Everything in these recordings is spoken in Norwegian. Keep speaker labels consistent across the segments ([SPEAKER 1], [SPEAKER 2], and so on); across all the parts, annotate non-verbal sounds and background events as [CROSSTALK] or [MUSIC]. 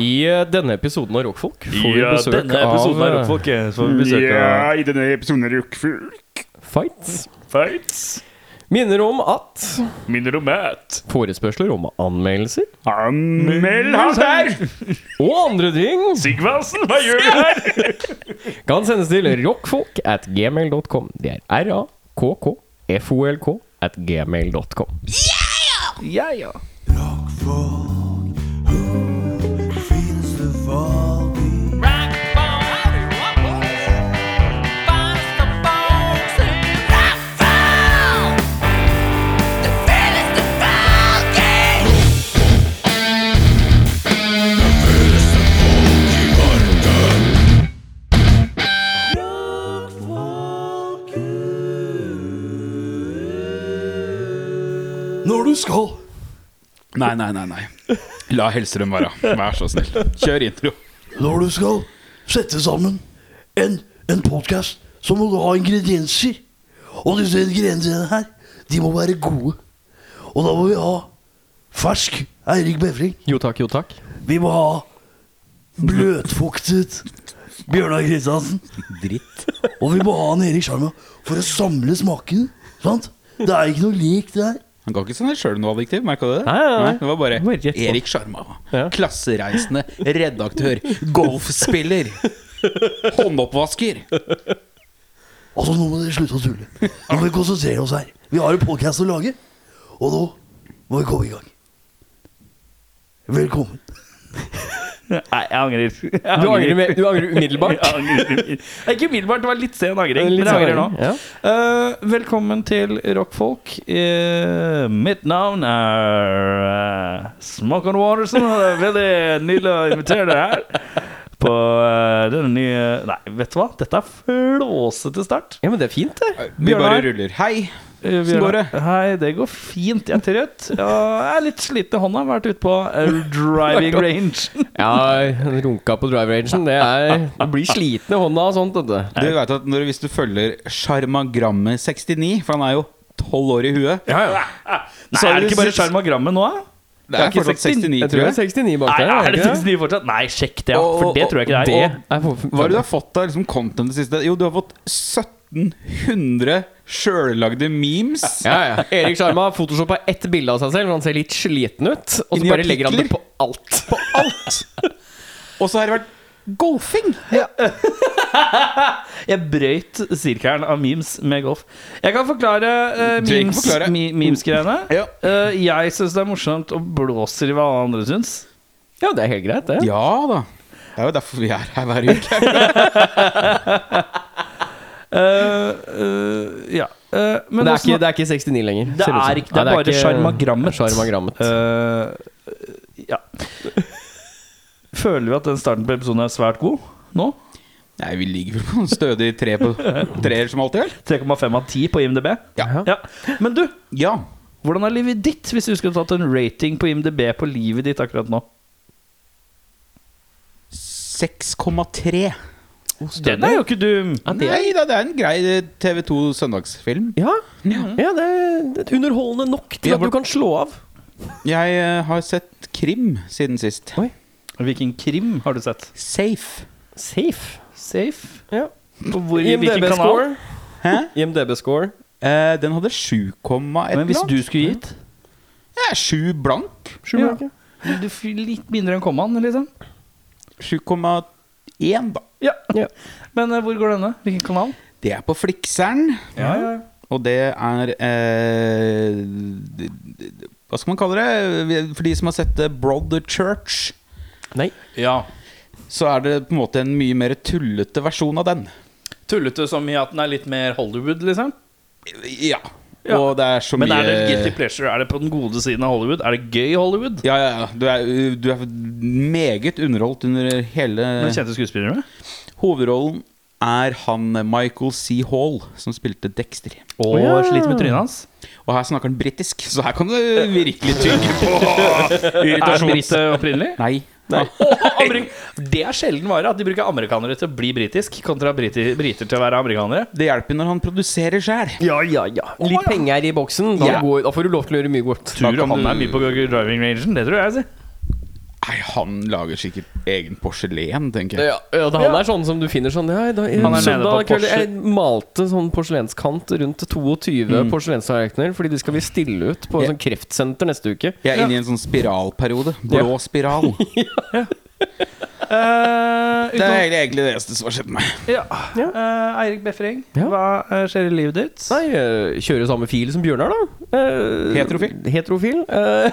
[SPEAKER 1] I eh, denne episoden av Rockfolk får vi
[SPEAKER 2] eh,
[SPEAKER 3] Ja,
[SPEAKER 1] besøk
[SPEAKER 3] denne episoden av Rockfolk eh, får vi besøk av
[SPEAKER 4] Ja, i denne episoden er det jo kult.
[SPEAKER 1] av Fights.
[SPEAKER 3] Fights.
[SPEAKER 1] Minner om at
[SPEAKER 3] Minner om mat.
[SPEAKER 1] forespørsler om anmeldelser
[SPEAKER 4] Anmeld han der!
[SPEAKER 1] og andre ting
[SPEAKER 3] Sigvaldsen, hva gjør du her?
[SPEAKER 1] kan sendes til rockfolk at gmail.com. Det er r-a-k-k-f-o-l-k at gmail.com.
[SPEAKER 3] Ja, ja.
[SPEAKER 4] Når du skal. Nei, nei, nei. nei La Hellstrøm være. Vær så snill. Kjør intro.
[SPEAKER 5] Når du skal sette sammen en, en podkast, så må du ha ingredienser. Og disse ingrediensene her, de må være gode. Og da må vi ha fersk Eirik Befring.
[SPEAKER 1] Jo takk, jo takk.
[SPEAKER 5] Vi må ha bløtfuktet Bjørnar Kristiansen. Dritt. Og vi må ha en Erik Sjarma for å samle smakene. Sant? Det er ikke noe lik, det her.
[SPEAKER 4] Han ga ikke sånn sjøl noe adjektiv, merka du det?
[SPEAKER 1] Nei, nei, nei.
[SPEAKER 4] Det var bare,
[SPEAKER 1] Det var rett på.
[SPEAKER 4] Erik Sjarma.
[SPEAKER 1] Ja.
[SPEAKER 4] Klassereisende redaktør. Golfspiller. Håndoppvasker.
[SPEAKER 5] Altså, nå må dere slutte å tulle. Nå må vi konsentrere oss her. Vi har en podkast å lage, og nå må vi komme i gang. Velkommen.
[SPEAKER 2] Nei, jeg angrer. Jeg
[SPEAKER 1] Du angrer, med, du angrer umiddelbart?
[SPEAKER 2] [LAUGHS] Jeg angrer. Det er ikke umiddelbart, det var litt sen angring.
[SPEAKER 1] Litt
[SPEAKER 2] Men jeg angrer nå.
[SPEAKER 1] sånn, ja.
[SPEAKER 2] Eh, velkommen til Rockfolk. Eh, mitt navn er eh, Smoke on Waterson, og det er veldig nydelig å invitere dere her. På eh, denne nye Nei, vet du hva? Dette er flåsete start.
[SPEAKER 1] ja, men det er fint, det.
[SPEAKER 4] Vi bare
[SPEAKER 2] Bjørnar?
[SPEAKER 4] ruller. Hei!
[SPEAKER 2] Eh,
[SPEAKER 4] Hvordan går
[SPEAKER 2] Bjørnar. Hei, det går fint. Jeg er trøtt. Ja, Jeg er litt sliten i hånda. Vært ute på eh,
[SPEAKER 1] [LAUGHS]
[SPEAKER 2] driving range.
[SPEAKER 1] Ja, runka på drive rangen, det er Du blir sliten i hånda og sånt, vet du.
[SPEAKER 4] Du vet at når, Hvis du følger Sjarmagrammet69, for han er jo tolv år i
[SPEAKER 2] [LAUGHS]
[SPEAKER 4] huet
[SPEAKER 2] Nei,
[SPEAKER 4] Så
[SPEAKER 2] er
[SPEAKER 4] du
[SPEAKER 2] det ikke bare
[SPEAKER 4] syns-
[SPEAKER 2] Sjarmagrammet nå, da?
[SPEAKER 4] Det er
[SPEAKER 2] ikke
[SPEAKER 4] fortsatt
[SPEAKER 2] 69,
[SPEAKER 4] 69,
[SPEAKER 1] Jeg tror det er 69 bak
[SPEAKER 2] Nei,
[SPEAKER 1] der.
[SPEAKER 2] er det
[SPEAKER 1] ikke
[SPEAKER 2] 69 fortsatt? Nei, sjekk det, ja.
[SPEAKER 4] Og-
[SPEAKER 2] For det
[SPEAKER 4] og-
[SPEAKER 2] tror jeg ikke det
[SPEAKER 1] Det
[SPEAKER 2] er.
[SPEAKER 1] er for-
[SPEAKER 4] Hva er det du har fått av liksom content det siste? Jo, du har fått 1700 sjøllagde memes.
[SPEAKER 1] [LAUGHS] Ja, ja. Erik Sjarma har photoshoppa ett bilde av seg selv, hvor han ser litt sliten ut. Og
[SPEAKER 4] Inni
[SPEAKER 1] så bare legger han det
[SPEAKER 4] artikler.
[SPEAKER 1] på alt.
[SPEAKER 4] På alt! Og så har det vært golfing.
[SPEAKER 2] Og Jeg brøyt sirkelen av memes med golf. Jeg kan forklare eh,
[SPEAKER 4] Du trenger ikke
[SPEAKER 2] memes-
[SPEAKER 4] forklare.
[SPEAKER 2] mi- memes-greiene. [LAUGHS]
[SPEAKER 4] Ja.
[SPEAKER 2] Eh, jeg syns det er morsomt og blåser i hva alle andre syns.
[SPEAKER 1] Ja, det er helt greit, det.
[SPEAKER 4] Ja da. Det er jo derfor vi er her hver uke.
[SPEAKER 2] Eh, eh, ja. Eh,
[SPEAKER 1] Men
[SPEAKER 2] men
[SPEAKER 1] det er, ikke,
[SPEAKER 2] det,
[SPEAKER 1] det er ikke 69 lenger.
[SPEAKER 2] det
[SPEAKER 1] ser ut som.
[SPEAKER 2] er ikke Det er
[SPEAKER 1] Nei,
[SPEAKER 2] bare sjarmagrammet.
[SPEAKER 1] Sjarmagrammet.
[SPEAKER 2] Eh, ja. [LAUGHS] Føler vi at den starten på episoden er svært god nå?
[SPEAKER 4] [LAUGHS] Nei, vi ligger vel på en stødig tre på treer som alltid, vel?
[SPEAKER 2] 3,5 av 10 på IMDb.
[SPEAKER 4] Ja.
[SPEAKER 2] Ja. Men du,
[SPEAKER 4] Ja.
[SPEAKER 2] Hvordan er livet ditt, hvis du skulle tatt en rating på IMDb på livet ditt akkurat nå?
[SPEAKER 4] 6,3.
[SPEAKER 2] Den er jo ikke dum!
[SPEAKER 4] Nei da, det er en grei eh, TV2 søndagsfilm.
[SPEAKER 1] Ja,
[SPEAKER 2] Mhm.
[SPEAKER 1] ja det er det er underholdende nok til
[SPEAKER 4] Ja,
[SPEAKER 1] at du
[SPEAKER 4] hvor-
[SPEAKER 1] kan slå av.
[SPEAKER 4] Jeg eh, har sett krim siden sist.
[SPEAKER 1] Oi.
[SPEAKER 2] Hvilken krim har du sett?
[SPEAKER 4] Safe.
[SPEAKER 1] Safe.
[SPEAKER 2] Safe?
[SPEAKER 1] Ja.
[SPEAKER 2] På hvor, i hvilken kanal?
[SPEAKER 1] IMDb-score.
[SPEAKER 4] Hæ?
[SPEAKER 1] IMDb-score.
[SPEAKER 4] Eh, den hadde 7, et
[SPEAKER 2] Men
[SPEAKER 4] eller
[SPEAKER 2] hvis
[SPEAKER 4] annet.
[SPEAKER 2] du skulle gitt?
[SPEAKER 4] Ja, 7 blank.
[SPEAKER 2] Ja. Du f- Litt mindre enn kommaen, liksom?
[SPEAKER 4] 7,1, da.
[SPEAKER 2] Ja.
[SPEAKER 1] Ja.
[SPEAKER 2] Men eh, hvor går denne? Hvilken kanal?
[SPEAKER 4] Det er på Flikseren,
[SPEAKER 2] Ja, ja.
[SPEAKER 4] og det er eh, d- d- d- Hva skal man kalle det? For de som har sett eh, Brother Church,
[SPEAKER 1] Nei.
[SPEAKER 2] ja.
[SPEAKER 4] så er det på en måte en mye mer tullete versjon av den.
[SPEAKER 2] Tullete som i at den er litt mer Hollywood, liksom?
[SPEAKER 4] Ja.
[SPEAKER 2] Ja.
[SPEAKER 4] Og det er så
[SPEAKER 2] Men
[SPEAKER 4] mye
[SPEAKER 2] er det guilty pleasure? Er det på den gode siden av Hollywood? Er det gøy Hollywood?
[SPEAKER 4] Ja, ja, ja. Du er, du er meget underholdt under hele
[SPEAKER 2] Med kjente skuespillere?
[SPEAKER 4] Hovedrollen er han Michael C. Hall, som spilte Dexter.
[SPEAKER 2] Og
[SPEAKER 1] ja.
[SPEAKER 2] sliter med trynet hans?
[SPEAKER 4] Og her snakker han britisk, så her kan du virkelig tygge på
[SPEAKER 2] Er
[SPEAKER 4] irritasjon.
[SPEAKER 2] Britt eh, [LAUGHS] opprinnelig?
[SPEAKER 4] Nei.
[SPEAKER 2] Og Ameri- Det er sjelden vare at de bruker amerikanere til å bli britisk kontra briti briter til å være amerikanere.
[SPEAKER 4] Det hjelper når han produserer sjæl.
[SPEAKER 1] Ja, ja, ja. Litt penger i boksen. Da,
[SPEAKER 4] Ja.
[SPEAKER 1] går, da får du lov til å gjøre mye godt.
[SPEAKER 2] Tror
[SPEAKER 4] kan
[SPEAKER 2] han
[SPEAKER 4] du-
[SPEAKER 2] er mye på driving rangen, det tror jeg. Si.
[SPEAKER 4] Nei, han lager sikkert egen porselen, tenker jeg.
[SPEAKER 1] Ja, ja, da, han er sånn som du finner sånn ja, da,
[SPEAKER 2] Han er nede
[SPEAKER 1] Søndag
[SPEAKER 2] på
[SPEAKER 1] kveld jeg malte sånn porselenskant rundt 22 porselenstallerkener, fordi de skal vi stille ut på
[SPEAKER 4] Ja.
[SPEAKER 1] sånn kreftsenter neste uke.
[SPEAKER 4] Jeg er inne i en sånn spiralperiode. Blå spiral.
[SPEAKER 2] Eh,
[SPEAKER 4] Det er
[SPEAKER 2] utenom,
[SPEAKER 4] egentlig det eneste som har
[SPEAKER 1] [LAUGHS]
[SPEAKER 4] skjedd meg.
[SPEAKER 2] ja. Eh, Eirik Befring,
[SPEAKER 1] Ja.
[SPEAKER 2] hva eh, skjer i livet ditt?
[SPEAKER 1] Nei, eh, kjøre samme fil som Bjørnar, da. Eh,
[SPEAKER 4] Heterofil.
[SPEAKER 1] Heterofil. eh,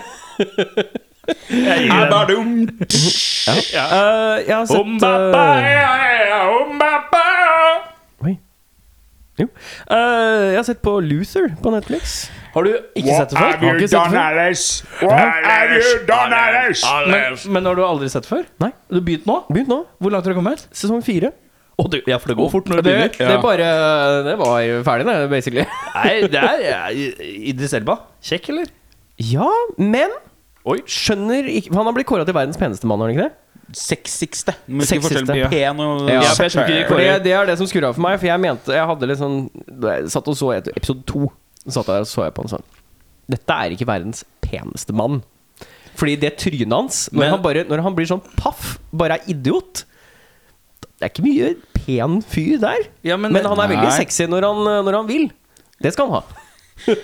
[SPEAKER 3] Jeg gir den.
[SPEAKER 1] eh, jeg har sett
[SPEAKER 3] Om bappa,
[SPEAKER 1] eh,
[SPEAKER 3] ja, ja, ja, om bappa.
[SPEAKER 1] Oi. Jo. Eh, jeg har sett på Luther på Netflix. Har du ikke sett det før? Har ikke sett det før?
[SPEAKER 3] Alex? What have you done, Alex?
[SPEAKER 2] Men, men har du aldri sett før?
[SPEAKER 1] Nei.
[SPEAKER 2] Du begynte nå?
[SPEAKER 1] Begynt nå.
[SPEAKER 2] Hvor langt har du kommet?
[SPEAKER 1] Sesong fire.
[SPEAKER 2] Oh, du, ja, for det går fort når
[SPEAKER 1] Det,
[SPEAKER 2] begynner.
[SPEAKER 1] det er bare Det var jo ferdig, det, basically.
[SPEAKER 2] Nei, det er ja, Idris Elba. Kjekk, eller?
[SPEAKER 1] Ja, men Skjønner ikke Han har blitt kåra til verdens peneste mann, har han ikke det?
[SPEAKER 4] Sexigste. Må huske
[SPEAKER 1] Sexigste.
[SPEAKER 4] forskjellen på pen og
[SPEAKER 1] Ja,
[SPEAKER 2] for jeg tror ikke de
[SPEAKER 1] For det,
[SPEAKER 2] kårer
[SPEAKER 1] det er det som skurra for meg, for jeg mente Jeg hadde litt sånn da jeg Satt og så et, episode to. Så satt jeg og så jeg på en sånn Dette er ikke verdens peneste mann. Fordi det trynet hans, når,
[SPEAKER 2] Men-
[SPEAKER 1] han, bare, når han blir sånn paff, bare er idiot Det er ikke mye pen fyr der.
[SPEAKER 2] Ja, men-
[SPEAKER 1] men, han er veldig
[SPEAKER 4] Nei.
[SPEAKER 1] sexy når han, når han vil. Det skal han ha.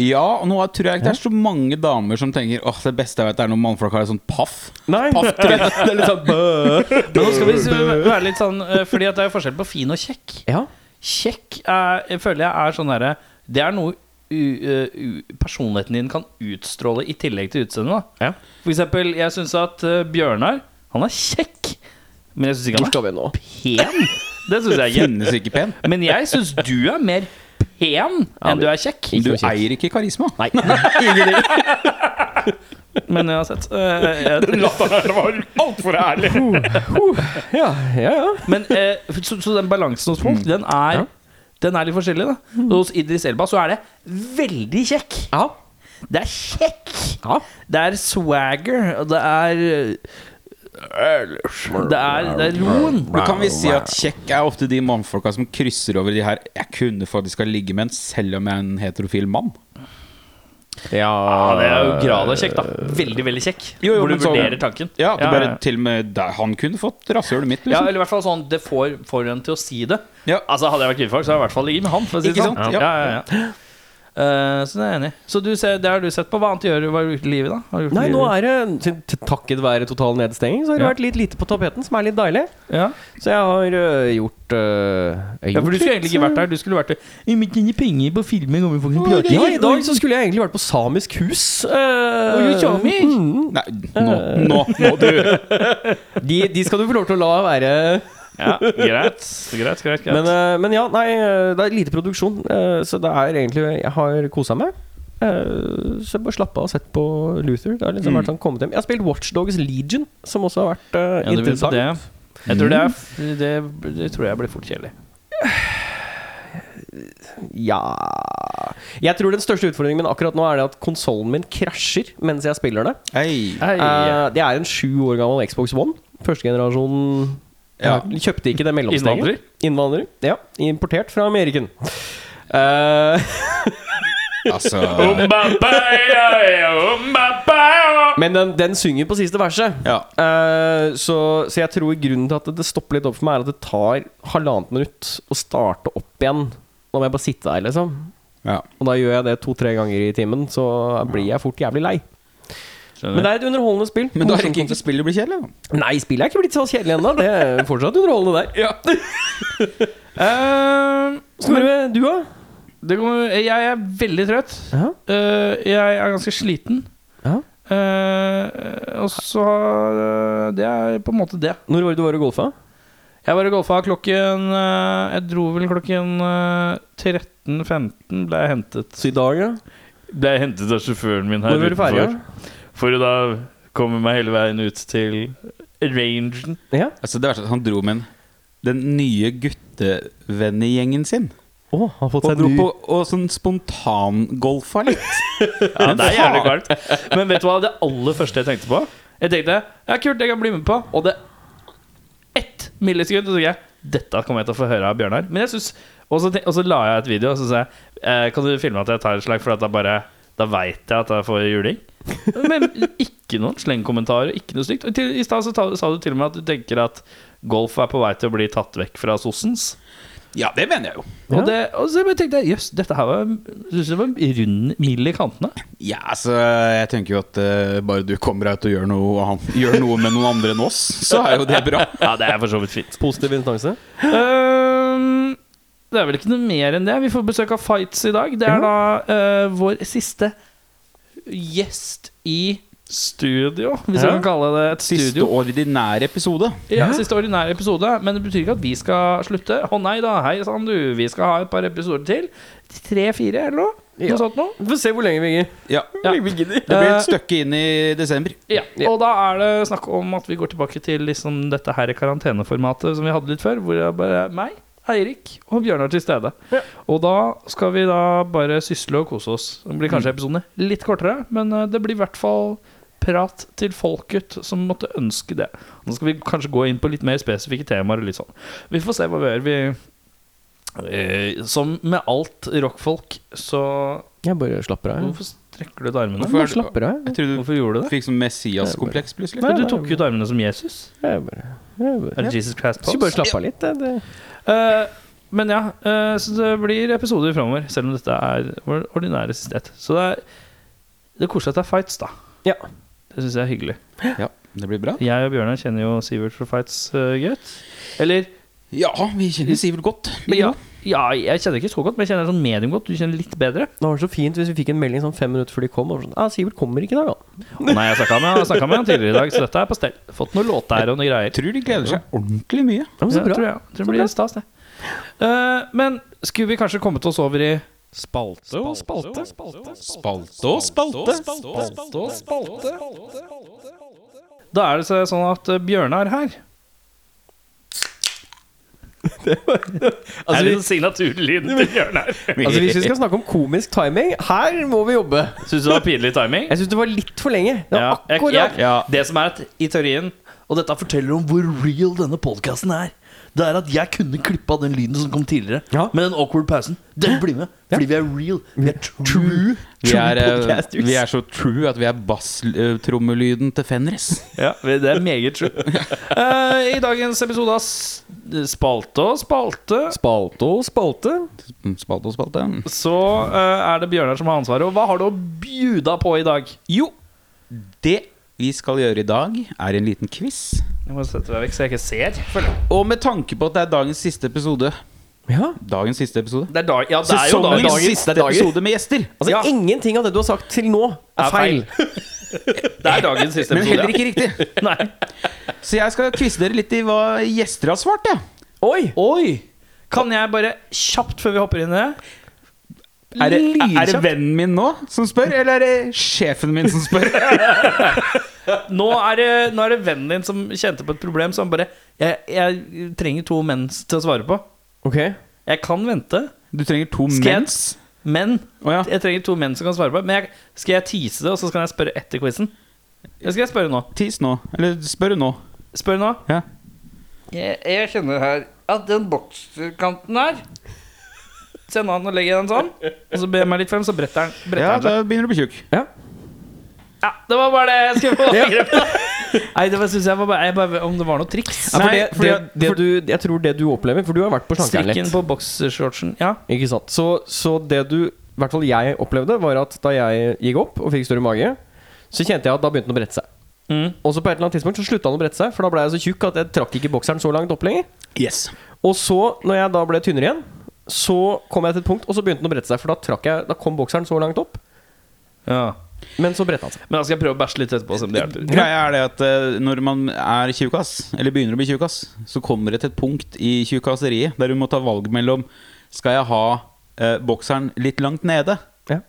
[SPEAKER 4] Ja, og nå tror jeg ikke det er så mange damer som tenker Åh, det beste jeg vet, er når mannfolk har et sånt paff.
[SPEAKER 1] Nei, [LAUGHS] det er litt sånn bø.
[SPEAKER 2] Men nå skal vi s- være litt sånn eh, Fordi at det er forskjell på fin og kjekk.
[SPEAKER 1] Ja.
[SPEAKER 2] Kjekk er, jeg føler jeg er sånn derre Det er noe u, eh, u, personligheten din kan utstråle i tillegg til utseendet. da.
[SPEAKER 1] Ja.
[SPEAKER 2] For eksempel, jeg syns at eh, Bjørnar Han er kjekk, men jeg syns ikke
[SPEAKER 1] Hvor
[SPEAKER 2] han er
[SPEAKER 1] skal vi nå?
[SPEAKER 2] pen. [LAUGHS] Det syns jeg ikke.
[SPEAKER 4] Finnes ikke pen.
[SPEAKER 2] Men jeg syns du er mer pen
[SPEAKER 1] Ja,
[SPEAKER 2] enn du er kjekk.
[SPEAKER 1] Ikke
[SPEAKER 4] Du
[SPEAKER 1] noe kjekk.
[SPEAKER 4] eier ikke karisma.
[SPEAKER 1] Nei. Ingenting.
[SPEAKER 2] Men uansett eh, jeg,
[SPEAKER 1] [LAUGHS]
[SPEAKER 3] Latteren her var altfor ærlig.
[SPEAKER 1] Ja, ja, ja.
[SPEAKER 2] Men eh, så, så den balansen hos folk, den er
[SPEAKER 1] Ja.
[SPEAKER 2] Den er litt forskjellig, da. Og hos Idris Elba så er det veldig kjekk.
[SPEAKER 1] Ja.
[SPEAKER 2] Det er kjekk!
[SPEAKER 1] Ja.
[SPEAKER 2] Det er swagger, og det er Det er, det er roen.
[SPEAKER 4] Men kan vi si at kjekk er ofte de mannfolka som krysser over de her Jeg kunne faktisk ha ligget med en selv om jeg er en heterofil mann.
[SPEAKER 2] Ja, det er jo grad av kjekk, da. Veldig, veldig kjekk.
[SPEAKER 4] Jo, jo,
[SPEAKER 2] Hvor
[SPEAKER 4] men
[SPEAKER 2] du
[SPEAKER 4] sånn-
[SPEAKER 2] vurderer tanken.
[SPEAKER 4] Ja, at du
[SPEAKER 2] Ja,
[SPEAKER 4] bare
[SPEAKER 2] ja.
[SPEAKER 4] til og med der, Han kunne fått rasshølet mitt,
[SPEAKER 2] Ja,
[SPEAKER 4] liksom.
[SPEAKER 2] eller i hvert fall sånn det får, får en til å si det.
[SPEAKER 4] Ja.
[SPEAKER 2] Altså Hadde jeg vært kvinnfolk, så hadde jeg i hvert fall ligget med han. For å si det
[SPEAKER 4] Ikke
[SPEAKER 2] sånn.
[SPEAKER 4] sant?
[SPEAKER 2] Ja, ja, ja, Eh, så det er jeg enig i. Så du ser, det har du sett på. Hva annet gjør du hva har du gjort i livet, da? Har du gjort i
[SPEAKER 1] Nei, nå
[SPEAKER 2] livet?
[SPEAKER 1] er det til- til Takket være total nedstenging, så har det
[SPEAKER 2] Ja.
[SPEAKER 1] vært litt lite på tapeten, som er litt deilig.
[SPEAKER 2] ja.
[SPEAKER 1] Så jeg har øh, gjort øh, jeg har
[SPEAKER 2] Ja,
[SPEAKER 1] gjort
[SPEAKER 2] for du skulle
[SPEAKER 1] litt,
[SPEAKER 2] egentlig ikke vært der. Du skulle vært der. Vi må tjene penger på filmer og vi får ikke prate.
[SPEAKER 1] Ja, i dag så skulle jeg egentlig vært på Samisk hus. øh,
[SPEAKER 2] Oi, samisk?
[SPEAKER 1] mm,
[SPEAKER 4] Nei, nå, nå må du
[SPEAKER 1] de, de skal du få lov til å la være.
[SPEAKER 2] Ja, greit. Greit, greit, greit.
[SPEAKER 1] Men,
[SPEAKER 3] eh,
[SPEAKER 1] øh, men ja, nei, øh, det er lite produksjon, øh, så det er egentlig Jeg har kosa meg. Øh, så jeg bare slappa av og sett på Luther. Det har liksom
[SPEAKER 2] Mm.
[SPEAKER 1] vært sånn kommet hjem Jeg har spilt Watchdogs Legion, som også har vært øh,
[SPEAKER 2] ja, du vil på
[SPEAKER 1] interessant.
[SPEAKER 2] det. Jeg tror det, er, det, det tror jeg blir fort kjedelig.
[SPEAKER 1] Ja Jeg tror den største utfordringen min akkurat nå er det at konsollen min krasjer mens jeg spiller det.
[SPEAKER 4] Hei.
[SPEAKER 1] Eh, det er en sju år gammel Xbox One. Førstegenerasjon ja.
[SPEAKER 4] Ja.
[SPEAKER 1] Kjøpte ikke det mellomsteget.
[SPEAKER 2] Innvandrer?
[SPEAKER 1] Innvandrer? Ja. Importert fra Ameriken.
[SPEAKER 4] [LAUGHS]
[SPEAKER 1] Eh,
[SPEAKER 4] Altså
[SPEAKER 3] Om bappa, ja, ja, om bappa.
[SPEAKER 1] men den, den synger på siste verset.
[SPEAKER 4] Ja.
[SPEAKER 1] Eh, så, så jeg tror grunnen til at det- det stopper litt opp for meg, er at det tar halvannet minutt å starte opp igjen. Da må jeg bare sitte der, liksom.
[SPEAKER 4] ja.
[SPEAKER 1] Og da gjør jeg det to-tre ganger i timen, så blir jeg fort jævlig lei. Men
[SPEAKER 2] Skjønner.
[SPEAKER 1] det er et underholdende spill.
[SPEAKER 4] Men da er
[SPEAKER 1] Morsomt
[SPEAKER 4] det ikke
[SPEAKER 1] konsept.
[SPEAKER 4] spillet blir kjedelig, da.
[SPEAKER 1] Nei, spillet er ikke blitt så kjedelig ennå. Det er fortsatt underholdende der.
[SPEAKER 2] Eh,
[SPEAKER 1] Snorre, du da?
[SPEAKER 2] det kommer, jeg er veldig trøtt.
[SPEAKER 1] Ja.
[SPEAKER 2] Eh, jeg er ganske sliten.
[SPEAKER 1] Ja.
[SPEAKER 2] Eh, og så eh, Det er på en måte det.
[SPEAKER 1] Når var det du var og golfa?
[SPEAKER 2] Jeg var og golfa klokken eh, Jeg dro vel klokken eh, 13.15 ble jeg hentet.
[SPEAKER 1] Så i dag, ja.
[SPEAKER 2] Ble jeg hentet av sjåføren min
[SPEAKER 1] Når var du ferdig?
[SPEAKER 2] For å da komme meg hele veien ut til rangen.
[SPEAKER 1] Ja. ja.
[SPEAKER 4] Altså, det verste er at han dro med en, den nye guttevennegjengen sin.
[SPEAKER 1] Å, har fått
[SPEAKER 4] Og
[SPEAKER 1] seg
[SPEAKER 4] dro
[SPEAKER 1] ny
[SPEAKER 4] på og sånn spontangolfa litt.
[SPEAKER 2] [LAUGHS] Ja, det er jævlig kaldt. Men vet du hva det aller første jeg tenkte på? Jeg tenkte ja, kult, jeg kan bli med på. Og det ett millisekund, så tenkte jeg dette kommer jeg til å få høre av Bjørnar. Men jeg synes, og, så, tenk- og så la jeg et video, og så sa jeg eh, kan du filme at jeg tar et slag, for at da bare da veit jeg at jeg får juling. Men ikke Ikke noen slengkommentarer, ikke noe stygt. Og til, I stad så ta- sa du til og med at du tenker at golf er på vei til å bli tatt vekk fra sossens.
[SPEAKER 4] Ja, det mener jeg jo.
[SPEAKER 2] Og, det, og så bare tenkte jeg jøss, dette her var, synes jeg var rund, mild i kantene.
[SPEAKER 4] Ja, altså, jeg tenker jo at eh, bare du kommer deg ut og gjør noe, og han- [LAUGHS] gjør noe med noen andre enn oss, så er jo det bra.
[SPEAKER 2] [LAUGHS] Ja, det er for så vidt fint.
[SPEAKER 1] Positiv instanse.
[SPEAKER 2] Ehm, det er vel ikke noe mer enn det. Vi får besøk av Fights i dag. Det er da eh, vår siste gjest i studio, hvis
[SPEAKER 1] Ja.
[SPEAKER 2] man kan kalle det et
[SPEAKER 4] Siste
[SPEAKER 2] studio.
[SPEAKER 4] ordinære episode.
[SPEAKER 2] Ja, siste ordinære episode, men det betyr ikke at vi skal slutte. Å nei da, hei sann du, vi skal ha et par episoder til. Tre-fire, eller noe?
[SPEAKER 1] Ja.
[SPEAKER 2] Noe sånt noe?
[SPEAKER 1] Vi får se hvor lenge vi gir.
[SPEAKER 4] Ja,
[SPEAKER 2] Ja.
[SPEAKER 4] Det blir
[SPEAKER 2] Eh,
[SPEAKER 4] et stykke inn i desember.
[SPEAKER 2] Ja, og da er det snakk om at vi går tilbake til liksom dette her karanteneformatet som vi hadde litt før, hvor det er bare meg, Eirik og Bjørnar til stede. Og da skal vi da bare sysle og kose oss. Det blir kanskje episodene litt kortere, men eh, det blir i hvert fall prat til folket som måtte ønske det. Nå skal vi kanskje gå inn på litt mer spesifikke temaer og litt sånn. Vi får se hva vi gjør. Vi eh, Som med alt rockfolk, så
[SPEAKER 1] Jeg bare slapper av.
[SPEAKER 2] Hvorfor strekker du ut armene?
[SPEAKER 1] Jeg
[SPEAKER 4] Hvorfor er
[SPEAKER 1] bare
[SPEAKER 4] det-
[SPEAKER 1] slapper av.
[SPEAKER 4] Jeg trodde
[SPEAKER 2] Hvorfor gjorde du det?
[SPEAKER 4] du fikk sånn Messias-kompleks plutselig.
[SPEAKER 1] Nei,
[SPEAKER 2] Men du
[SPEAKER 1] det er
[SPEAKER 2] tok jo ut armene som Jesus.
[SPEAKER 1] Jeg bare, jeg bare,
[SPEAKER 2] Eller
[SPEAKER 1] jeg
[SPEAKER 2] Jesus Christ
[SPEAKER 1] Skulle bare
[SPEAKER 2] Pose.
[SPEAKER 1] slappe av litt. Det, det.
[SPEAKER 2] Eh, men ja, eh, så det blir episoder framover, selv om dette er vår ordinære siste. Så det er, det er koselig at det er fights, da.
[SPEAKER 1] Ja.
[SPEAKER 2] Det syns jeg er hyggelig.
[SPEAKER 4] Ja, det blir bra.
[SPEAKER 2] Jeg og Bjørnar kjenner jo Sivert fra Fights uh, godt. Eller
[SPEAKER 4] Ja, vi kjenner Sivert godt. begge
[SPEAKER 2] ja,
[SPEAKER 4] to.
[SPEAKER 2] ja, jeg kjenner ikke så godt, men jeg kjenner sånn medium godt. Du kjenner litt bedre.
[SPEAKER 1] Det var så fint hvis vi fikk en melding sånn fem minutter før de kom. Og sånn, ah, 'Sivert kommer ikke i dag, han'.
[SPEAKER 2] Å nei, jeg snakka med, jeg snakket med han tidligere i dag, så dette er på stell. Fått noen låter her og noen greier.
[SPEAKER 4] Jeg tror de gleder seg ordentlig mye.
[SPEAKER 1] Ja, men så
[SPEAKER 2] Ja,
[SPEAKER 1] bra.
[SPEAKER 2] Tror jeg. Tror det blir stas, det. Eh, men skulle vi kanskje kommet oss over i spalte og spalte?
[SPEAKER 1] Altså,
[SPEAKER 4] Spalte og spalte.
[SPEAKER 2] Da er det så- sånn at eh, Bjørnar her
[SPEAKER 1] Altså, vi,
[SPEAKER 2] signaturlyd til Bjørnar?
[SPEAKER 1] altså Hvis vi skal snakke om komisk timing, her må vi jobbe.
[SPEAKER 2] Syns du det var pinlig timing?
[SPEAKER 1] Jeg syns det var litt for lenge. Det var
[SPEAKER 2] Ja, jeg-
[SPEAKER 1] akkurat
[SPEAKER 2] jeg- Det som er at i teorien
[SPEAKER 5] Og dette forteller om hvor real denne podkasten er. Det er at jeg kunne klippa den lyden som kom tidligere,
[SPEAKER 1] Ja.
[SPEAKER 5] med den awkward pausen. Den blir med, fordi vi er real. Vi er true.
[SPEAKER 4] Vi er, eh,
[SPEAKER 1] podcasters.
[SPEAKER 4] vi er så true at vi er basstrommelyden til Fenris.
[SPEAKER 2] Ja, [LAUGHS] det er meget true. Eh, I dagens episode av S- Spalte og spalte
[SPEAKER 1] Spalte og spalte.
[SPEAKER 4] Mm, Spalte og spalte.
[SPEAKER 2] så eh, er det Bjørnar som har ansvaret. Og hva har du å bjuda på i dag?
[SPEAKER 4] Jo, det vi skal gjøre i dag, er en liten quiz.
[SPEAKER 2] Jeg må sette deg vekk så jeg ikke ser.
[SPEAKER 4] Og med tanke på at det er dagens siste episode
[SPEAKER 1] Ja.
[SPEAKER 4] Dagens siste episode?
[SPEAKER 2] Det er, dag, ja, det er jo
[SPEAKER 4] Sesongens
[SPEAKER 2] dagen.
[SPEAKER 4] siste episode med gjester!
[SPEAKER 1] Altså,
[SPEAKER 2] Ja.
[SPEAKER 1] ingenting av det du har sagt til nå, er,
[SPEAKER 2] Er
[SPEAKER 1] feil.
[SPEAKER 2] feil. Det er dagens siste
[SPEAKER 4] [LAUGHS] Men
[SPEAKER 2] episode.
[SPEAKER 4] heller ikke riktig. [LAUGHS]
[SPEAKER 2] ja. Nei.
[SPEAKER 4] Så jeg skal quize dere litt i hva gjester har svart. Ja.
[SPEAKER 1] Oi!
[SPEAKER 2] Oi! Kan jeg bare kjapt før vi hopper inn i det
[SPEAKER 4] Er, det, er det
[SPEAKER 2] Lynkjapt.
[SPEAKER 4] vennen min nå som spør, eller er det sjefen min som spør? [LAUGHS]
[SPEAKER 2] Nå er det, nå er det vennen din som kjente på et problem, så han bare jeg, jeg trenger to mens til å svare på.
[SPEAKER 1] Ok.
[SPEAKER 2] Jeg kan vente,
[SPEAKER 4] Du trenger to
[SPEAKER 2] Skal jeg-
[SPEAKER 4] mens.
[SPEAKER 2] men
[SPEAKER 4] Å ja.
[SPEAKER 2] jeg trenger to menn som kan svare på. Men jeg, skal jeg tease det, og så skal jeg spørre etter quizen? Det skal jeg spørre nå.
[SPEAKER 4] Tis nå. Eller spør nå.
[SPEAKER 2] Spør nå.
[SPEAKER 4] Ja.
[SPEAKER 2] Jeg, jeg kjenner her at den bokskanten her Send han og legger den sånn. Og så ber jeg meg litt frem, så bretter han. Bretter
[SPEAKER 4] ja,
[SPEAKER 2] han seg.
[SPEAKER 4] da begynner du å bli tjukk.
[SPEAKER 1] Ja.
[SPEAKER 2] Ja, det var bare det jeg skulle
[SPEAKER 1] [LAUGHS]
[SPEAKER 2] få [LAUGHS] Nei, det var, synes jeg var bare, jeg bare Om det var noe triks.
[SPEAKER 1] Ja, for
[SPEAKER 4] Nei,
[SPEAKER 1] det,
[SPEAKER 4] fordi
[SPEAKER 1] det,
[SPEAKER 4] at-
[SPEAKER 1] det
[SPEAKER 4] for-
[SPEAKER 1] du, jeg tror det du opplever For du har vært på slankeren
[SPEAKER 2] Strikken
[SPEAKER 1] litt.
[SPEAKER 2] på bokseshortsen. Ja.
[SPEAKER 1] Ikke sant? Så, så det du, i hvert fall jeg opplevde, var at da jeg gikk opp og fikk større mage, så kjente jeg at da begynte den å brette seg.
[SPEAKER 2] Mm.
[SPEAKER 1] Og så på et eller annet tidspunkt så slutta han å brette seg, for da ble jeg så tjukk at jeg trakk ikke bokseren så langt opp lenger.
[SPEAKER 4] Yes.
[SPEAKER 1] Og så, når jeg da ble tynnere igjen, så kom jeg til et punkt, og så begynte den å brette seg, for da, trakk jeg, da kom bokseren så langt opp.
[SPEAKER 2] ja.
[SPEAKER 1] Men så bretta han seg.
[SPEAKER 2] Men da skal jeg prøve å bæsje litt etterpå, se om det hjelper.
[SPEAKER 4] Greia er det at eh, når man er tjukkas, eller begynner å bli tjukkas, så kommer det til et punkt i tjukkaseriet der du må ta valg mellom Skal jeg ha eh, bokseren litt langt nede?
[SPEAKER 1] Ja.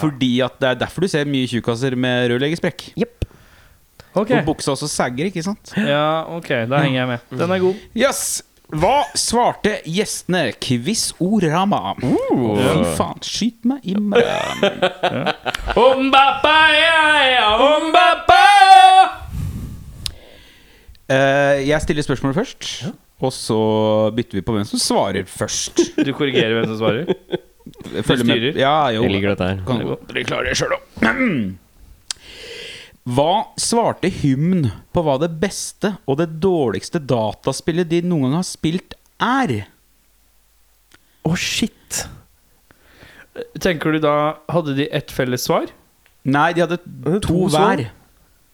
[SPEAKER 4] Fordi at det er derfor du ser mye tjukkaser med rørleggersprekk.
[SPEAKER 1] Jepp.
[SPEAKER 2] Ok,
[SPEAKER 4] Og buksa også sagger, ikke sant?
[SPEAKER 2] ja, ok, da henger jeg med. Den er god.
[SPEAKER 4] Yes. Hva svarte gjestene? Quiz-orama. Fy faen, skyt meg i meg.
[SPEAKER 1] [LAUGHS]
[SPEAKER 4] Eh, jeg stiller spørsmålet først, og så bytter vi på hvem som svarer først.
[SPEAKER 1] [LAUGHS]
[SPEAKER 2] Du korrigerer hvem som svarer?
[SPEAKER 4] Følger med.
[SPEAKER 2] styrer.
[SPEAKER 4] Ja, jo.
[SPEAKER 1] dette her.
[SPEAKER 4] Kan
[SPEAKER 2] Det er
[SPEAKER 4] dere klare det sjøl, da. [CLEARS THROAT] Hva svarte Hymn på hva det beste og det dårligste dataspillet de noen gang har spilt, er?
[SPEAKER 1] Å, shit.
[SPEAKER 2] Tenker du da Hadde de ett felles svar?
[SPEAKER 4] Nei, de hadde to,
[SPEAKER 1] hadde to svar.
[SPEAKER 4] hver.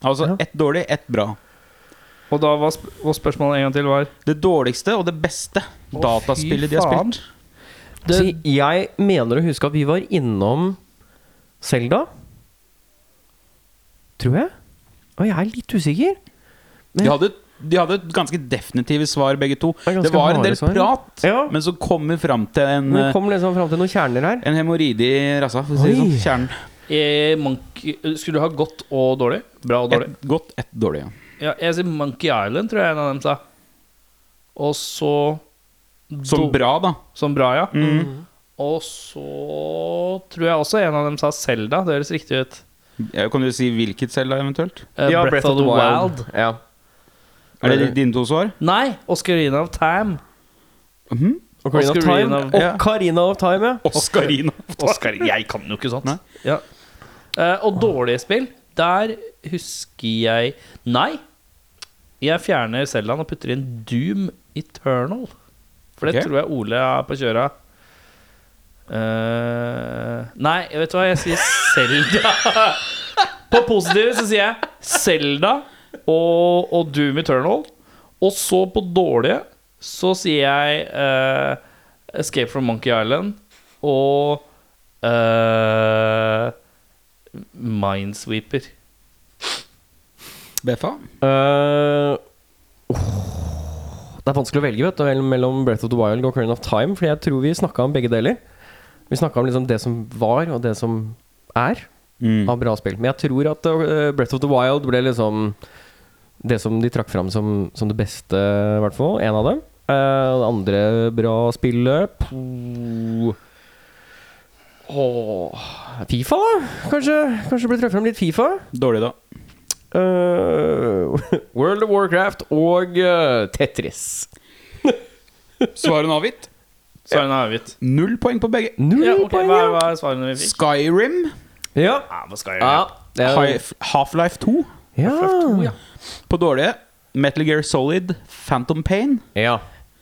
[SPEAKER 4] Altså
[SPEAKER 1] Ja.
[SPEAKER 4] ett dårlig, ett bra.
[SPEAKER 2] Og da var sp og spørsmålet en gang til var
[SPEAKER 4] Det dårligste og det beste dataspillet de har
[SPEAKER 2] faen.
[SPEAKER 4] spilt.
[SPEAKER 1] Så jeg mener å huske at vi var innom Selda. Tror jeg. Og jeg er litt usikker.
[SPEAKER 4] De hadde, de hadde ganske definitive svar, begge to.
[SPEAKER 1] er ganske
[SPEAKER 4] Det var en del
[SPEAKER 1] harde svar.
[SPEAKER 4] prat,
[SPEAKER 1] Ja.
[SPEAKER 4] men så kom vi fram til en, eh,
[SPEAKER 1] Men vi kom liksom fram til noen kjerner her.
[SPEAKER 4] en hemoroide i rassa. for å si det
[SPEAKER 1] Oi.
[SPEAKER 4] sånn. Kjernen.
[SPEAKER 2] eh, monkey, Skulle du ha godt og dårlig? Bra og dårlig.
[SPEAKER 4] Ett godt, ett dårlig. Ja.
[SPEAKER 2] Ja, jeg sier Monkey Island, tror jeg en av dem sa. Og så
[SPEAKER 4] Som
[SPEAKER 2] do-
[SPEAKER 4] bra, da.
[SPEAKER 2] Som bra, ja. Og så tror jeg også en av dem sa Selda. Det høres riktig ut.
[SPEAKER 4] Ja, Kan du si hvilket selv, da, eventuelt?
[SPEAKER 2] Eh, Breath of the Wild.
[SPEAKER 1] Ja.
[SPEAKER 4] Er det dine to svar?
[SPEAKER 2] Nei, Oscarina of Time.
[SPEAKER 4] Mhm.
[SPEAKER 1] Ocarina of Time.
[SPEAKER 2] Ocarina of-
[SPEAKER 4] ja.
[SPEAKER 1] Ocarina of Time, ja.
[SPEAKER 4] Oscarina.
[SPEAKER 2] Oscar, jeg kan jo ikke sånt.
[SPEAKER 4] Nei.
[SPEAKER 2] Ja. Eh, og dårlige spill, der husker jeg Nei! Jeg fjerner Seldan og putter inn Doom Eternal. For det
[SPEAKER 4] Ok.
[SPEAKER 2] tror jeg Ole er på kjøra. Eh, nei, vet du hva? Jeg sier Selda. [LAUGHS] på positive så sier jeg Selda og, og Doom Eternal. Og så på dårlige så sier jeg eh, Escape from Monkey Island og eh, Minesweeper.
[SPEAKER 4] BFA.
[SPEAKER 1] Eh, åh, det er vanskelig å velge vet du, vel- mellom Breath of the Wild og Ocarina of Time, Fordi jeg tror vi snakka om begge deler. Vi snakka om liksom det som var, og det som er av bra spill. Men jeg tror at eh, Breath of the Wild ble liksom det som de trakk fram som, som det beste, i hvert fall. En av dem. Eh, og det andre bra spillet Puh. Åh, Fifa, da? Kanskje, kanskje ble trukket fram litt Fifa?
[SPEAKER 4] Dårlig, da.
[SPEAKER 1] Eh, [LAUGHS] World of Warcraft og eh, Tetris.
[SPEAKER 4] Svaren avgitt.
[SPEAKER 2] Svarene er avgitt.
[SPEAKER 4] Null poeng på begge.
[SPEAKER 1] Null
[SPEAKER 2] Ja, ok,
[SPEAKER 1] poeng,
[SPEAKER 2] hva,
[SPEAKER 1] ja.
[SPEAKER 2] hva er svarene vi fikk?
[SPEAKER 4] Skyrim.
[SPEAKER 1] Ja.
[SPEAKER 2] Ja, hva skal jeg
[SPEAKER 1] Ja,
[SPEAKER 2] gjøre?
[SPEAKER 1] det er-
[SPEAKER 4] Hi- Half-Life 2.
[SPEAKER 1] ja.
[SPEAKER 4] På dårlige Metal Gear Solid, Phantom Pain
[SPEAKER 1] ja.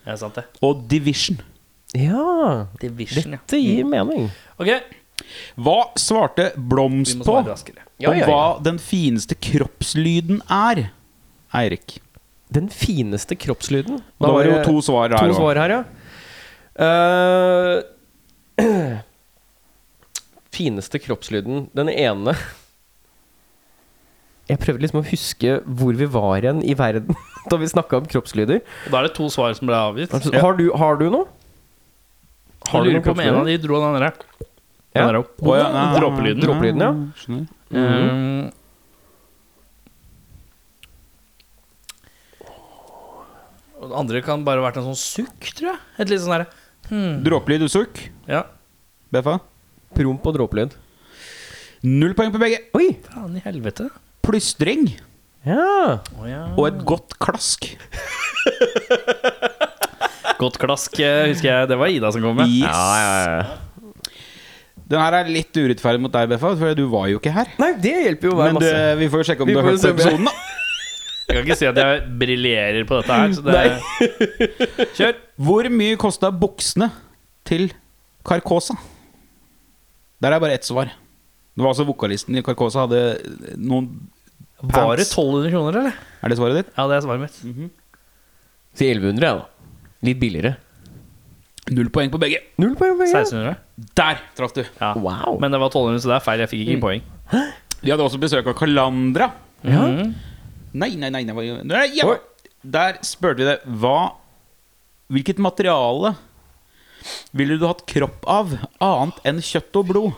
[SPEAKER 2] Ja, sant det.
[SPEAKER 4] og Division.
[SPEAKER 1] Ja.
[SPEAKER 2] Division, ja.
[SPEAKER 1] Dette gir mening.
[SPEAKER 2] Ok,
[SPEAKER 4] Hva svarte
[SPEAKER 2] vi
[SPEAKER 4] Blomst
[SPEAKER 2] må
[SPEAKER 4] på
[SPEAKER 2] svare raskere.
[SPEAKER 1] altså. Ja,
[SPEAKER 4] om
[SPEAKER 1] ja, ja.
[SPEAKER 4] hva den fineste kroppslyden er? Eirik.
[SPEAKER 1] Den fineste kroppslyden.
[SPEAKER 4] Da var det jo to svar her
[SPEAKER 1] to
[SPEAKER 4] også.
[SPEAKER 1] svar her, ja. Eh, [CLEARS THROAT] fineste kroppslyden. Den ene [LAUGHS] Jeg prøvde liksom å huske hvor vi var igjen i verden [LAUGHS] da vi snakka om kroppslyder.
[SPEAKER 2] Og da er det to svar som ble avgitt.
[SPEAKER 1] Altså, Har, du, har du noe?
[SPEAKER 2] Jeg lurer på om en av de dro den andre. Den
[SPEAKER 1] Ja.
[SPEAKER 2] andre opp.
[SPEAKER 4] Å, ja, nei, nei,
[SPEAKER 2] Dråpelyden.
[SPEAKER 4] nei,
[SPEAKER 1] Dråpelyden, ja.
[SPEAKER 4] Skjønner.
[SPEAKER 2] Mm. Og den andre kan bare ha vært en sånn sukk, tror jeg. Et litt sånn derre
[SPEAKER 1] Mm.
[SPEAKER 2] hmm.
[SPEAKER 4] Dråpelyd og sukk.
[SPEAKER 2] Ja.
[SPEAKER 4] BFA.
[SPEAKER 1] Promp og dråpelyd.
[SPEAKER 4] Null poeng på begge.
[SPEAKER 1] Oi!
[SPEAKER 2] Faen i helvete.
[SPEAKER 4] Plystring
[SPEAKER 1] Ja.
[SPEAKER 2] Å ja.
[SPEAKER 4] og et godt klask.
[SPEAKER 2] Godt klask, eh, husker jeg. Det var Ida som kom med.
[SPEAKER 4] Yes. Den her er litt urettferdig mot deg, BFA, for du var jo ikke her.
[SPEAKER 1] Nei, det hjelper jo å være
[SPEAKER 4] Men du,
[SPEAKER 1] masse.
[SPEAKER 4] vi får jo sjekke om
[SPEAKER 1] Vi
[SPEAKER 4] du har
[SPEAKER 1] får
[SPEAKER 4] hørt
[SPEAKER 1] se
[SPEAKER 4] på
[SPEAKER 1] om jeg-
[SPEAKER 4] episoden, da.
[SPEAKER 2] Jeg kan ikke si at jeg briljerer på dette her, så det Kjør.
[SPEAKER 4] Hvor mye kosta buksene til Carcosa? Der er bare ett svar. Det var altså vokalisten i Carcosa hadde noen
[SPEAKER 2] Var det
[SPEAKER 4] Pants.
[SPEAKER 2] 1200 kroner, eller?
[SPEAKER 4] Er det svaret ditt?
[SPEAKER 2] Ja, det er svaret mitt.
[SPEAKER 1] Si 1100, jeg, da. Litt billigere.
[SPEAKER 4] Null poeng på begge.
[SPEAKER 1] Null poeng. begge.
[SPEAKER 2] 1600.
[SPEAKER 4] Der traff du.
[SPEAKER 2] Ja.
[SPEAKER 1] Wow.
[SPEAKER 2] Men det var 1200, så det er feil. Jeg fikk ikke poeng.
[SPEAKER 4] De hadde også besøk av Kalandra.
[SPEAKER 1] Ja.
[SPEAKER 4] Nei, nei, nei, nei, nei, nei ja. Der spurte vi deg hva Hvilket materiale ville du hatt kropp av annet enn kjøtt og blod?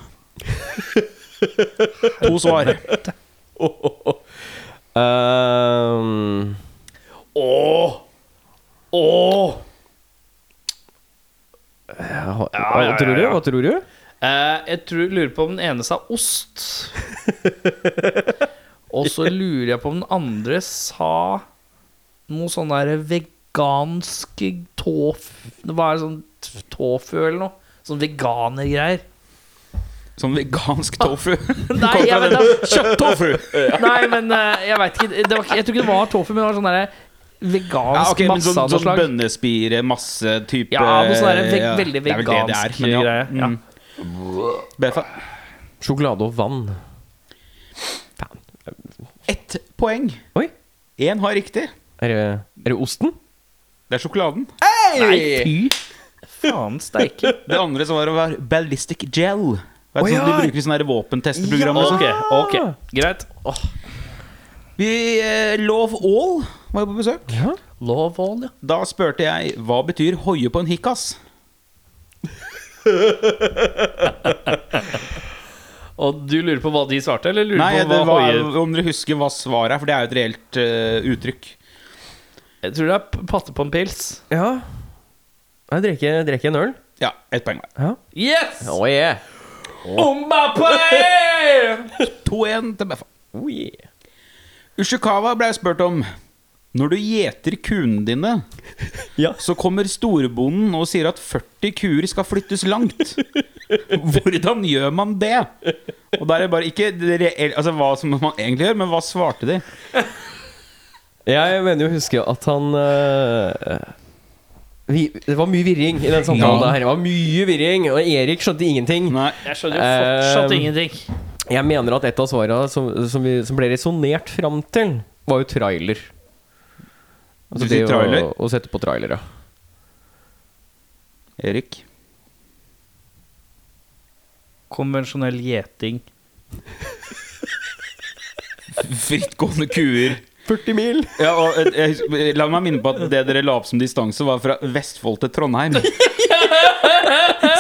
[SPEAKER 4] [LAUGHS] to svar.
[SPEAKER 1] Ehm, ja, Hva tror du? Hva tror du?
[SPEAKER 2] Eh, jeg tror, lurer på om den ene sa
[SPEAKER 4] [LAUGHS]
[SPEAKER 2] ost. Og så lurer jeg på om den andre sa noe sånn der vegansk tofu Det var sånn t- tofu eller noe. Sånn veganergreier.
[SPEAKER 4] Sånn vegansk tofu.
[SPEAKER 2] Nei, jeg vet da.
[SPEAKER 4] [LAUGHS] Kjøtt-tofu!
[SPEAKER 2] Nei, men eh, jeg veit ikke. Det var, ikke- jeg tror ikke det var tofu, men det var sånn derre vegansk
[SPEAKER 4] Ja, ok, men
[SPEAKER 2] masse
[SPEAKER 4] sånn,
[SPEAKER 2] av noe
[SPEAKER 4] sånn
[SPEAKER 2] slag.
[SPEAKER 4] bønnespire, masse type
[SPEAKER 2] Ja, noe sånn der ve
[SPEAKER 4] ja,
[SPEAKER 2] veldig
[SPEAKER 4] det er vel det det er,
[SPEAKER 2] vegansk
[SPEAKER 4] men
[SPEAKER 2] greie. Ja.
[SPEAKER 4] Mm. Befa.
[SPEAKER 1] Sjokolade og vann.
[SPEAKER 4] Ett poeng.
[SPEAKER 1] Oi.
[SPEAKER 4] Én har riktig.
[SPEAKER 1] Er det, er det osten?
[SPEAKER 4] Det er sjokoladen.
[SPEAKER 3] Faen steike.
[SPEAKER 2] Eh.
[SPEAKER 4] Det andre som var å være ballistic gel.
[SPEAKER 1] Å,
[SPEAKER 4] Vet du, sånn,
[SPEAKER 1] ja.
[SPEAKER 4] de bruker i sånne her våpentestprogram. og sånn.
[SPEAKER 3] Ok, ok, greit.
[SPEAKER 4] Vi eh, Love All var jo på besøk.
[SPEAKER 2] Love all, ja.
[SPEAKER 4] Da spurte jeg hva betyr hoie på en hikkas.
[SPEAKER 2] Og du lurer på hva de svarte, eller lurer
[SPEAKER 4] Nei,
[SPEAKER 2] på
[SPEAKER 4] det
[SPEAKER 2] hva
[SPEAKER 4] var,
[SPEAKER 2] hoier
[SPEAKER 4] om dere husker hva svaret er, for det er jo et reelt eh, uttrykk.
[SPEAKER 2] Jeg tror det er p- patte på en pils.
[SPEAKER 1] Ja. Jeg drikker, drikker en øl.
[SPEAKER 4] Ja, ett poeng hver.
[SPEAKER 2] Yes!
[SPEAKER 1] Oh, yeah.
[SPEAKER 2] Mbappé!
[SPEAKER 4] 2-1 til Beffa.
[SPEAKER 1] Oh, yeah.
[SPEAKER 4] Ushikawa ble spurt om Når du gjeter kuene dine,
[SPEAKER 1] [LAUGHS] Ja.
[SPEAKER 4] så kommer storbonden og sier at 40 kuer skal flyttes langt. Hvordan gjør man det? Og da er det bare ikke det reelle, altså hva som man egentlig gjør, men hva svarte de?
[SPEAKER 1] Jeg mener jo å huske at han eh, vi, Det var mye virring i den samtalen.
[SPEAKER 4] Ja.
[SPEAKER 1] der. Det var mye virring, og Erik skjønte ingenting.
[SPEAKER 4] Nei.
[SPEAKER 2] Jeg skjønner jo fortsatt
[SPEAKER 1] Eh,
[SPEAKER 2] ingenting.
[SPEAKER 1] Jeg mener at et av svarene som, som, vi, som ble resonnert fram til, var jo trailer. Altså
[SPEAKER 4] Du sier
[SPEAKER 1] det
[SPEAKER 4] trailer?
[SPEAKER 1] Å, å sette på trailer, ja.
[SPEAKER 4] Erik.
[SPEAKER 2] Konvensjonell gjeting.
[SPEAKER 4] Frittgående kuer.
[SPEAKER 1] 40 mil!
[SPEAKER 4] Ja, og eh, jeg, La meg minne på at det dere la opp som distanse, var fra Vestfold til
[SPEAKER 1] [LAUGHS]
[SPEAKER 4] Trondheim.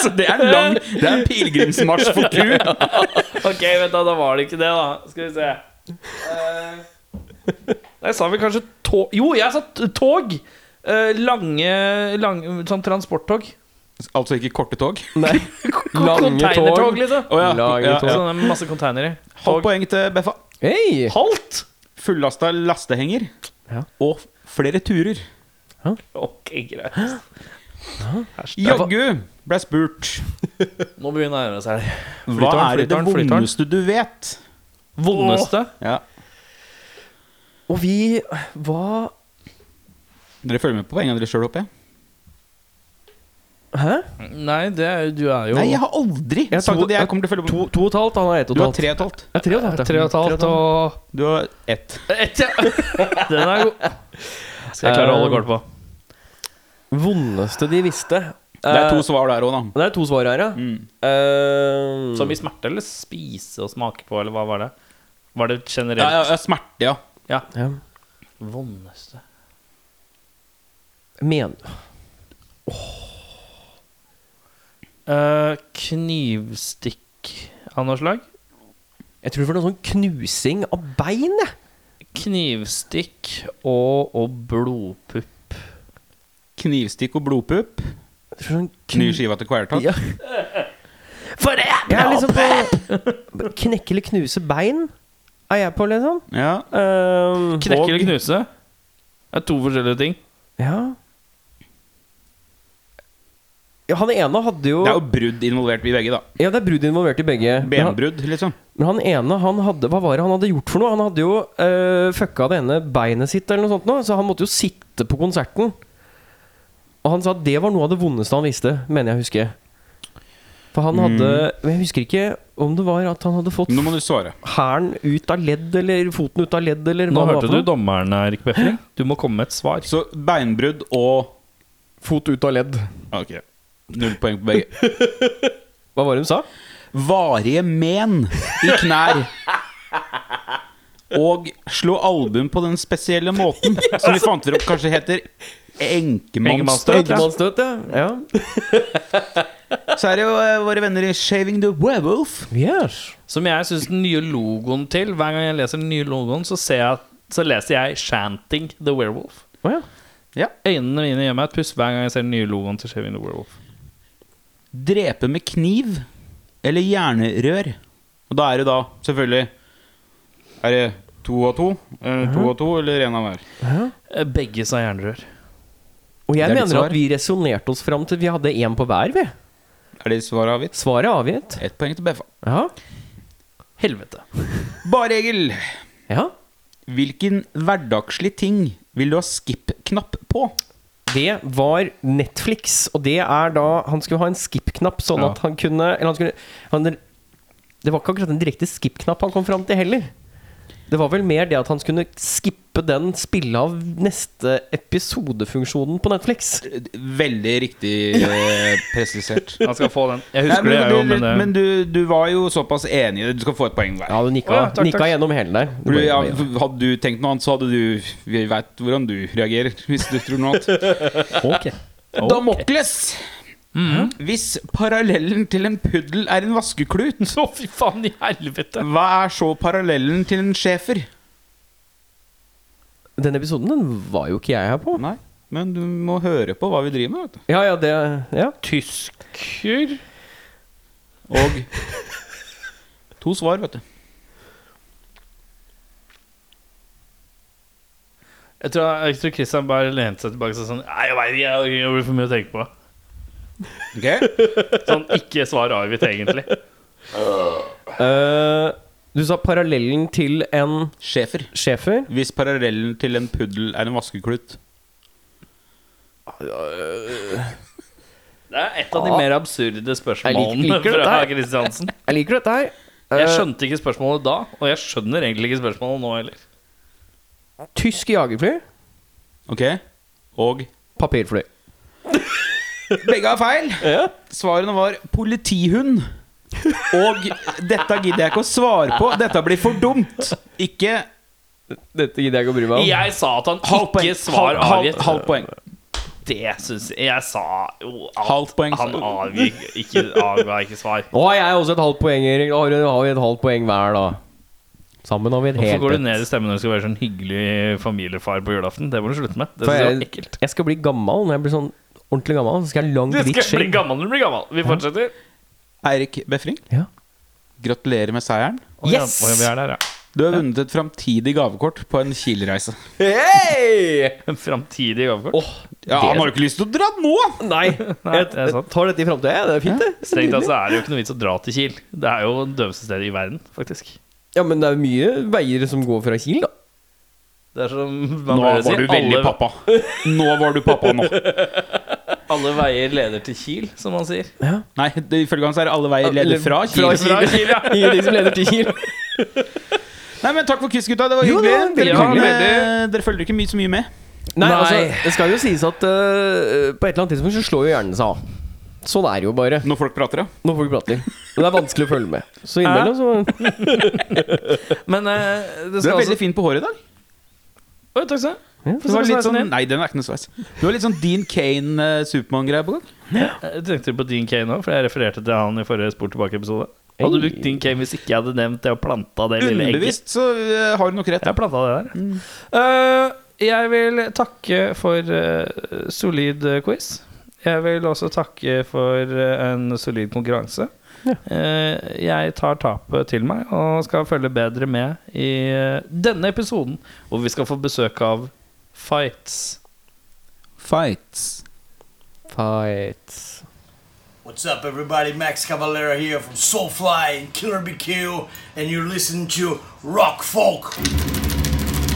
[SPEAKER 4] Så det er en lang Det er en pilegrimsmarsj for ku.
[SPEAKER 2] Ok, vent da, da var det ikke det, da. Skal vi se. Eh, Nei, sa vi kanskje tog Jo, jeg sa t- tog! Eh, lange, lange Sånn transporttog.
[SPEAKER 4] Altså ikke korte tog.
[SPEAKER 1] Nei. Lange
[SPEAKER 2] Containertog,
[SPEAKER 1] tog.
[SPEAKER 2] liksom.
[SPEAKER 4] Å ja,
[SPEAKER 1] Lange
[SPEAKER 4] ja,
[SPEAKER 1] tog.
[SPEAKER 4] ja.
[SPEAKER 2] Sånn med masse containere.
[SPEAKER 4] Halvt poeng til Beffa.
[SPEAKER 1] Hei!
[SPEAKER 2] Halvt!
[SPEAKER 4] Fullasta lastehenger
[SPEAKER 1] Ja.
[SPEAKER 4] og flere turer.
[SPEAKER 2] Ok, greit.
[SPEAKER 4] Jaggu ble spurt
[SPEAKER 2] Nå begynner jeg å nærme seg her.
[SPEAKER 4] hva er det
[SPEAKER 2] flytårn, flytårn.
[SPEAKER 4] vondeste du vet.
[SPEAKER 2] Vondeste?
[SPEAKER 4] Ja.
[SPEAKER 1] Og vi Hva
[SPEAKER 4] Dere følger med på poengene dere sjøl, håper jeg?
[SPEAKER 1] Hæ?
[SPEAKER 2] Nei, det er, du er jo
[SPEAKER 4] Nei, jeg har aldri
[SPEAKER 1] Jeg
[SPEAKER 4] sagt
[SPEAKER 1] to-
[SPEAKER 4] at jeg kommer til å følge med.
[SPEAKER 1] To, to og et halvt? Han er ett og
[SPEAKER 4] Du
[SPEAKER 1] et
[SPEAKER 4] har
[SPEAKER 1] halvt.
[SPEAKER 4] tre og et halvt.
[SPEAKER 1] Ja, tre og et halvt. ja.
[SPEAKER 2] Tre og et halvt og
[SPEAKER 4] Du har ett.
[SPEAKER 2] Ett, ja. [LAUGHS] Den er god. Skal jeg klare å holde kort på.
[SPEAKER 1] Vondeste de visste.
[SPEAKER 4] Det er to svar der òg, da.
[SPEAKER 1] Eh, Det er to svar her, ja.
[SPEAKER 4] Mm.
[SPEAKER 1] Eh,
[SPEAKER 2] Som i smerte eller spise og smake på, eller hva var det? Var det generelt?
[SPEAKER 4] Ja, ja, ja, smerte, ja.
[SPEAKER 1] ja.
[SPEAKER 2] Vondeste
[SPEAKER 1] Men
[SPEAKER 2] Eh, Knivstikk av noe slag?
[SPEAKER 1] Jeg tror det var noe sånn knusing av bein, jeg.
[SPEAKER 2] Knivstikk og, og blodpupp.
[SPEAKER 4] Knivstikk og blodpupp.
[SPEAKER 1] Jeg tror Sånn
[SPEAKER 4] Ny skive til Quertalk.
[SPEAKER 1] Ja. Jeg er liksom på Knekke eller knuse bein er jeg på, liksom.
[SPEAKER 4] Ja.
[SPEAKER 1] Eh,
[SPEAKER 2] Knekke
[SPEAKER 1] og-
[SPEAKER 2] eller knuse? Det er to forskjellige ting.
[SPEAKER 1] Ja. ja. Han ene hadde jo
[SPEAKER 4] Det er jo brudd involvert i begge, da.
[SPEAKER 1] Ja, det er brudd involvert i begge. Men han-
[SPEAKER 4] Benbrudd, liksom.
[SPEAKER 1] Men han ene, han hadde, hva var det han hadde gjort for noe? Han hadde jo øh, fucka det ene beinet sitt, eller noe sånt, nå, så han måtte jo sitte på konserten. Og han sa at det var noe av det vondeste han visste, mener jeg å huske. For han hadde Men jeg husker ikke om det var at han hadde fått
[SPEAKER 4] Nå må du svare.
[SPEAKER 1] hælen ut av ledd, eller foten ut av ledd, eller
[SPEAKER 2] Nå
[SPEAKER 1] hva det var
[SPEAKER 2] hørte du
[SPEAKER 1] for noe.
[SPEAKER 2] dommeren, Erik Befring. Du må komme med et svar.
[SPEAKER 4] Så beinbrudd og
[SPEAKER 1] Fot ut av ledd.
[SPEAKER 4] Ok. Null poeng på begge.
[SPEAKER 1] Hva var det hun sa?
[SPEAKER 4] Varige men i knær. Og slå album på den spesielle måten som vi fant opp kanskje heter enkemannsstøt. ja.
[SPEAKER 1] Eggemannsstøt, ja. ja.
[SPEAKER 4] Så er det jo eh, våre venner i Shaving the Werewolf.
[SPEAKER 1] Yes.
[SPEAKER 2] Som jeg syns den nye logoen til Hver gang jeg leser den nye logoen, så, ser jeg, så leser jeg 'Shanting the Werewolf'.
[SPEAKER 1] Å ja.
[SPEAKER 2] Øynene mine gjør meg et puss hver gang jeg ser den nye logoen til Shaving the Werewolf.
[SPEAKER 4] Drepe med kniv eller hjernerør. Og da er det da selvfølgelig Er det to og to? Eller to og to, eller én av hver?
[SPEAKER 2] Eh, Begge sa jernrør.
[SPEAKER 1] Og jeg
[SPEAKER 4] Det er ditt
[SPEAKER 1] mener
[SPEAKER 4] svar.
[SPEAKER 1] at vi resonnerte oss fram til vi hadde én på hver, vi.
[SPEAKER 4] Er det svaret avgitt?
[SPEAKER 1] Svaret er avgitt.
[SPEAKER 4] Ett poeng til BFA.
[SPEAKER 1] Ja.
[SPEAKER 2] Helvete.
[SPEAKER 4] Bare-Egil,
[SPEAKER 1] ja.
[SPEAKER 4] hvilken hverdagslig ting vil du ha skip-knapp på?
[SPEAKER 1] Det var Netflix, og det er da Han skulle ha en skip-knapp, sånn
[SPEAKER 4] Ja.
[SPEAKER 1] at han kunne Eller han skulle han, Det var ikke akkurat en direkte skip-knapp han kom fram til heller. Det var vel mer det at han skulle skippe den spille av neste episodefunksjonen på Netflix.
[SPEAKER 4] Veldig riktig eh, presisert.
[SPEAKER 2] Han skal få den.
[SPEAKER 3] [LAUGHS] Jeg
[SPEAKER 4] Nei,
[SPEAKER 3] husker det, jeg jo, men, eh,
[SPEAKER 4] men du, du var jo såpass enig. Du skal få et poeng hver.
[SPEAKER 1] Ja, du nikka,
[SPEAKER 2] Å ja, takk,
[SPEAKER 1] nikka
[SPEAKER 2] takk.
[SPEAKER 1] gjennom hele der.
[SPEAKER 4] For du, ja, hadde du tenkt noe annet, så hadde du Vi veit hvordan du reagerer [LAUGHS] hvis du tror noe annet.
[SPEAKER 1] Ok.
[SPEAKER 4] Damokles!
[SPEAKER 3] Mhm.
[SPEAKER 4] Hvis parallellen til en puddel er en vaskeklut,
[SPEAKER 2] Å, fy faen i helvete.
[SPEAKER 4] hva er så parallellen til en schæfer?
[SPEAKER 1] Den episoden den var jo ikke jeg her på.
[SPEAKER 4] Nei, men du må høre på hva vi driver med, vet du.
[SPEAKER 1] Ja, ja, det Ja.
[SPEAKER 2] Tysker
[SPEAKER 4] Og to svar, vet du.
[SPEAKER 2] Jeg tror, jeg tror Christian bare lente seg tilbake og sa sånn Nei, jeg vet ikke, det blir for mye å tenke på.
[SPEAKER 4] Ok?
[SPEAKER 2] Sånn ikke svar avgitt, egentlig.
[SPEAKER 1] Eh, du sa parallellen til en
[SPEAKER 4] Schæfer.
[SPEAKER 1] schæfer.
[SPEAKER 4] Hvis parallellen til en puddel er en vaskeklut.
[SPEAKER 2] Det er et av de mer absurde
[SPEAKER 1] Jeg
[SPEAKER 2] spørsmålene
[SPEAKER 1] liker- liker det
[SPEAKER 2] fra
[SPEAKER 1] der.
[SPEAKER 2] Kristiansen.
[SPEAKER 1] Jeg liker dette her.
[SPEAKER 2] Jeg
[SPEAKER 1] Eh,
[SPEAKER 2] skjønte ikke spørsmålet da, og jeg skjønner egentlig ikke spørsmålet nå heller.
[SPEAKER 1] Tysk jagerfly.
[SPEAKER 4] Ok? Og
[SPEAKER 1] Papirfly.
[SPEAKER 4] Begge har feil. Svarene var politihund. Og dette gidder jeg ikke å svare på. Dette blir for dumt. Ikke
[SPEAKER 1] Dette gidder jeg ikke å bry meg om.
[SPEAKER 2] Jeg sa at han
[SPEAKER 4] halvt poeng.
[SPEAKER 2] ikke svar
[SPEAKER 4] Halv- halv-
[SPEAKER 2] avgitt.
[SPEAKER 4] halvt poeng.
[SPEAKER 2] Det syns jeg Jeg sa jo alt.
[SPEAKER 4] Halvt poeng.
[SPEAKER 2] Han avgikk ikke, avga ikke svar.
[SPEAKER 1] Nå har jeg også et halvt poeng, Erik. Da har du- har vi et halvt poeng hver, da. Sammen har vi et
[SPEAKER 2] Hvorfor
[SPEAKER 1] helt
[SPEAKER 2] går
[SPEAKER 1] et.
[SPEAKER 2] du ned i stemmen når du skal være sånn hyggelig familiefar på julaften? Det må du slutte med. Det
[SPEAKER 1] For
[SPEAKER 2] synes jeg var
[SPEAKER 1] jeg,
[SPEAKER 2] ekkelt.
[SPEAKER 1] jeg skal bli gammel. Når jeg blir sånn ordentlig gammel, så skal jeg ha langt,
[SPEAKER 2] Du
[SPEAKER 1] hvitt
[SPEAKER 2] skal bli
[SPEAKER 1] skjegg.
[SPEAKER 2] gammel når du blir gammel. Vi fortsetter.
[SPEAKER 4] Eirik Befring,
[SPEAKER 1] Ja.
[SPEAKER 4] gratulerer med
[SPEAKER 2] Å
[SPEAKER 4] seieren.
[SPEAKER 2] ja,
[SPEAKER 1] Yes!
[SPEAKER 2] å ja, vi er der, ja.
[SPEAKER 4] Du har vunnet et framtidig gavekort på en Kiel-reise.
[SPEAKER 1] Hey!
[SPEAKER 2] En framtidig gavekort.
[SPEAKER 4] Ja, han har jo ikke lyst til å dra nå!
[SPEAKER 1] Nei,
[SPEAKER 2] [LAUGHS] Nei,
[SPEAKER 1] jeg
[SPEAKER 2] det er sant.
[SPEAKER 1] tar dette i framtida, jeg. Det er fint, det.
[SPEAKER 2] Strengt tatt så er det jo ikke noe vits å dra til Kiel. Det er jo det døveste stedet i verden, faktisk.
[SPEAKER 1] Ja, men det er mye veier som går fra Kiel, da.
[SPEAKER 2] Det er som man
[SPEAKER 4] Nå
[SPEAKER 2] pleier å
[SPEAKER 4] var
[SPEAKER 2] si,
[SPEAKER 4] du veldig
[SPEAKER 2] alle,
[SPEAKER 4] pappa. Nå var du pappa nå.
[SPEAKER 2] alle veier leder til Kiel, som man sier.
[SPEAKER 4] Nei, det- ifølge han så er alle veier leder fra Kiel.
[SPEAKER 1] Fra Kiel, [LAUGHS] ja. Ingenting som leder til Kiel.
[SPEAKER 4] Nei, men Takk for quiz, gutta. Det var
[SPEAKER 1] Jo, det var
[SPEAKER 4] hyggelig.
[SPEAKER 1] veldig
[SPEAKER 4] Ja,
[SPEAKER 1] hyggelig.
[SPEAKER 4] men, eh, Dere følger ikke mye, så mye med.
[SPEAKER 1] Nei,
[SPEAKER 2] Nei.
[SPEAKER 1] altså, det skal jo sies at øh, på et eller annet tidspunkt så slår jo hjernen seg av. Sånn er det jo bare
[SPEAKER 4] Når folk prater, ja.
[SPEAKER 1] når folk prater. Men det er vanskelig å følge med. Så innimellom så
[SPEAKER 2] Men eh, det
[SPEAKER 4] Du
[SPEAKER 2] skal altså
[SPEAKER 4] er veldig fin på håret i dag.
[SPEAKER 2] Oi, takk skal du ha.
[SPEAKER 4] Det var litt sånn, nei, den er ikke noe sveis. Du har litt sånn Dean Kane-Supermann-greie på gang.
[SPEAKER 2] Jeg Eh, tenkte på Dean Kane òg, for jeg refererte til han i forrige Sport tilbake-episode. Hadde du brukt Dean Kane hvis ikke jeg hadde nevnt det og planta det lille egget?
[SPEAKER 4] Underbevisst så eh, har du nok rett.
[SPEAKER 2] Jeg planta det der. Eh, jeg vil takke for eh, solid eh, quiz. Jeg vil også takke for eh, en solid konkurranse. Eh, jeg tar tapet til meg og skal følge bedre med i eh, denne episoden, hvor vi skal få besøk av Fights.
[SPEAKER 4] Fights.
[SPEAKER 1] Fights.
[SPEAKER 6] What's up, everybody? Max Cavalera here from Soulfly and Killer BQ, and you're listening to Rock Folk.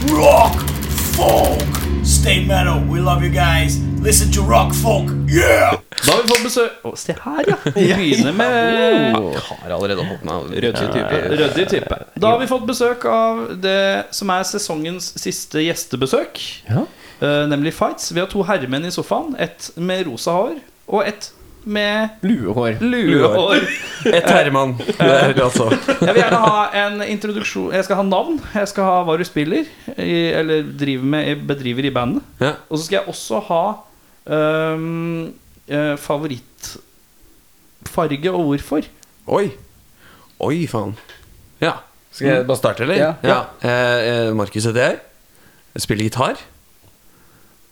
[SPEAKER 6] Rock Folk! Stay metal, we love you guys. Listen to Rock Folk, yeah!
[SPEAKER 2] Da vil vi få besøk Å, Se her, [LAUGHS] ja! Vi begynner med
[SPEAKER 7] Har allerede holdt meg
[SPEAKER 4] Rødhvit type.
[SPEAKER 2] Ryddig type. Da har vi fått besøk av det som er sesongens siste gjestebesøk. Eh, nemlig Fights. Vi har to herremenn i sofaen. Ett med rosa hår, og ett med
[SPEAKER 1] Luehår.
[SPEAKER 2] luehår.
[SPEAKER 7] Et herremann. Det er det altså.
[SPEAKER 2] [LAUGHS] Jeg vil gjerne ha en introduksjon Jeg skal ha navn. Jeg skal ha hva du spiller, i, eller driver med, bedriver i bandet.
[SPEAKER 7] Ja.
[SPEAKER 2] Og så skal jeg også ha um, eh, favorittfarge og hvorfor.
[SPEAKER 7] Oi. Oi, faen. Ja. Skal jeg bare starte, eller?
[SPEAKER 4] Ja.
[SPEAKER 7] Eh, eh, Markus heter jeg. Jeg spiller gitar.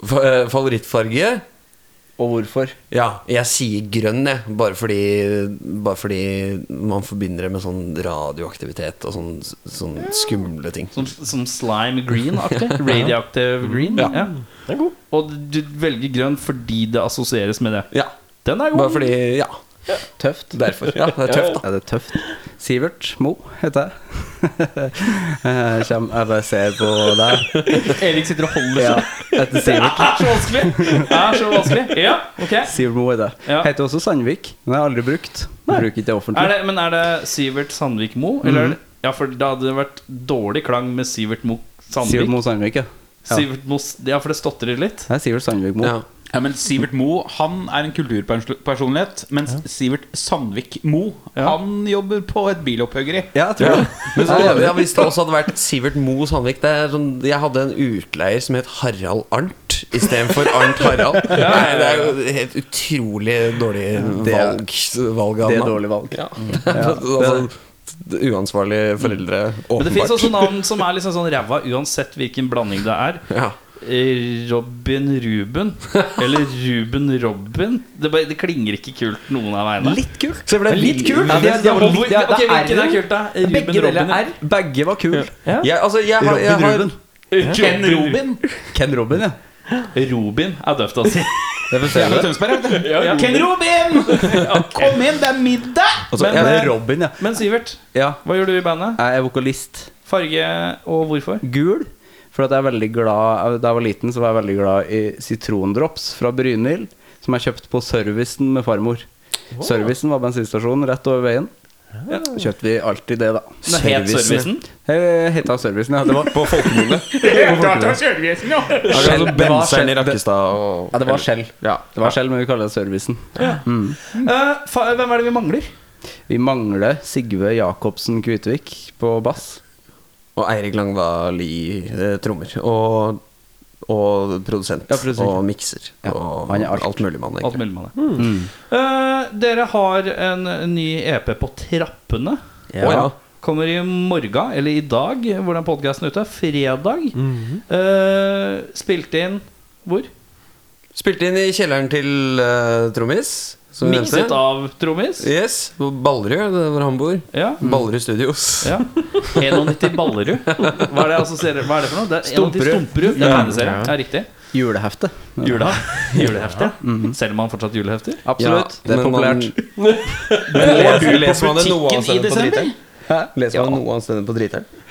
[SPEAKER 7] Fa- eh, favorittfarge
[SPEAKER 4] Og hvorfor?
[SPEAKER 7] Ja, jeg sier grønn, jeg. Bare fordi, bare fordi man forbinder det med sånn radioaktivitet og sånn, sånn skumle ting.
[SPEAKER 2] Som, som slime green-aktig? [LAUGHS] Radioactive green? Ja. Og du velger grønn fordi det assosieres med det?
[SPEAKER 7] Ja.
[SPEAKER 2] Den er god.
[SPEAKER 7] Bare fordi Ja.
[SPEAKER 8] Tøft.
[SPEAKER 7] Derfor. Ja, det er tøft, da.
[SPEAKER 8] Ja, det er tøft. Sivert Mo heter jeg. Eh, Kjem, jeg bare ser på deg.
[SPEAKER 2] Erik sitter og holder
[SPEAKER 8] Ja, heter Sivert.
[SPEAKER 2] Er så vanskelig! Er så vanskelig. Ja, ok.
[SPEAKER 8] Sivert Mo heter jeg.
[SPEAKER 2] Ja.
[SPEAKER 8] Heter også Sandvik, men jeg har aldri brukt. Jeg bruker ikke det
[SPEAKER 2] Er
[SPEAKER 8] offentlig.
[SPEAKER 2] det, men er det Sivert Sandvik Mo? Eller
[SPEAKER 8] Mhm.
[SPEAKER 2] er det, ja, for da hadde det vært dårlig klang med Sivert Mo Sandvik.
[SPEAKER 8] Sivert Mo Sandvik, ja.
[SPEAKER 2] Sivert Mo s- ja, for det stotrer litt.
[SPEAKER 8] Det er Sivert Sandvik Mo.
[SPEAKER 7] Ja.
[SPEAKER 4] Ja, men Sivert Mo han er en kulturpersonlighet, mens Sivert Sandvik Mo han jobber på et bilopphøggeri.
[SPEAKER 8] Ja, jeg tror det.
[SPEAKER 7] Men så, ja, hvis det også hadde vært Sivert Mo Sandvik det er sånn, Jeg hadde en utleier som het Harald Arnt istedenfor Arnt Harald. Nei, det er jo helt utrolig dårlig
[SPEAKER 8] Det er-
[SPEAKER 7] valg, valg av
[SPEAKER 8] Det er
[SPEAKER 7] navn.
[SPEAKER 8] dårlig valg. Mm.
[SPEAKER 7] [LAUGHS] altså, uansvarlige foreldre,
[SPEAKER 2] Men det fins
[SPEAKER 7] åpenbart.
[SPEAKER 2] også navn som er liksom sånn ræva uansett hvilken blanding det er. Eh,
[SPEAKER 7] Ja.
[SPEAKER 2] Robin Ruben. Eller Ruben Robin. Det, bare, det klinger ikke kult noen av veiene.
[SPEAKER 8] Litt kult.
[SPEAKER 2] litt kult!
[SPEAKER 8] Ja, det er, det er,
[SPEAKER 2] Hvor-
[SPEAKER 8] det er,
[SPEAKER 2] ok, hvilken er
[SPEAKER 8] R-en.
[SPEAKER 2] kult, da? Ruben
[SPEAKER 8] Begge
[SPEAKER 2] Robin?
[SPEAKER 8] deler er Begge var kule.
[SPEAKER 7] Jeg, altså, jeg har, jeg
[SPEAKER 8] Robin
[SPEAKER 7] har
[SPEAKER 8] Ruben.
[SPEAKER 4] Ken Robin
[SPEAKER 8] Ken Robin, ja.
[SPEAKER 2] Robin er døft,
[SPEAKER 4] [LAUGHS]
[SPEAKER 2] altså.
[SPEAKER 8] Det er
[SPEAKER 4] fra
[SPEAKER 8] for
[SPEAKER 4] Tønsberg. vet du.
[SPEAKER 2] Ja.
[SPEAKER 4] Ken Robin!
[SPEAKER 2] [LAUGHS]
[SPEAKER 4] Kom inn, det er middag!
[SPEAKER 8] Altså,
[SPEAKER 2] Men,
[SPEAKER 8] ja, det
[SPEAKER 2] eh,
[SPEAKER 8] er Robin, ja.
[SPEAKER 2] Men Sivert,
[SPEAKER 8] ja.
[SPEAKER 2] hva gjør du i bandet?
[SPEAKER 8] Jeg er vokalist.
[SPEAKER 2] Farge og hvorfor?
[SPEAKER 8] Gul. For at jeg er veldig glad Da jeg var liten, så var jeg veldig glad i sitrondrops fra Brynhild. Som jeg kjøpte på servicen med farmor. Servicen var bensinstasjonen rett over veien. Kjøpte vi alltid det, da.
[SPEAKER 2] Det het servicen.
[SPEAKER 8] Jeg heta servicen, ja. Det var på folkemunne.
[SPEAKER 9] Servicen, ja.
[SPEAKER 8] Skjell, det var
[SPEAKER 7] Benseren i
[SPEAKER 8] skjell- det-
[SPEAKER 7] Rakkestad og
[SPEAKER 8] Ja, det var skjell.
[SPEAKER 7] Ja.
[SPEAKER 8] Det var skjell, men vi kaller det servicen. Mm.
[SPEAKER 2] Eh, fa hvem er det vi mangler?
[SPEAKER 8] Vi mangler Sigve Jacobsen Kvitvik på bass.
[SPEAKER 7] Og Eirik Langvali eh, trommer. Og, og produsent.
[SPEAKER 8] Ja, produsent.
[SPEAKER 7] Og mikser.
[SPEAKER 8] Ja,
[SPEAKER 7] Og
[SPEAKER 8] han er alt.
[SPEAKER 7] alt. mulig mann,
[SPEAKER 2] Alt
[SPEAKER 7] egentlig.
[SPEAKER 2] mulig med det. Mm. Eh, dere har en ny EP på trappene.
[SPEAKER 7] Å, ja.
[SPEAKER 2] Kommer i morgen, eller i dag, hvordan podkasten er ute. Fredag. Eh, spilt inn hvor?
[SPEAKER 7] Spilte inn i kjelleren til eh, Trommis. som vi
[SPEAKER 2] Mikset
[SPEAKER 7] nevnte.
[SPEAKER 2] av trommis.
[SPEAKER 7] Yes, på Ballerud, det er hvor han bor.
[SPEAKER 2] Ja.
[SPEAKER 8] Mm.
[SPEAKER 7] Ballerud Studios.
[SPEAKER 2] ja. 91 Ballerud. Hva er det, assosierer- hva er det for noe? Det er 91 Stumperud. Det er tegneserie. Ja, riktig.
[SPEAKER 8] Julehefte.
[SPEAKER 2] Jula. Mm-hmm. Julehefte. Selger man fortsatt julehefter?
[SPEAKER 8] Absolutt. det er
[SPEAKER 7] men man-
[SPEAKER 8] [LAUGHS] populært.
[SPEAKER 7] leser, leser man det noe
[SPEAKER 2] butikken i
[SPEAKER 7] annet på
[SPEAKER 2] desember?
[SPEAKER 7] driteren?
[SPEAKER 8] Hæ?
[SPEAKER 7] Leser man det noe annet på driteren?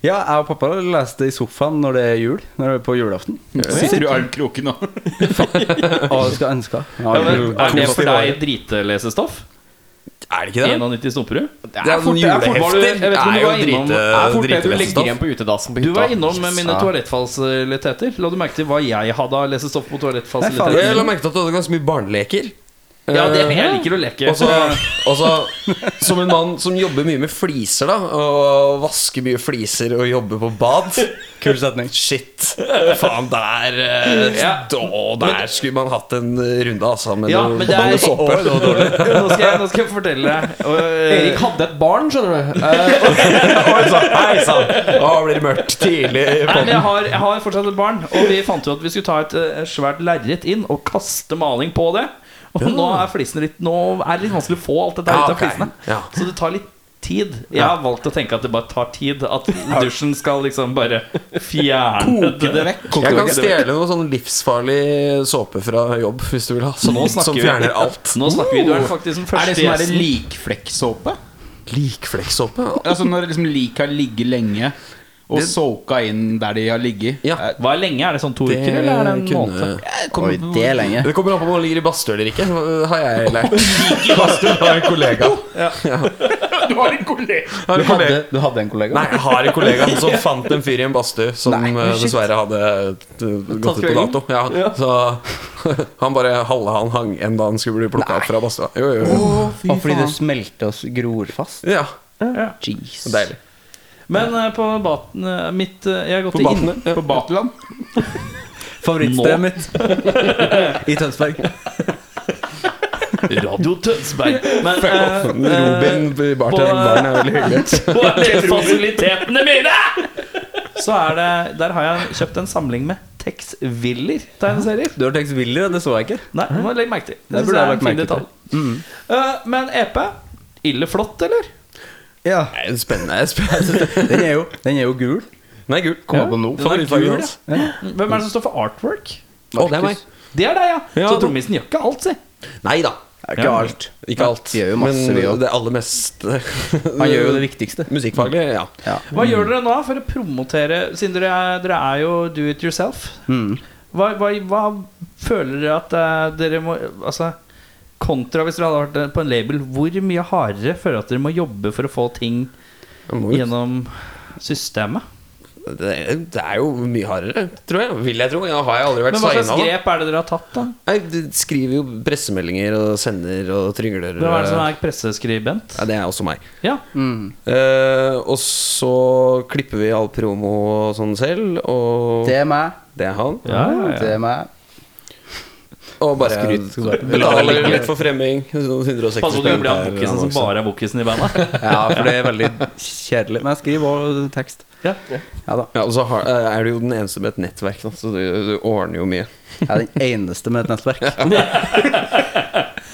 [SPEAKER 8] Ja, jeg og pappa leste i sofaen når det er jul. Når det er På julaften.
[SPEAKER 4] Sitter du i armkroken
[SPEAKER 8] [LAUGHS]
[SPEAKER 4] nå?
[SPEAKER 8] Å, du skal ønske. Ja,
[SPEAKER 2] Ja, men, er det
[SPEAKER 8] kos
[SPEAKER 2] for
[SPEAKER 8] deg.
[SPEAKER 2] deg dritelsestoff?
[SPEAKER 7] Er det ikke det?
[SPEAKER 2] 91 Stumperud?
[SPEAKER 7] Det er sånn
[SPEAKER 2] var du- jeg vet
[SPEAKER 7] julehefter.
[SPEAKER 2] ikke om
[SPEAKER 7] Er
[SPEAKER 2] du
[SPEAKER 7] jo
[SPEAKER 2] var innom-
[SPEAKER 7] drite,
[SPEAKER 2] er
[SPEAKER 1] fort det du legger
[SPEAKER 7] dritestoff.
[SPEAKER 1] igjen på utedassen på
[SPEAKER 2] Du var
[SPEAKER 1] hytta.
[SPEAKER 2] innom mine toalettfasiliteter. La du merke til hva jeg hadde av lesestoff på
[SPEAKER 8] Nei, faen,
[SPEAKER 2] toalettfasiliteter?
[SPEAKER 7] Jeg la merke til at du hadde ganske mye barneleker.
[SPEAKER 2] Ja, det,
[SPEAKER 7] Eh,
[SPEAKER 2] jeg liker å leke.
[SPEAKER 7] Og så- og så, som en mann som jobber mye med fliser, da, og vasker mye fliser og jobber på bad Kul setning. Shit. Faen, der eh,
[SPEAKER 2] Ja.
[SPEAKER 7] da, Der skulle man hatt en eh, runde, altså. Med
[SPEAKER 2] Ja,
[SPEAKER 7] noe-
[SPEAKER 2] men det er-
[SPEAKER 7] noe såpe.
[SPEAKER 2] nå, skal jeg, nå skal jeg fortelle deg. Og,
[SPEAKER 1] Erik
[SPEAKER 2] eh,
[SPEAKER 1] hadde et barn, skjønner du. Eh,
[SPEAKER 7] Oi sann, hei sann. Da blir det mørkt tidlig.
[SPEAKER 2] Nei, men jeg har, jeg har fortsatt et barn, og vi fant jo at vi skulle ta et eh, svært lerret inn og kaste maling på det. Og nå er flisen litt Nå er det litt vanskelig å få alt dette
[SPEAKER 7] Ja,
[SPEAKER 2] ut av
[SPEAKER 7] ok.
[SPEAKER 2] flisene.
[SPEAKER 7] Ja.
[SPEAKER 2] Så det tar litt tid. Jeg har valgt å tenke at det bare tar tid. At dusjen skal liksom bare fjerne det vekk.
[SPEAKER 7] Jeg kan stjele noe sånn livsfarlig såpe fra jobb, hvis du vil ha. Som,
[SPEAKER 2] Nå snakker
[SPEAKER 7] som
[SPEAKER 2] vi.
[SPEAKER 7] fjerner alt.
[SPEAKER 2] Nå snakker vi. Du
[SPEAKER 7] Oh.
[SPEAKER 2] er faktisk den
[SPEAKER 4] Er
[SPEAKER 2] første
[SPEAKER 4] det sånn her
[SPEAKER 2] gjesten.
[SPEAKER 4] likflekksåpe?
[SPEAKER 7] Likflekksåpe?
[SPEAKER 4] Altså når liksom lik har ligget lenge og soka inn der de har ligget?
[SPEAKER 7] Ja.
[SPEAKER 4] Eh,
[SPEAKER 2] Hva er lenge? Er det sånn to uker, eller er det en måned?
[SPEAKER 4] kommer-
[SPEAKER 8] Oi, det er lenge.
[SPEAKER 7] Det kommer an på om man ligger i badstue eller ikke, har jeg lært. Badstue har en kollega.
[SPEAKER 9] Du har en kollega.
[SPEAKER 7] Har
[SPEAKER 8] Du
[SPEAKER 7] en
[SPEAKER 8] hadde,
[SPEAKER 7] kollega.
[SPEAKER 8] du hadde en kollega?
[SPEAKER 7] Nei, jeg har en kollega [LAUGHS] som fant en fyr i en badstue som eh, dessverre hadde eh, gått ut på dato. Ja, så [LAUGHS] han bare halve han hang en da han skulle bli plukka opp fra badstua. Jo, jo, jo.
[SPEAKER 8] Og fordi det smelter og s- gror fast?
[SPEAKER 7] Ja,
[SPEAKER 8] Jeez.
[SPEAKER 7] deilig.
[SPEAKER 2] Men eh, på baten eh, mitt eh, Jeg har gått
[SPEAKER 7] På
[SPEAKER 2] inn
[SPEAKER 7] batene. Ja.
[SPEAKER 4] På Bateland?
[SPEAKER 8] Favorittstedet mitt i Tønsberg.
[SPEAKER 2] Radio
[SPEAKER 4] [LAUGHS]
[SPEAKER 2] Tønsberg. Men eh,
[SPEAKER 7] Robin i bartenderen barn er veldig hyggelig.
[SPEAKER 2] eh, på fasilitetene mine så er det Der har jeg kjøpt en samling med Tex Willer-tegneserier.
[SPEAKER 8] Du har tenkt Willy, det så jeg ikke.
[SPEAKER 2] Nei, det må jeg legge merke til. Det,
[SPEAKER 8] Det
[SPEAKER 2] synes
[SPEAKER 8] burde
[SPEAKER 2] jeg
[SPEAKER 8] jeg
[SPEAKER 2] er en
[SPEAKER 8] lagt
[SPEAKER 2] fin
[SPEAKER 8] merke Mm.
[SPEAKER 2] detalj. Eh, men EP Ille flott, eller?
[SPEAKER 8] Ja.
[SPEAKER 7] Nei, Spennende. spennende.
[SPEAKER 8] Den er jo, den er jo gul.
[SPEAKER 7] Nei, gul.
[SPEAKER 8] Kom på nå.
[SPEAKER 7] Den er
[SPEAKER 8] Favorittfargen
[SPEAKER 7] gul,
[SPEAKER 8] hans.
[SPEAKER 2] Hvem er det som står for artwork?
[SPEAKER 7] Å, det er meg.
[SPEAKER 2] Det er deg, ja.
[SPEAKER 7] Ja,
[SPEAKER 2] så
[SPEAKER 7] det-
[SPEAKER 2] trommisen gjør ikke alt, si.
[SPEAKER 7] Nei da.
[SPEAKER 4] Det er ikke alt.
[SPEAKER 7] Ikke alt,
[SPEAKER 4] gjør jo masse, vi også.
[SPEAKER 7] men det aller meste [LAUGHS]
[SPEAKER 4] Han gjør jo det viktigste.
[SPEAKER 7] Musikkfaglig, ja.
[SPEAKER 2] Hva gjør dere nå for å promotere Siden dere er, dere er jo do it yourself.
[SPEAKER 8] Mm.
[SPEAKER 2] Hva, hva, hva føler dere at eh, dere må Altså Kontra hvis dere hadde vært eh, på en label, hvor mye hardere føler dere at dere må jobbe for å få ting
[SPEAKER 7] Man må jo-
[SPEAKER 2] gjennom systemet?
[SPEAKER 7] Det, det er jo mye hardere, tror jeg. Vil jeg tro. Ja, har jeg aldri vært
[SPEAKER 2] Men hva slags
[SPEAKER 7] signa, da.
[SPEAKER 2] grep er det dere har tatt, da?
[SPEAKER 7] Jeg d- skriver jo pressemeldinger og sender og trygler.
[SPEAKER 2] Hvem er det som er presseskribent?
[SPEAKER 7] Ja, det er også meg.
[SPEAKER 2] Ja.
[SPEAKER 4] Mm.
[SPEAKER 7] Eh, og så klipper vi all promo og sånn selv, og
[SPEAKER 4] Det
[SPEAKER 7] det,
[SPEAKER 4] er meg.
[SPEAKER 7] er han.
[SPEAKER 4] Det er meg.
[SPEAKER 7] Og bare betaler litt for fremming. sånn
[SPEAKER 2] Pass
[SPEAKER 7] 160
[SPEAKER 2] på at du ikke blir han
[SPEAKER 7] spenn per
[SPEAKER 2] bokkisen som
[SPEAKER 7] annonse.
[SPEAKER 2] bare er bokkisen i
[SPEAKER 4] [LAUGHS]
[SPEAKER 2] bandet.
[SPEAKER 4] Ja, for det er veldig kjedelig. Men jeg skriver også tekst.
[SPEAKER 2] Ja.
[SPEAKER 4] Ja da.
[SPEAKER 7] Ja, og så har, eh, er du jo den eneste med et nettverk, da, så du, du ordner jo mye.
[SPEAKER 4] Jeg er den eneste med et nettverk.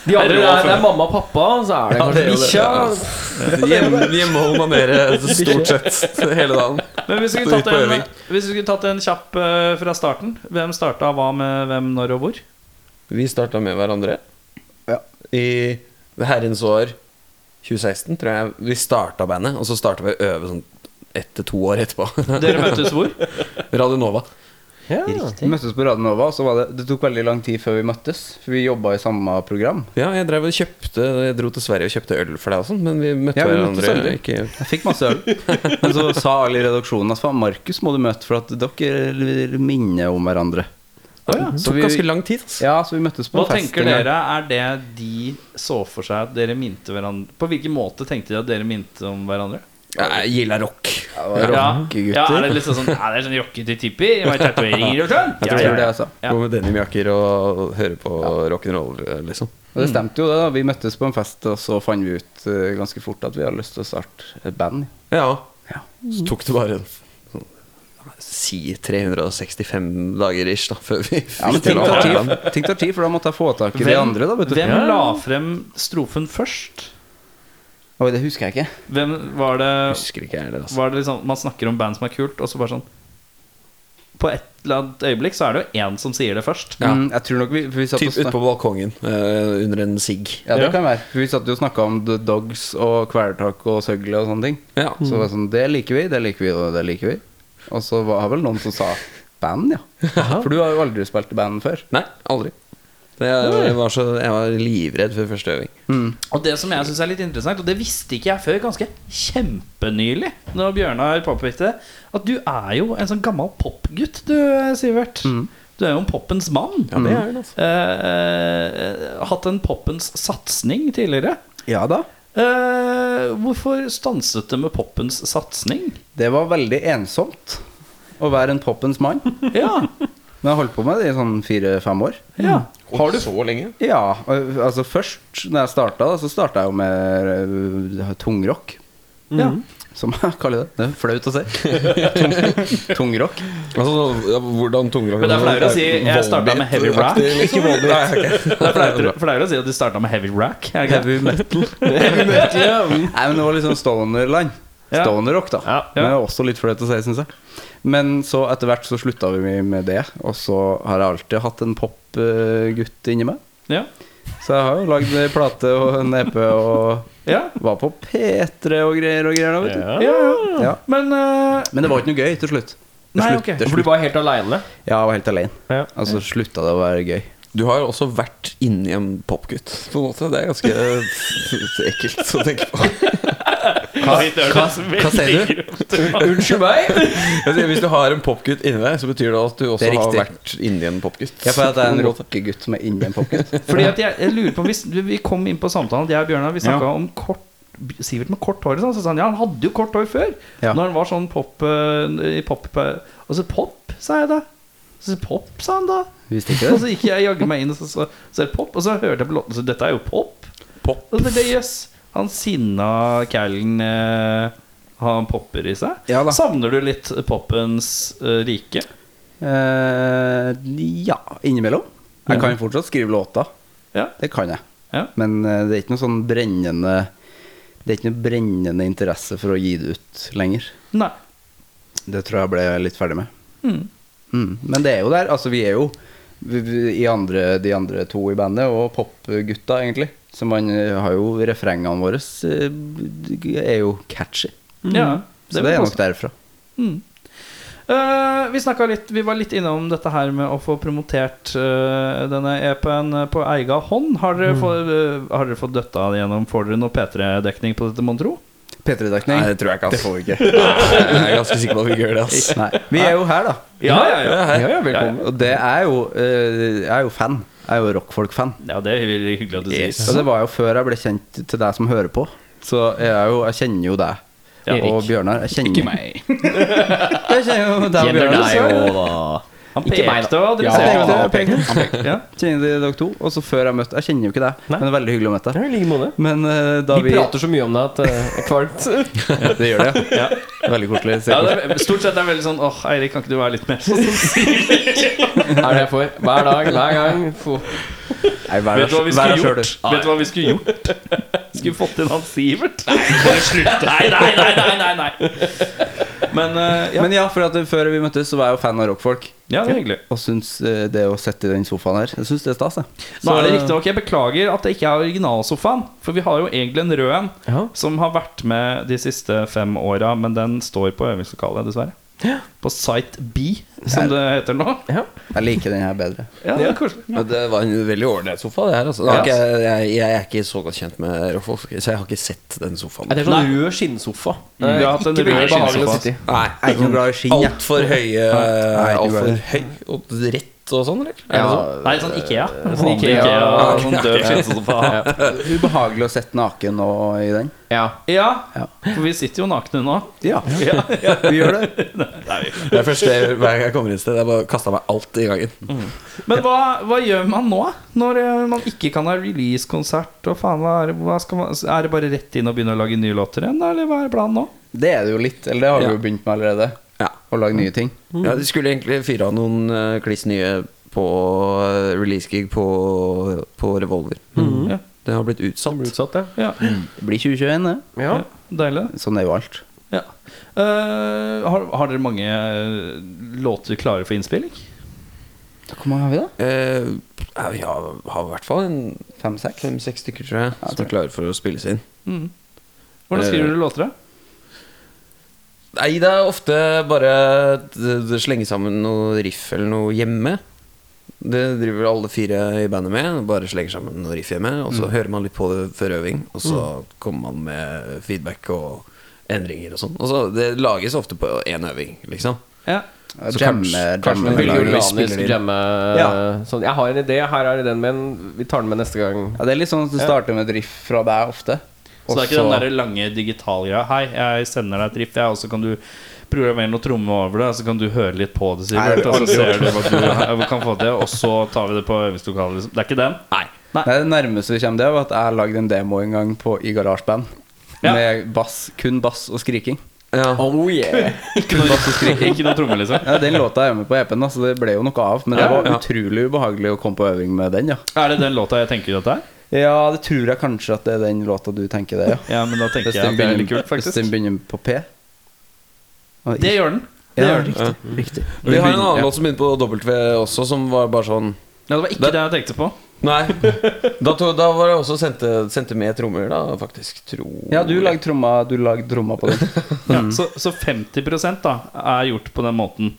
[SPEAKER 1] De andre er, det er mamma og pappa, så er det kanskje bikkja.
[SPEAKER 7] Hjemme, hjemmehold manerer stort sett hele dagen.
[SPEAKER 2] Men hvis vi
[SPEAKER 7] Så
[SPEAKER 2] skulle
[SPEAKER 7] ut
[SPEAKER 2] tatt
[SPEAKER 7] på
[SPEAKER 2] en,
[SPEAKER 7] øving.
[SPEAKER 2] hvis vi skulle tatt en kjapp eh, fra starten Hvem starta hva med hvem, når og hvor?
[SPEAKER 7] Vi starta med hverandre
[SPEAKER 4] Ja.
[SPEAKER 7] i herrens år 2016, tror jeg. Vi starta bandet, og så starta vi å øve sånn ett til to år etterpå.
[SPEAKER 2] Dere
[SPEAKER 7] [LAUGHS]
[SPEAKER 2] møttes hvor?
[SPEAKER 7] Radio Nova.
[SPEAKER 4] Vi møttes på Radio Nova, så var det, det tok veldig lang tid før vi møttes. For vi jobba i samme program.
[SPEAKER 7] Ja, jeg drev og kjøpte Jeg dro til Sverige og kjøpte øl for deg og sånn, men vi møtte
[SPEAKER 4] Ja, vi møttes
[SPEAKER 7] hverandre
[SPEAKER 4] aldri.
[SPEAKER 7] ikke
[SPEAKER 4] Jeg fikk masse øl. [LAUGHS] Men så sa alle i redaksjonen at faen, Markus må du møte, for at dere minner [LAUGHS] om hverandre.
[SPEAKER 7] Det
[SPEAKER 4] Så
[SPEAKER 7] tok
[SPEAKER 4] vi-
[SPEAKER 7] ganske lang tid. Altså.
[SPEAKER 4] Ja, så vi møttes på
[SPEAKER 2] Hva
[SPEAKER 4] en fest.
[SPEAKER 2] tenker
[SPEAKER 4] en gang.
[SPEAKER 2] dere er det de så for seg at dere minte hverandre På hvilken måte tenkte de at dere minte om hverandre?
[SPEAKER 7] Ja, jeg Gilla rock.
[SPEAKER 4] Rockegutter.
[SPEAKER 2] Ja, er det liksom sånn Ja, det er sånn rockete typer med tatoveringer og sånn? Ja,
[SPEAKER 4] Jeg tror
[SPEAKER 2] ja,
[SPEAKER 4] det
[SPEAKER 2] ja.
[SPEAKER 4] jeg sa.
[SPEAKER 2] Ja.
[SPEAKER 7] Gå med denimjakker og høre på rock'n'roll, liksom.
[SPEAKER 4] Og det stemte jo, det. da Vi møttes på en fest, og så fant vi ut eh, ganske fort at vi hadde lyst til å starte et band.
[SPEAKER 7] Ja.
[SPEAKER 4] Ja.
[SPEAKER 7] Så tok det bare sånn, Si 365 dager ish, da, før vi
[SPEAKER 4] Ja, men
[SPEAKER 7] fikk til
[SPEAKER 4] ting
[SPEAKER 7] å
[SPEAKER 4] tar
[SPEAKER 7] ha
[SPEAKER 4] tid,
[SPEAKER 7] band.
[SPEAKER 4] ting tar tid for da måtte jeg få tak i de
[SPEAKER 2] Hvem-
[SPEAKER 4] andre. da, vet du
[SPEAKER 2] Hvem la frem strofen først?
[SPEAKER 4] Oi, det husker jeg ikke.
[SPEAKER 2] Hvem var det
[SPEAKER 7] Husker ikke jeg heller, altså.
[SPEAKER 2] Var det liksom Man snakker om band som er kult, og så bare sånn På et eller annet øyeblikk så er det jo én som sier det først.
[SPEAKER 7] Ja.
[SPEAKER 4] Mm, jeg tror nok vi, for vi satt og
[SPEAKER 7] Typ ute
[SPEAKER 4] snak-
[SPEAKER 7] på balkongen eh, under en sigg.
[SPEAKER 4] Ja, det kan være. For vi satt jo og snakka om The Dogs og Kvelertak og Søgle og sånne ting.
[SPEAKER 7] Ja.
[SPEAKER 4] Så det var sånn Det liker vi, det liker vi, og det liker vi. Og så var det vel noen som sa band, [LAUGHS] ja. For du har jo aldri spilt i band før.
[SPEAKER 7] Nei, aldri. Det, jeg, var så, jeg var livredd før første øving.
[SPEAKER 2] Og det som jeg synes er litt interessant, og det visste ikke jeg før ganske kjempenylig, når Bjørnar påpekte det, at du er jo en sånn gammel popgutt, du, Sivert.
[SPEAKER 4] Mm.
[SPEAKER 2] Du er jo en poppens mann.
[SPEAKER 7] Ja, det er det, altså.
[SPEAKER 2] Eh, hatt en poppens satsning tidligere.
[SPEAKER 4] Ja da.
[SPEAKER 2] Eh, hvorfor stanset det med poppens satsning?
[SPEAKER 4] Det var veldig ensomt å være en poppens mann.
[SPEAKER 2] Ja,
[SPEAKER 4] Men jeg holdt på med det i sånn fire-fem år.
[SPEAKER 2] ja.
[SPEAKER 7] Har du så lenge?
[SPEAKER 4] Ja, ø- altså først når jeg starta, da, så starta jeg jo med ø, tungrock.
[SPEAKER 2] Ja.
[SPEAKER 4] Som jeg kaller det. Det er flaut å si. Tung- tungrock.
[SPEAKER 7] Altså, ja, hvordan tungrock
[SPEAKER 2] Men det er flaut å si jeg starta med heavy rack.
[SPEAKER 7] Ikke voldbeat.
[SPEAKER 2] Det er flaut- flaut å si at du starta med heavy rack. er det ikke det?
[SPEAKER 4] Heavy [LAUGHS] metal. Heavy metal ja.
[SPEAKER 8] [LAUGHS]
[SPEAKER 4] Nei, men det var litt sånn stonerland.
[SPEAKER 2] Ja.
[SPEAKER 4] Stonerrock, da.
[SPEAKER 2] Ja, ja.
[SPEAKER 4] Men det er også litt flaut å si, syns jeg. Men så etter hvert så slutta vi med det, og så har jeg alltid hatt en popgutt inni meg.
[SPEAKER 2] Ja.
[SPEAKER 4] Så jeg har jo lagd ei plate og en EP og
[SPEAKER 2] Ja.
[SPEAKER 4] var på P3 og greier og greier da, vet du.
[SPEAKER 2] Ja, ja.
[SPEAKER 4] Ja.
[SPEAKER 2] Men eh,
[SPEAKER 4] Men det var ikke noe gøy til slutt. Det
[SPEAKER 2] Nei,
[SPEAKER 4] slutt-
[SPEAKER 2] ok.
[SPEAKER 4] det
[SPEAKER 1] For du
[SPEAKER 4] slutt-
[SPEAKER 1] var helt aleine?
[SPEAKER 4] Ja, jeg var helt alene.
[SPEAKER 1] Ja.
[SPEAKER 4] Og så slutta det å være gøy.
[SPEAKER 7] Du har jo også vært inni en popgutt, på en måte. Det er ganske eh, ekkelt å tenke
[SPEAKER 1] [LAUGHS]
[SPEAKER 7] på.
[SPEAKER 4] Hva, sier du?
[SPEAKER 1] Unnskyld meg?
[SPEAKER 7] Jeg sier, Hvis du har en popgutt inni deg, så betyr det at du også
[SPEAKER 4] Det er
[SPEAKER 7] har
[SPEAKER 4] riktig.
[SPEAKER 7] vært inni en popgutt.
[SPEAKER 4] Jeg får at det er en rockegutt som er inni en popgutt.
[SPEAKER 2] Fordi at jeg, jeg lurer på hvis, du- Vi kom inn på samtalen at Jeg og Bjørnar vi snakket
[SPEAKER 10] Ja.
[SPEAKER 2] om kort Sivert med kort hår og sånn, Så sa han Ja, han hadde jo kort hår før
[SPEAKER 4] Ja.
[SPEAKER 2] Når han var sånn pop eh, i pop Og så pop, sa jeg da Så pop, sa han da
[SPEAKER 4] Visste ikke
[SPEAKER 2] Og
[SPEAKER 4] det.
[SPEAKER 2] så gikk jeg jagge meg inn Og så, så, så er det pop Og så hørte jeg på låten Så dette er jo pop
[SPEAKER 7] Pop.
[SPEAKER 2] Og så tenkte jeg Jøss Han sinna kælen eh, Han popper i seg
[SPEAKER 4] Ja da.
[SPEAKER 2] Savner du litt poppens eh, rike?
[SPEAKER 4] Eh, ja, innimellom. Jeg kan fortsatt skrive låter.
[SPEAKER 2] Ja.
[SPEAKER 4] Det kan jeg.
[SPEAKER 2] Ja.
[SPEAKER 4] Men eh, det er ikke noe sånn brennende Det er ikke noe brennende interesse for å gi det ut lenger.
[SPEAKER 2] Nei
[SPEAKER 8] Mm.
[SPEAKER 4] Det tror jeg ble litt ferdig med. Mm, men det er jo der. Altså, vi er jo
[SPEAKER 8] v- v- i andre, de andre to i bandet, og popgutta, egentlig. Så man eh, har jo refrengene våre eh, d- er jo catchy.
[SPEAKER 2] Ja,
[SPEAKER 8] Så
[SPEAKER 2] vil
[SPEAKER 8] det
[SPEAKER 2] jeg
[SPEAKER 8] er
[SPEAKER 2] påstå.
[SPEAKER 8] nok derfra.
[SPEAKER 2] Eh, vi, snakket litt, vi var litt innom dette her med å få promotert eh, denne EP-en på egen hånd. Har
[SPEAKER 8] Mm.
[SPEAKER 2] dere, fått, eh, har dere fått døtta det gjennom? Får dere noe P3-dekning på dette, mon tro?
[SPEAKER 8] P3-dekning?
[SPEAKER 7] Nei, det tror jeg ikke, ass.
[SPEAKER 8] Det får vi ikke. altså. [LAUGHS]
[SPEAKER 7] Jeg er ganske sikker på at vi ikke gjør det. ass
[SPEAKER 8] Nei. Vi er jo her, da.
[SPEAKER 2] Ja, ja, ja.
[SPEAKER 8] altså. Ja, ja, velkommen. Og det er jo eh, Jeg er jo fan. Jeg er jo rockfolk-fan.
[SPEAKER 2] ja det er veldig hyggelig at du sier.
[SPEAKER 8] Og det var jo før jeg ble kjent til deg som hører på. Så jeg, er jo, jeg kjenner jo deg. og Bjørnar. Jeg kjenner,
[SPEAKER 4] Ikke meg.
[SPEAKER 8] Jeg kjenner jo deg og
[SPEAKER 3] Kjenner
[SPEAKER 8] Bjørnar.
[SPEAKER 3] deg
[SPEAKER 8] så-
[SPEAKER 3] òg, da.
[SPEAKER 2] Han
[SPEAKER 3] Ikke meg,
[SPEAKER 2] pekte og
[SPEAKER 8] Jeg
[SPEAKER 2] adresserte.
[SPEAKER 8] pekte, jeg pekte.
[SPEAKER 2] Ja.
[SPEAKER 8] Kjenner de dere to? Og så før jeg møtte Jeg kjenner jo ikke deg,
[SPEAKER 1] Nei.
[SPEAKER 8] men det er veldig hyggelig å
[SPEAKER 1] Ja,
[SPEAKER 8] møte deg.
[SPEAKER 1] I like måte.
[SPEAKER 8] Men eh, da
[SPEAKER 1] Vi,
[SPEAKER 8] vi
[SPEAKER 1] prater så mye om det at eh, jeg er kvalmt.
[SPEAKER 8] Det gjør det, ja. Veldig koselig.
[SPEAKER 2] Ja,
[SPEAKER 8] Ser koselig.
[SPEAKER 2] det er, stort sett er det veldig sånn Åh, Eirik, kan ikke du være litt mer sånn?
[SPEAKER 1] Det [LAUGHS] er det jeg får. Hver dag, hver gang. Få.
[SPEAKER 8] Nei, vær
[SPEAKER 2] Vet du hva vi skulle
[SPEAKER 8] vær deg selv,
[SPEAKER 2] gjort? Vet du hva vi skulle gjort? Skulle fått inn han Sivert. Nei, nei, nei, nei, nei, nei. Men eh,
[SPEAKER 8] du.
[SPEAKER 2] ja.
[SPEAKER 8] Men ja, for at før vi møttes, så var jeg jo fan av rockfolk.
[SPEAKER 2] ja, det er hyggelig.
[SPEAKER 8] Og syns eh, det å sitte i den sofaen her Jeg syns det er stas, jeg.
[SPEAKER 2] Nå er det riktignok Jeg beklager at det ikke er originalsofaen, for vi har jo egentlig en rød en
[SPEAKER 1] Ja.
[SPEAKER 2] som har vært med de siste fem åra, men den står på øvingslokalet, dessverre. På Site B, som det heter nå.
[SPEAKER 8] Jeg liker den her bedre.
[SPEAKER 7] [LAUGHS]
[SPEAKER 2] Ja, det er koselig.
[SPEAKER 7] Men det var en veldig ålreit sofa, det her. Altså. Det har ikke, jeg, jeg, jeg er ikke så godt kjent med Rockfolk, så jeg har ikke sett den sofaen.
[SPEAKER 1] Det er sånn rød skinnsofa.
[SPEAKER 2] Vi har hatt en rød skinnsofa.
[SPEAKER 7] Nei,
[SPEAKER 8] sånn- Jeg er ikke noe glad i skinn, jeg.
[SPEAKER 7] Altfor høye
[SPEAKER 8] [LAUGHS] Nei, ikke
[SPEAKER 7] Altfor
[SPEAKER 8] glad.
[SPEAKER 7] høy og rett og sånn, eller? Er det sånn?
[SPEAKER 8] Ja,
[SPEAKER 2] Nei, sånn Ikea.
[SPEAKER 1] Sånn Ikea.
[SPEAKER 2] sånn
[SPEAKER 8] [LAUGHS]
[SPEAKER 2] døv skinnsofa.
[SPEAKER 8] [LAUGHS] ubehagelig å sitte naken og i den.
[SPEAKER 1] Ja.
[SPEAKER 2] Ja,
[SPEAKER 8] Ja.
[SPEAKER 2] for vi sitter jo nakne nå.
[SPEAKER 8] Ja, vi gjør det.
[SPEAKER 7] Det er første hver gang jeg kommer inn et sted, jeg bare kasta meg alt i gangen.
[SPEAKER 8] Mm.
[SPEAKER 2] Men hva, hva gjør man nå, når eh, man ikke kan ha release-konsert? Og faen, hva er, det- hva skal man, er det bare rett inn og begynne å lage nye låter igjen, da, eller hva er planen nå?
[SPEAKER 8] Det er det jo litt. Eller det har vi
[SPEAKER 7] Ja.
[SPEAKER 8] jo begynt med allerede.
[SPEAKER 7] Ja.
[SPEAKER 8] Å lage nye ting.
[SPEAKER 7] Mm. Ja, de skulle egentlig fyre av noen eh, kliss nye på eh, release-gig på, på Revolver.
[SPEAKER 2] Mm.
[SPEAKER 8] Mm.
[SPEAKER 2] Ja.
[SPEAKER 7] Det har blitt utsatt.
[SPEAKER 1] Utsatt, ja.
[SPEAKER 2] Ja,
[SPEAKER 8] Det blir 2021, det.
[SPEAKER 1] ja.
[SPEAKER 2] Deilig.
[SPEAKER 8] Sånn er jo alt.
[SPEAKER 2] Ja. Eh, har, har dere mange eh, låter klare for innspilling?
[SPEAKER 8] Hvor mange har vi, da?
[SPEAKER 7] Eh, ja, vi har, har i hvert fall en
[SPEAKER 8] Fem-seks?
[SPEAKER 7] fem-seks stykker, tror jeg, som er klare for å spilles inn.
[SPEAKER 2] Hvordan skriver
[SPEAKER 7] Eh,
[SPEAKER 2] dere låter? da?
[SPEAKER 7] Nei, det er ofte bare d- d- slenge sammen noe riff eller noe hjemme. Det driver alle fire i bandet med. Bare slenger sammen noe riff hjemme. Og så hører man litt på det før øving, og så kommer man med feedback og endringer og sånn. Og så Det lages ofte på én øving, liksom.
[SPEAKER 2] Ja.
[SPEAKER 7] Så
[SPEAKER 8] Jamme-
[SPEAKER 7] kanskje-
[SPEAKER 8] jamme-
[SPEAKER 7] kanskje
[SPEAKER 1] Veldig
[SPEAKER 7] lager vi
[SPEAKER 1] organisk
[SPEAKER 7] spiller inn.
[SPEAKER 1] jamme
[SPEAKER 8] Ja.
[SPEAKER 1] sånn. Jeg har en idé, her er ideen min. Vi tar den med neste gang.
[SPEAKER 8] Ja, det er litt sånn at det starter med et riff fra deg ofte.
[SPEAKER 2] Så det er ikke den der lange digitalgreia. Hei, jeg sender deg et riff, jeg, og så kan du programmere noe tromme over det, og så kan du høre litt på det, Sivert, og så ser du hva du kan få til, og så tar vi det på øvingslokalet, liksom. Det er ikke den?
[SPEAKER 8] Nei, Det nærmeste vi kommer det, var at jeg lagde en demo en gang på, i garasjeband.
[SPEAKER 2] Ja.
[SPEAKER 8] Med bass, kun bass og skriking.
[SPEAKER 7] Ja.
[SPEAKER 1] Oh yeah!
[SPEAKER 2] Ikke noe, ikke noe tromme, liksom.
[SPEAKER 8] Ja, Den låta er med på EP-en, da, så det ble jo noe av. Men det
[SPEAKER 2] Ja,
[SPEAKER 8] var utrolig ubehagelig å komme på øving med den, ja.
[SPEAKER 2] Er det den låta jeg tenker at det er?
[SPEAKER 8] Ja, det tror jeg kanskje at det er den låta du tenker det, ja.
[SPEAKER 2] Ja, men da tenker
[SPEAKER 8] Hvis
[SPEAKER 2] jeg
[SPEAKER 8] den
[SPEAKER 2] at det er
[SPEAKER 8] begynner,
[SPEAKER 2] litt kult,
[SPEAKER 8] hvis den
[SPEAKER 2] faktisk.
[SPEAKER 8] begynner på P. Og
[SPEAKER 2] Det
[SPEAKER 8] i-
[SPEAKER 2] gjør den.
[SPEAKER 8] ja,
[SPEAKER 2] det gjør den.
[SPEAKER 8] riktig. riktig.
[SPEAKER 7] Vi har en annen
[SPEAKER 8] Ja.
[SPEAKER 7] låt som begynner på W også, som var bare sånn
[SPEAKER 2] Ja, det var ikke det jeg tenkte på.
[SPEAKER 7] Nei. [LAUGHS] Da, to, da var det også sendte, sendte med trommer, da, faktisk. Tror
[SPEAKER 8] Ja, du lagde tromma, du lagde tromma på den.
[SPEAKER 2] Ja, så, så 50 da er gjort på den måten.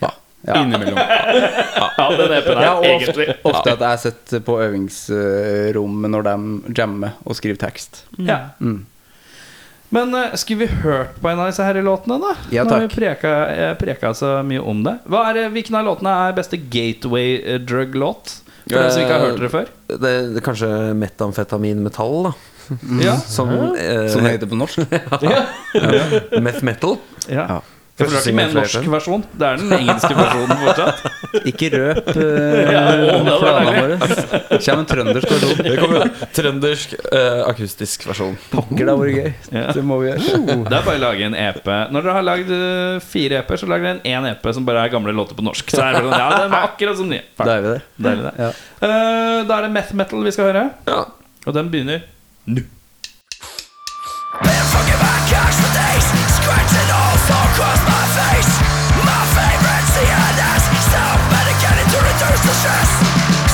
[SPEAKER 8] Ja.
[SPEAKER 4] Innimellom.
[SPEAKER 2] Ja, den EP-en
[SPEAKER 8] Ja,
[SPEAKER 2] er
[SPEAKER 8] og
[SPEAKER 2] egentlig
[SPEAKER 8] ofte, ofte at jeg sitter på øvingsrommet når de jammer og skriver tekst.
[SPEAKER 2] Ja. Men eh, skulle vi hørt på en av disse her låtene, da?
[SPEAKER 8] Ja,
[SPEAKER 2] Nå har
[SPEAKER 8] takk.
[SPEAKER 2] vi preka, eh, preka så mye om det. Hva er, det- hvilken av låtene er beste gateway eh, drug-låt? For dem som ikke har hørt det før.
[SPEAKER 7] Det, det er kanskje metamfetaminmetall, da.
[SPEAKER 2] Ja.
[SPEAKER 7] Mm. Som, eh,
[SPEAKER 8] Som det heter på [LAUGHS] norsk.
[SPEAKER 7] Meth metal.
[SPEAKER 2] ja. For det er ikke med en
[SPEAKER 7] Første
[SPEAKER 2] norsk versjon. Det er den engelske versjonen fortsatt.
[SPEAKER 8] Ikke røp eh,
[SPEAKER 2] det var
[SPEAKER 8] planene våre. Kjem en trøndersk versjon.
[SPEAKER 7] Det kommer trøndersk eh, akustisk versjon.
[SPEAKER 8] Pokker, det har vært gøy. Det må vi gjøre.
[SPEAKER 2] Det er bare å lage en EP. Når dere har lagd eh, fire EP-er, så lager dere en EP som bare er gamle låter på norsk. Så er det sånn, ja, den var akkurat som nye.
[SPEAKER 8] Da er vi der.
[SPEAKER 2] Deilig, det.
[SPEAKER 8] Ja.
[SPEAKER 2] Eh, da er det meth metal vi skal høre.
[SPEAKER 7] Ja.
[SPEAKER 2] Og den begynner
[SPEAKER 11] Across my face, my favorite CNS, self medicated to reduce the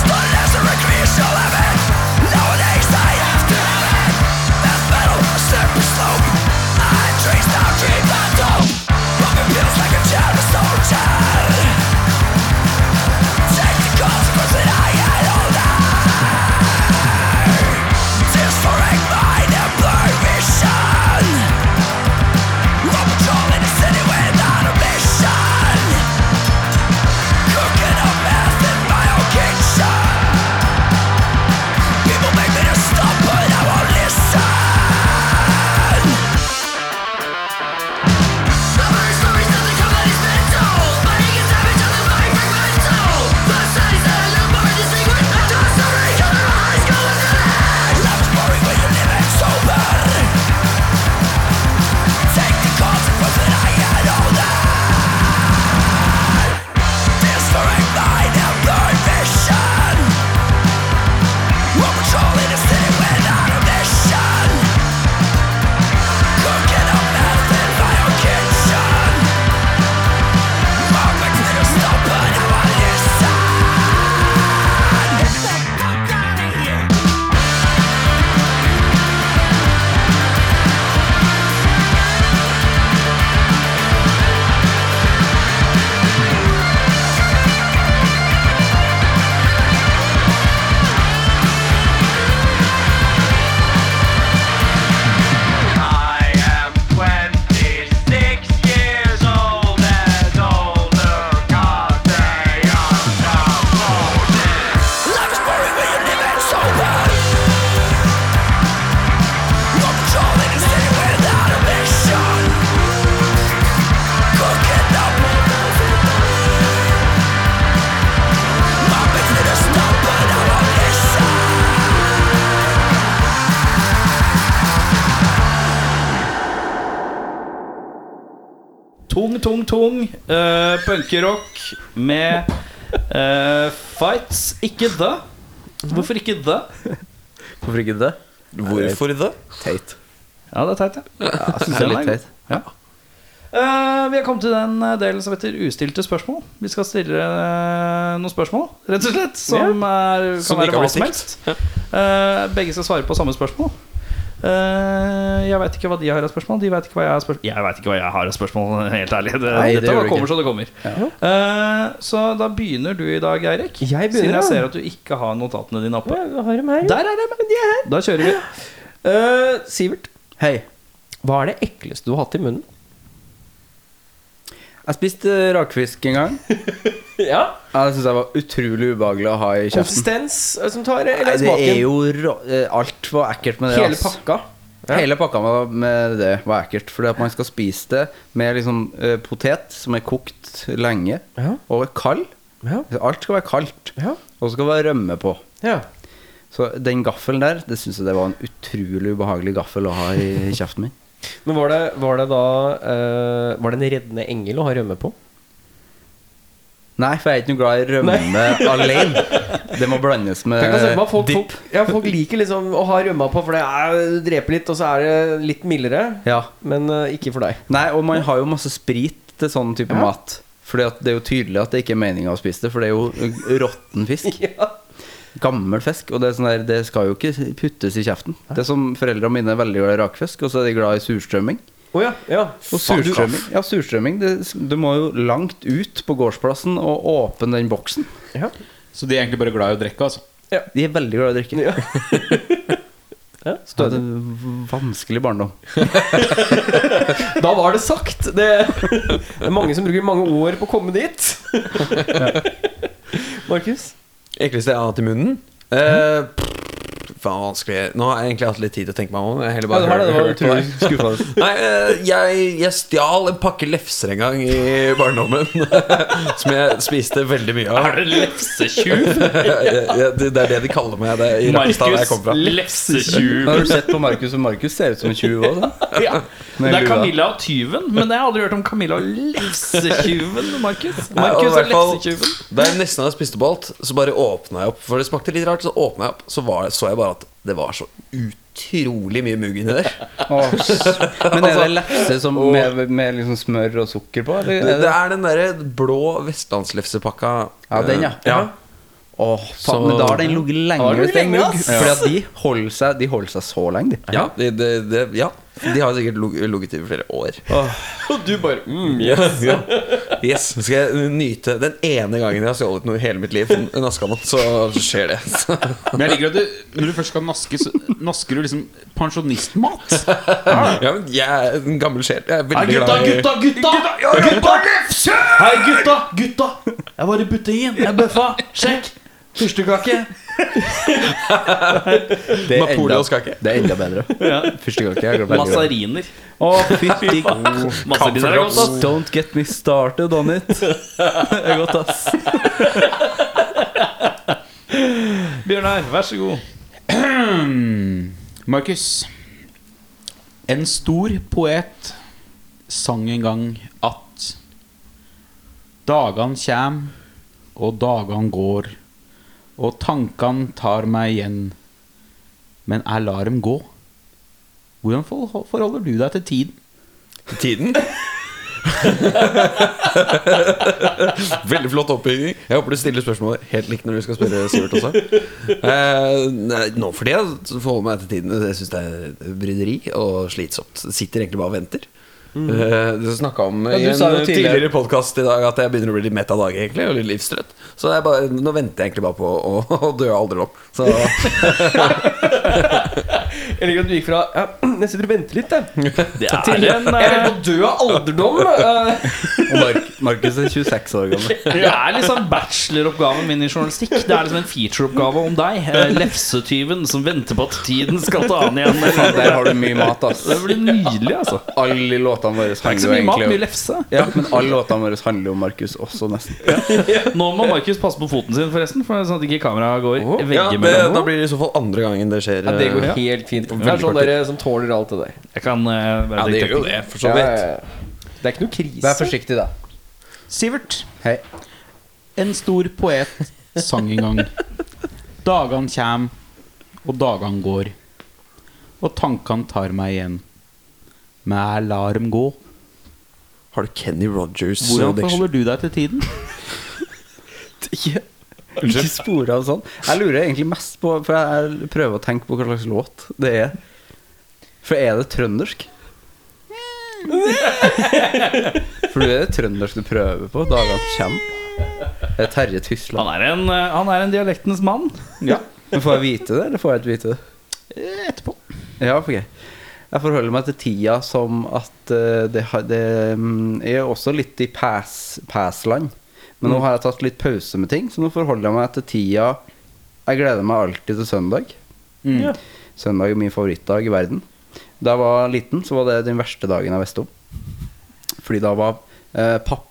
[SPEAKER 2] Tung, tung, tung uh, punkerock med eh, fights. Ikke the. Hvorfor ikke the?
[SPEAKER 8] Hvorfor ikke det?
[SPEAKER 7] Hvorfor det?
[SPEAKER 8] Teit.
[SPEAKER 2] Ja, det er teit, ja.
[SPEAKER 8] Ja, jeg synes det er litt teit.
[SPEAKER 2] Eh, vi har kommet til den eh, delen som heter ustilte spørsmål. Vi skal stille eh, noen spørsmål, rett og slett, som er, kan
[SPEAKER 7] Som ikke
[SPEAKER 2] være
[SPEAKER 7] har
[SPEAKER 2] hva
[SPEAKER 7] blitt
[SPEAKER 2] som helst. Eh, begge skal svare på samme spørsmål. Eh, jeg veit ikke hva de har av spørsmål. De vet ikke hva jeg har spørsmål Jeg vet ikke hva jeg har av spørsmål, [LAUGHS] helt ærlig. Det,
[SPEAKER 8] Nei, det
[SPEAKER 2] dette
[SPEAKER 8] gjør du
[SPEAKER 2] kommer
[SPEAKER 8] ikke.
[SPEAKER 2] så det kommer. Eh, så da begynner du i dag, Eirik.
[SPEAKER 1] Jeg begynner,
[SPEAKER 2] Siden
[SPEAKER 1] ja.
[SPEAKER 2] jeg ser at du ikke har notatene dine oppe.
[SPEAKER 1] Jeg har dem her. ja.
[SPEAKER 2] Der er de! Da kjører vi.
[SPEAKER 1] Eh, Sivert,
[SPEAKER 8] Hei.
[SPEAKER 1] hva er det ekleste du har hatt i munnen?
[SPEAKER 8] Jeg spiste rakfisk en gang.
[SPEAKER 1] [LAUGHS] Ja,
[SPEAKER 8] Ja, Det syns jeg var utrolig ubehagelig å ha i kjeften.
[SPEAKER 1] Konsistens eh, som tar
[SPEAKER 8] Nei,
[SPEAKER 1] Eller
[SPEAKER 8] det
[SPEAKER 1] smaken?
[SPEAKER 8] er jo rå- eh, Alt var ekkelt med det.
[SPEAKER 1] Hele
[SPEAKER 8] ass.
[SPEAKER 1] pakka. Ja.
[SPEAKER 8] Hele pakka med, med det var ekkelt. Fordi at man skal spise det med liksom eh, potet som er kokt lenge,
[SPEAKER 1] Ja.
[SPEAKER 8] og er kald.
[SPEAKER 1] Ja.
[SPEAKER 8] Alt skal være kaldt.
[SPEAKER 1] Ja.
[SPEAKER 8] Og så skal det være rømme på.
[SPEAKER 1] Ja.
[SPEAKER 8] Så den gaffelen der, det syns jeg det var en utrolig ubehagelig gaffel å ha i kjeften min.
[SPEAKER 1] Men var det, var det da eh, Var det en reddende engel å ha rømme på?
[SPEAKER 8] Nei, for jeg er ikke noe glad i rømme
[SPEAKER 1] [LAUGHS]
[SPEAKER 8] alene. Det må blandes med
[SPEAKER 1] Tenk å se på hva folk, folk, ja, folk liker liksom å ha rømma på, for det er, dreper litt, og så er det litt mildere.
[SPEAKER 8] Ja.
[SPEAKER 1] Men eh, ikke for deg.
[SPEAKER 8] Nei, og man har jo masse sprit til sånn type mat. Fordi at det er jo tydelig at det ikke er meninga å spise det, for det er jo råtten
[SPEAKER 1] [LAUGHS]
[SPEAKER 8] fisk. Gammel fisk. Og det, er sånn der, det skal jo ikke puttes i kjeften. Det er som Foreldrene mine er veldig glad i rakfisk, og så er de glad i surstrømming.
[SPEAKER 1] Å ja, ja.
[SPEAKER 8] Og surstrømming, ja, surstrømming det, du må jo langt ut på gårdsplassen og åpne den boksen.
[SPEAKER 1] ja.
[SPEAKER 4] Så de er egentlig bare glad i å drikke, altså.
[SPEAKER 8] De er veldig glad i å drikke. [LAUGHS]
[SPEAKER 1] Ja. Ja,
[SPEAKER 8] Stødig. Hadde vanskelig barndom.
[SPEAKER 1] Da var det sagt. Det, det er mange som bruker mange år på å komme dit. Markus?
[SPEAKER 7] Ekleste jeg har hatt i munnen? Eh, pff, faen, vanskelig. Nå har jeg egentlig hatt litt tid til å tenke meg om. Jeg heller bare
[SPEAKER 1] Ja, du har det, det var
[SPEAKER 7] hørt- hørt på deg. Nei, eh, jeg, jeg stjal en pakke lefser en gang i barndommen. [LAUGHS] som jeg spiste veldig mye av.
[SPEAKER 2] Er det
[SPEAKER 7] [LAUGHS]
[SPEAKER 2] lefsetjuv?
[SPEAKER 7] Jeg- jeg- det, det er det de kaller meg det i Rakkestad, der jeg kommer fra.
[SPEAKER 2] Markus lefsetjuv.
[SPEAKER 8] Nå har du sett på Markus, og Markus ser ut som en tjuv òg, da.
[SPEAKER 2] Ja.
[SPEAKER 8] Med
[SPEAKER 2] Det er
[SPEAKER 8] lua.
[SPEAKER 2] Camilla og tyven, men jeg har aldri hørt om Camilla og lefsetjuven, Markus.
[SPEAKER 7] Nei, og i
[SPEAKER 2] Markus og
[SPEAKER 7] hvert fall,
[SPEAKER 2] lefsetjuven.
[SPEAKER 7] Da jeg nesten hadde spist opp alt, så bare åpna jeg opp. For det smakte litt rart, så åpna jeg opp, så var, så jeg bare at det var så utrolig mye mugg inni der. Altså,
[SPEAKER 8] Åh,
[SPEAKER 7] [LAUGHS]
[SPEAKER 8] Men er det lefse som, med, med liksom smør og sukker på? Eller?
[SPEAKER 7] Det,
[SPEAKER 8] er
[SPEAKER 7] det
[SPEAKER 8] det-
[SPEAKER 7] er den derre blå vestlandslefsepakka. eh,
[SPEAKER 8] Ja, den, ja. Åh, faen, men da har den ligget lenge hvis det er mugg. Fordi at de holder seg, de holder seg så lenge, de.
[SPEAKER 7] Ja, de, de, de, ja. de har sikkert log- ligget i flere år.
[SPEAKER 1] Og du bare
[SPEAKER 7] [LAUGHS]
[SPEAKER 1] mm.
[SPEAKER 7] Yes. yes. Skal jeg nyte den ene gangen jeg har stjålet noe i hele mitt liv, en askamann, så skjer det. Så.
[SPEAKER 8] [LAUGHS]
[SPEAKER 4] Men jeg liker at du, når du først skal naske, så nasker du liksom pensjonistmat.
[SPEAKER 7] Ja, men jeg er en gammel sjel. Jeg er veldig glad i
[SPEAKER 2] gutta! Gutta! Hei, gutta! Gutta! Jeg var i butikken, jeg bøffa. Sjekk! Fyrstekake.
[SPEAKER 8] Det er enda,
[SPEAKER 7] Napoleonskake.
[SPEAKER 8] det er enda [LAUGHS] bedre. Første gang jeg har glemt
[SPEAKER 2] Massariner.
[SPEAKER 8] Å,
[SPEAKER 2] [LAUGHS]
[SPEAKER 8] fytti
[SPEAKER 2] Massariner er godt, ass.
[SPEAKER 8] Don't get me started on it. Det er godt, ass.
[SPEAKER 2] Bjørnar, vær så god.
[SPEAKER 4] Markus. Hmm. En stor poet sang en gang at Dagan kjem, og dagan går, og tankan tar meg igjen, men jeg lar dem gå. Hvordan forhold- forholder du deg til tiden?
[SPEAKER 7] tiden. [LAUGHS] Veldig flott oppbygging. Jeg håper du stiller spørsmål helt likt når du skal spørre Sivert også. Eh, nei, nå for tida forholder jeg meg til tiden. Jeg syns det er bryderi og slitsomt. Sitter egentlig bare og venter. Eh, du snakka om i
[SPEAKER 8] Mm. du
[SPEAKER 7] en
[SPEAKER 8] sa jo
[SPEAKER 7] tidligere,
[SPEAKER 8] tidligere-
[SPEAKER 7] podkast i dag at jeg begynner å bli litt mett av dagen egentlig, og litt livstrøtt. Så jeg bare, nå venter jeg egentlig bare på å, [LAUGHS] å dø av alderdom. Så
[SPEAKER 1] Jeg liker at du gikk fra ja, Jeg sitter og venter litt, jeg.
[SPEAKER 2] Det er en,
[SPEAKER 1] Jeg er på å dø av alderdom. eh.
[SPEAKER 8] Og Mark, Markus er 26 år
[SPEAKER 7] [LAUGHS]
[SPEAKER 8] gammel.
[SPEAKER 2] eh, [LAUGHS] det er liksom bacheloroppgaven min i journalistikk. Det er liksom en featureoppgave om deg. eh, Lefsetyven som venter på at tiden skal ta han igjen.
[SPEAKER 8] Faen, der har du mye mat, ass.
[SPEAKER 2] Det blir nydelig, altså.
[SPEAKER 8] Alle låtene våre
[SPEAKER 2] Ikke
[SPEAKER 8] handler
[SPEAKER 2] så
[SPEAKER 8] jo
[SPEAKER 2] mye mat,
[SPEAKER 8] egentlig
[SPEAKER 2] mye
[SPEAKER 8] om
[SPEAKER 2] lefse.
[SPEAKER 8] ja, men alle låtene våre handler jo om Markus også, nesten.
[SPEAKER 2] Nå må Markus passe på foten sin, forresten. For Sånn at ikke kameraet går oh,
[SPEAKER 7] ja, det,
[SPEAKER 2] veggimellom.
[SPEAKER 7] da blir det i så fall andre gangen det skjer.
[SPEAKER 1] Ja, det går
[SPEAKER 7] eh,
[SPEAKER 1] helt fint. Det er sånn dere som tåler alt det der.
[SPEAKER 2] Jeg kan eh, være
[SPEAKER 7] ja, det gjør jo
[SPEAKER 2] detektiv.
[SPEAKER 7] det, for så vidt.
[SPEAKER 1] Ja, ja, ja.
[SPEAKER 3] Det er ikke noe krise.
[SPEAKER 7] Vær forsiktig, da.
[SPEAKER 4] Sivert.
[SPEAKER 7] Hei.
[SPEAKER 4] En stor
[SPEAKER 3] [LAUGHS]
[SPEAKER 4] poet sang en gang. Dagene kjem, og dagene går. Og tankene tar meg igjen. Men jeg lar dem gå.
[SPEAKER 1] Har du Kenny Rogers?
[SPEAKER 4] Hvordan
[SPEAKER 1] audition?
[SPEAKER 4] forholder du deg til tiden?
[SPEAKER 7] Ikke, ikke spore av sånn. Jeg lurer egentlig mest på For jeg prøver å tenke på hva slags låt det er. For er det [LAUGHS] trøndersk? For du er det trøndersk du prøver på dagene som kommer? Det er Terje Tysland.
[SPEAKER 2] Han er en, eh, han er en dialektens mann.
[SPEAKER 7] Men får jeg vite det, eller får jeg ikke vite det?
[SPEAKER 12] Eh,
[SPEAKER 4] Etterpå.
[SPEAKER 7] Ja, ok Jeg forholder meg til tida som at eh, det, har- det mm, er også litt i pass- pass-land. Men
[SPEAKER 12] Mm.
[SPEAKER 7] nå har jeg tatt litt pause med ting, så nå forholder jeg meg til tida Jeg gleder meg alltid til søndag.
[SPEAKER 4] Mm.
[SPEAKER 7] Søndag er min favorittdag i verden. Da jeg var liten, så var det den verste dagen jeg visste om. Fordi da var eh, [LAUGHS] pappa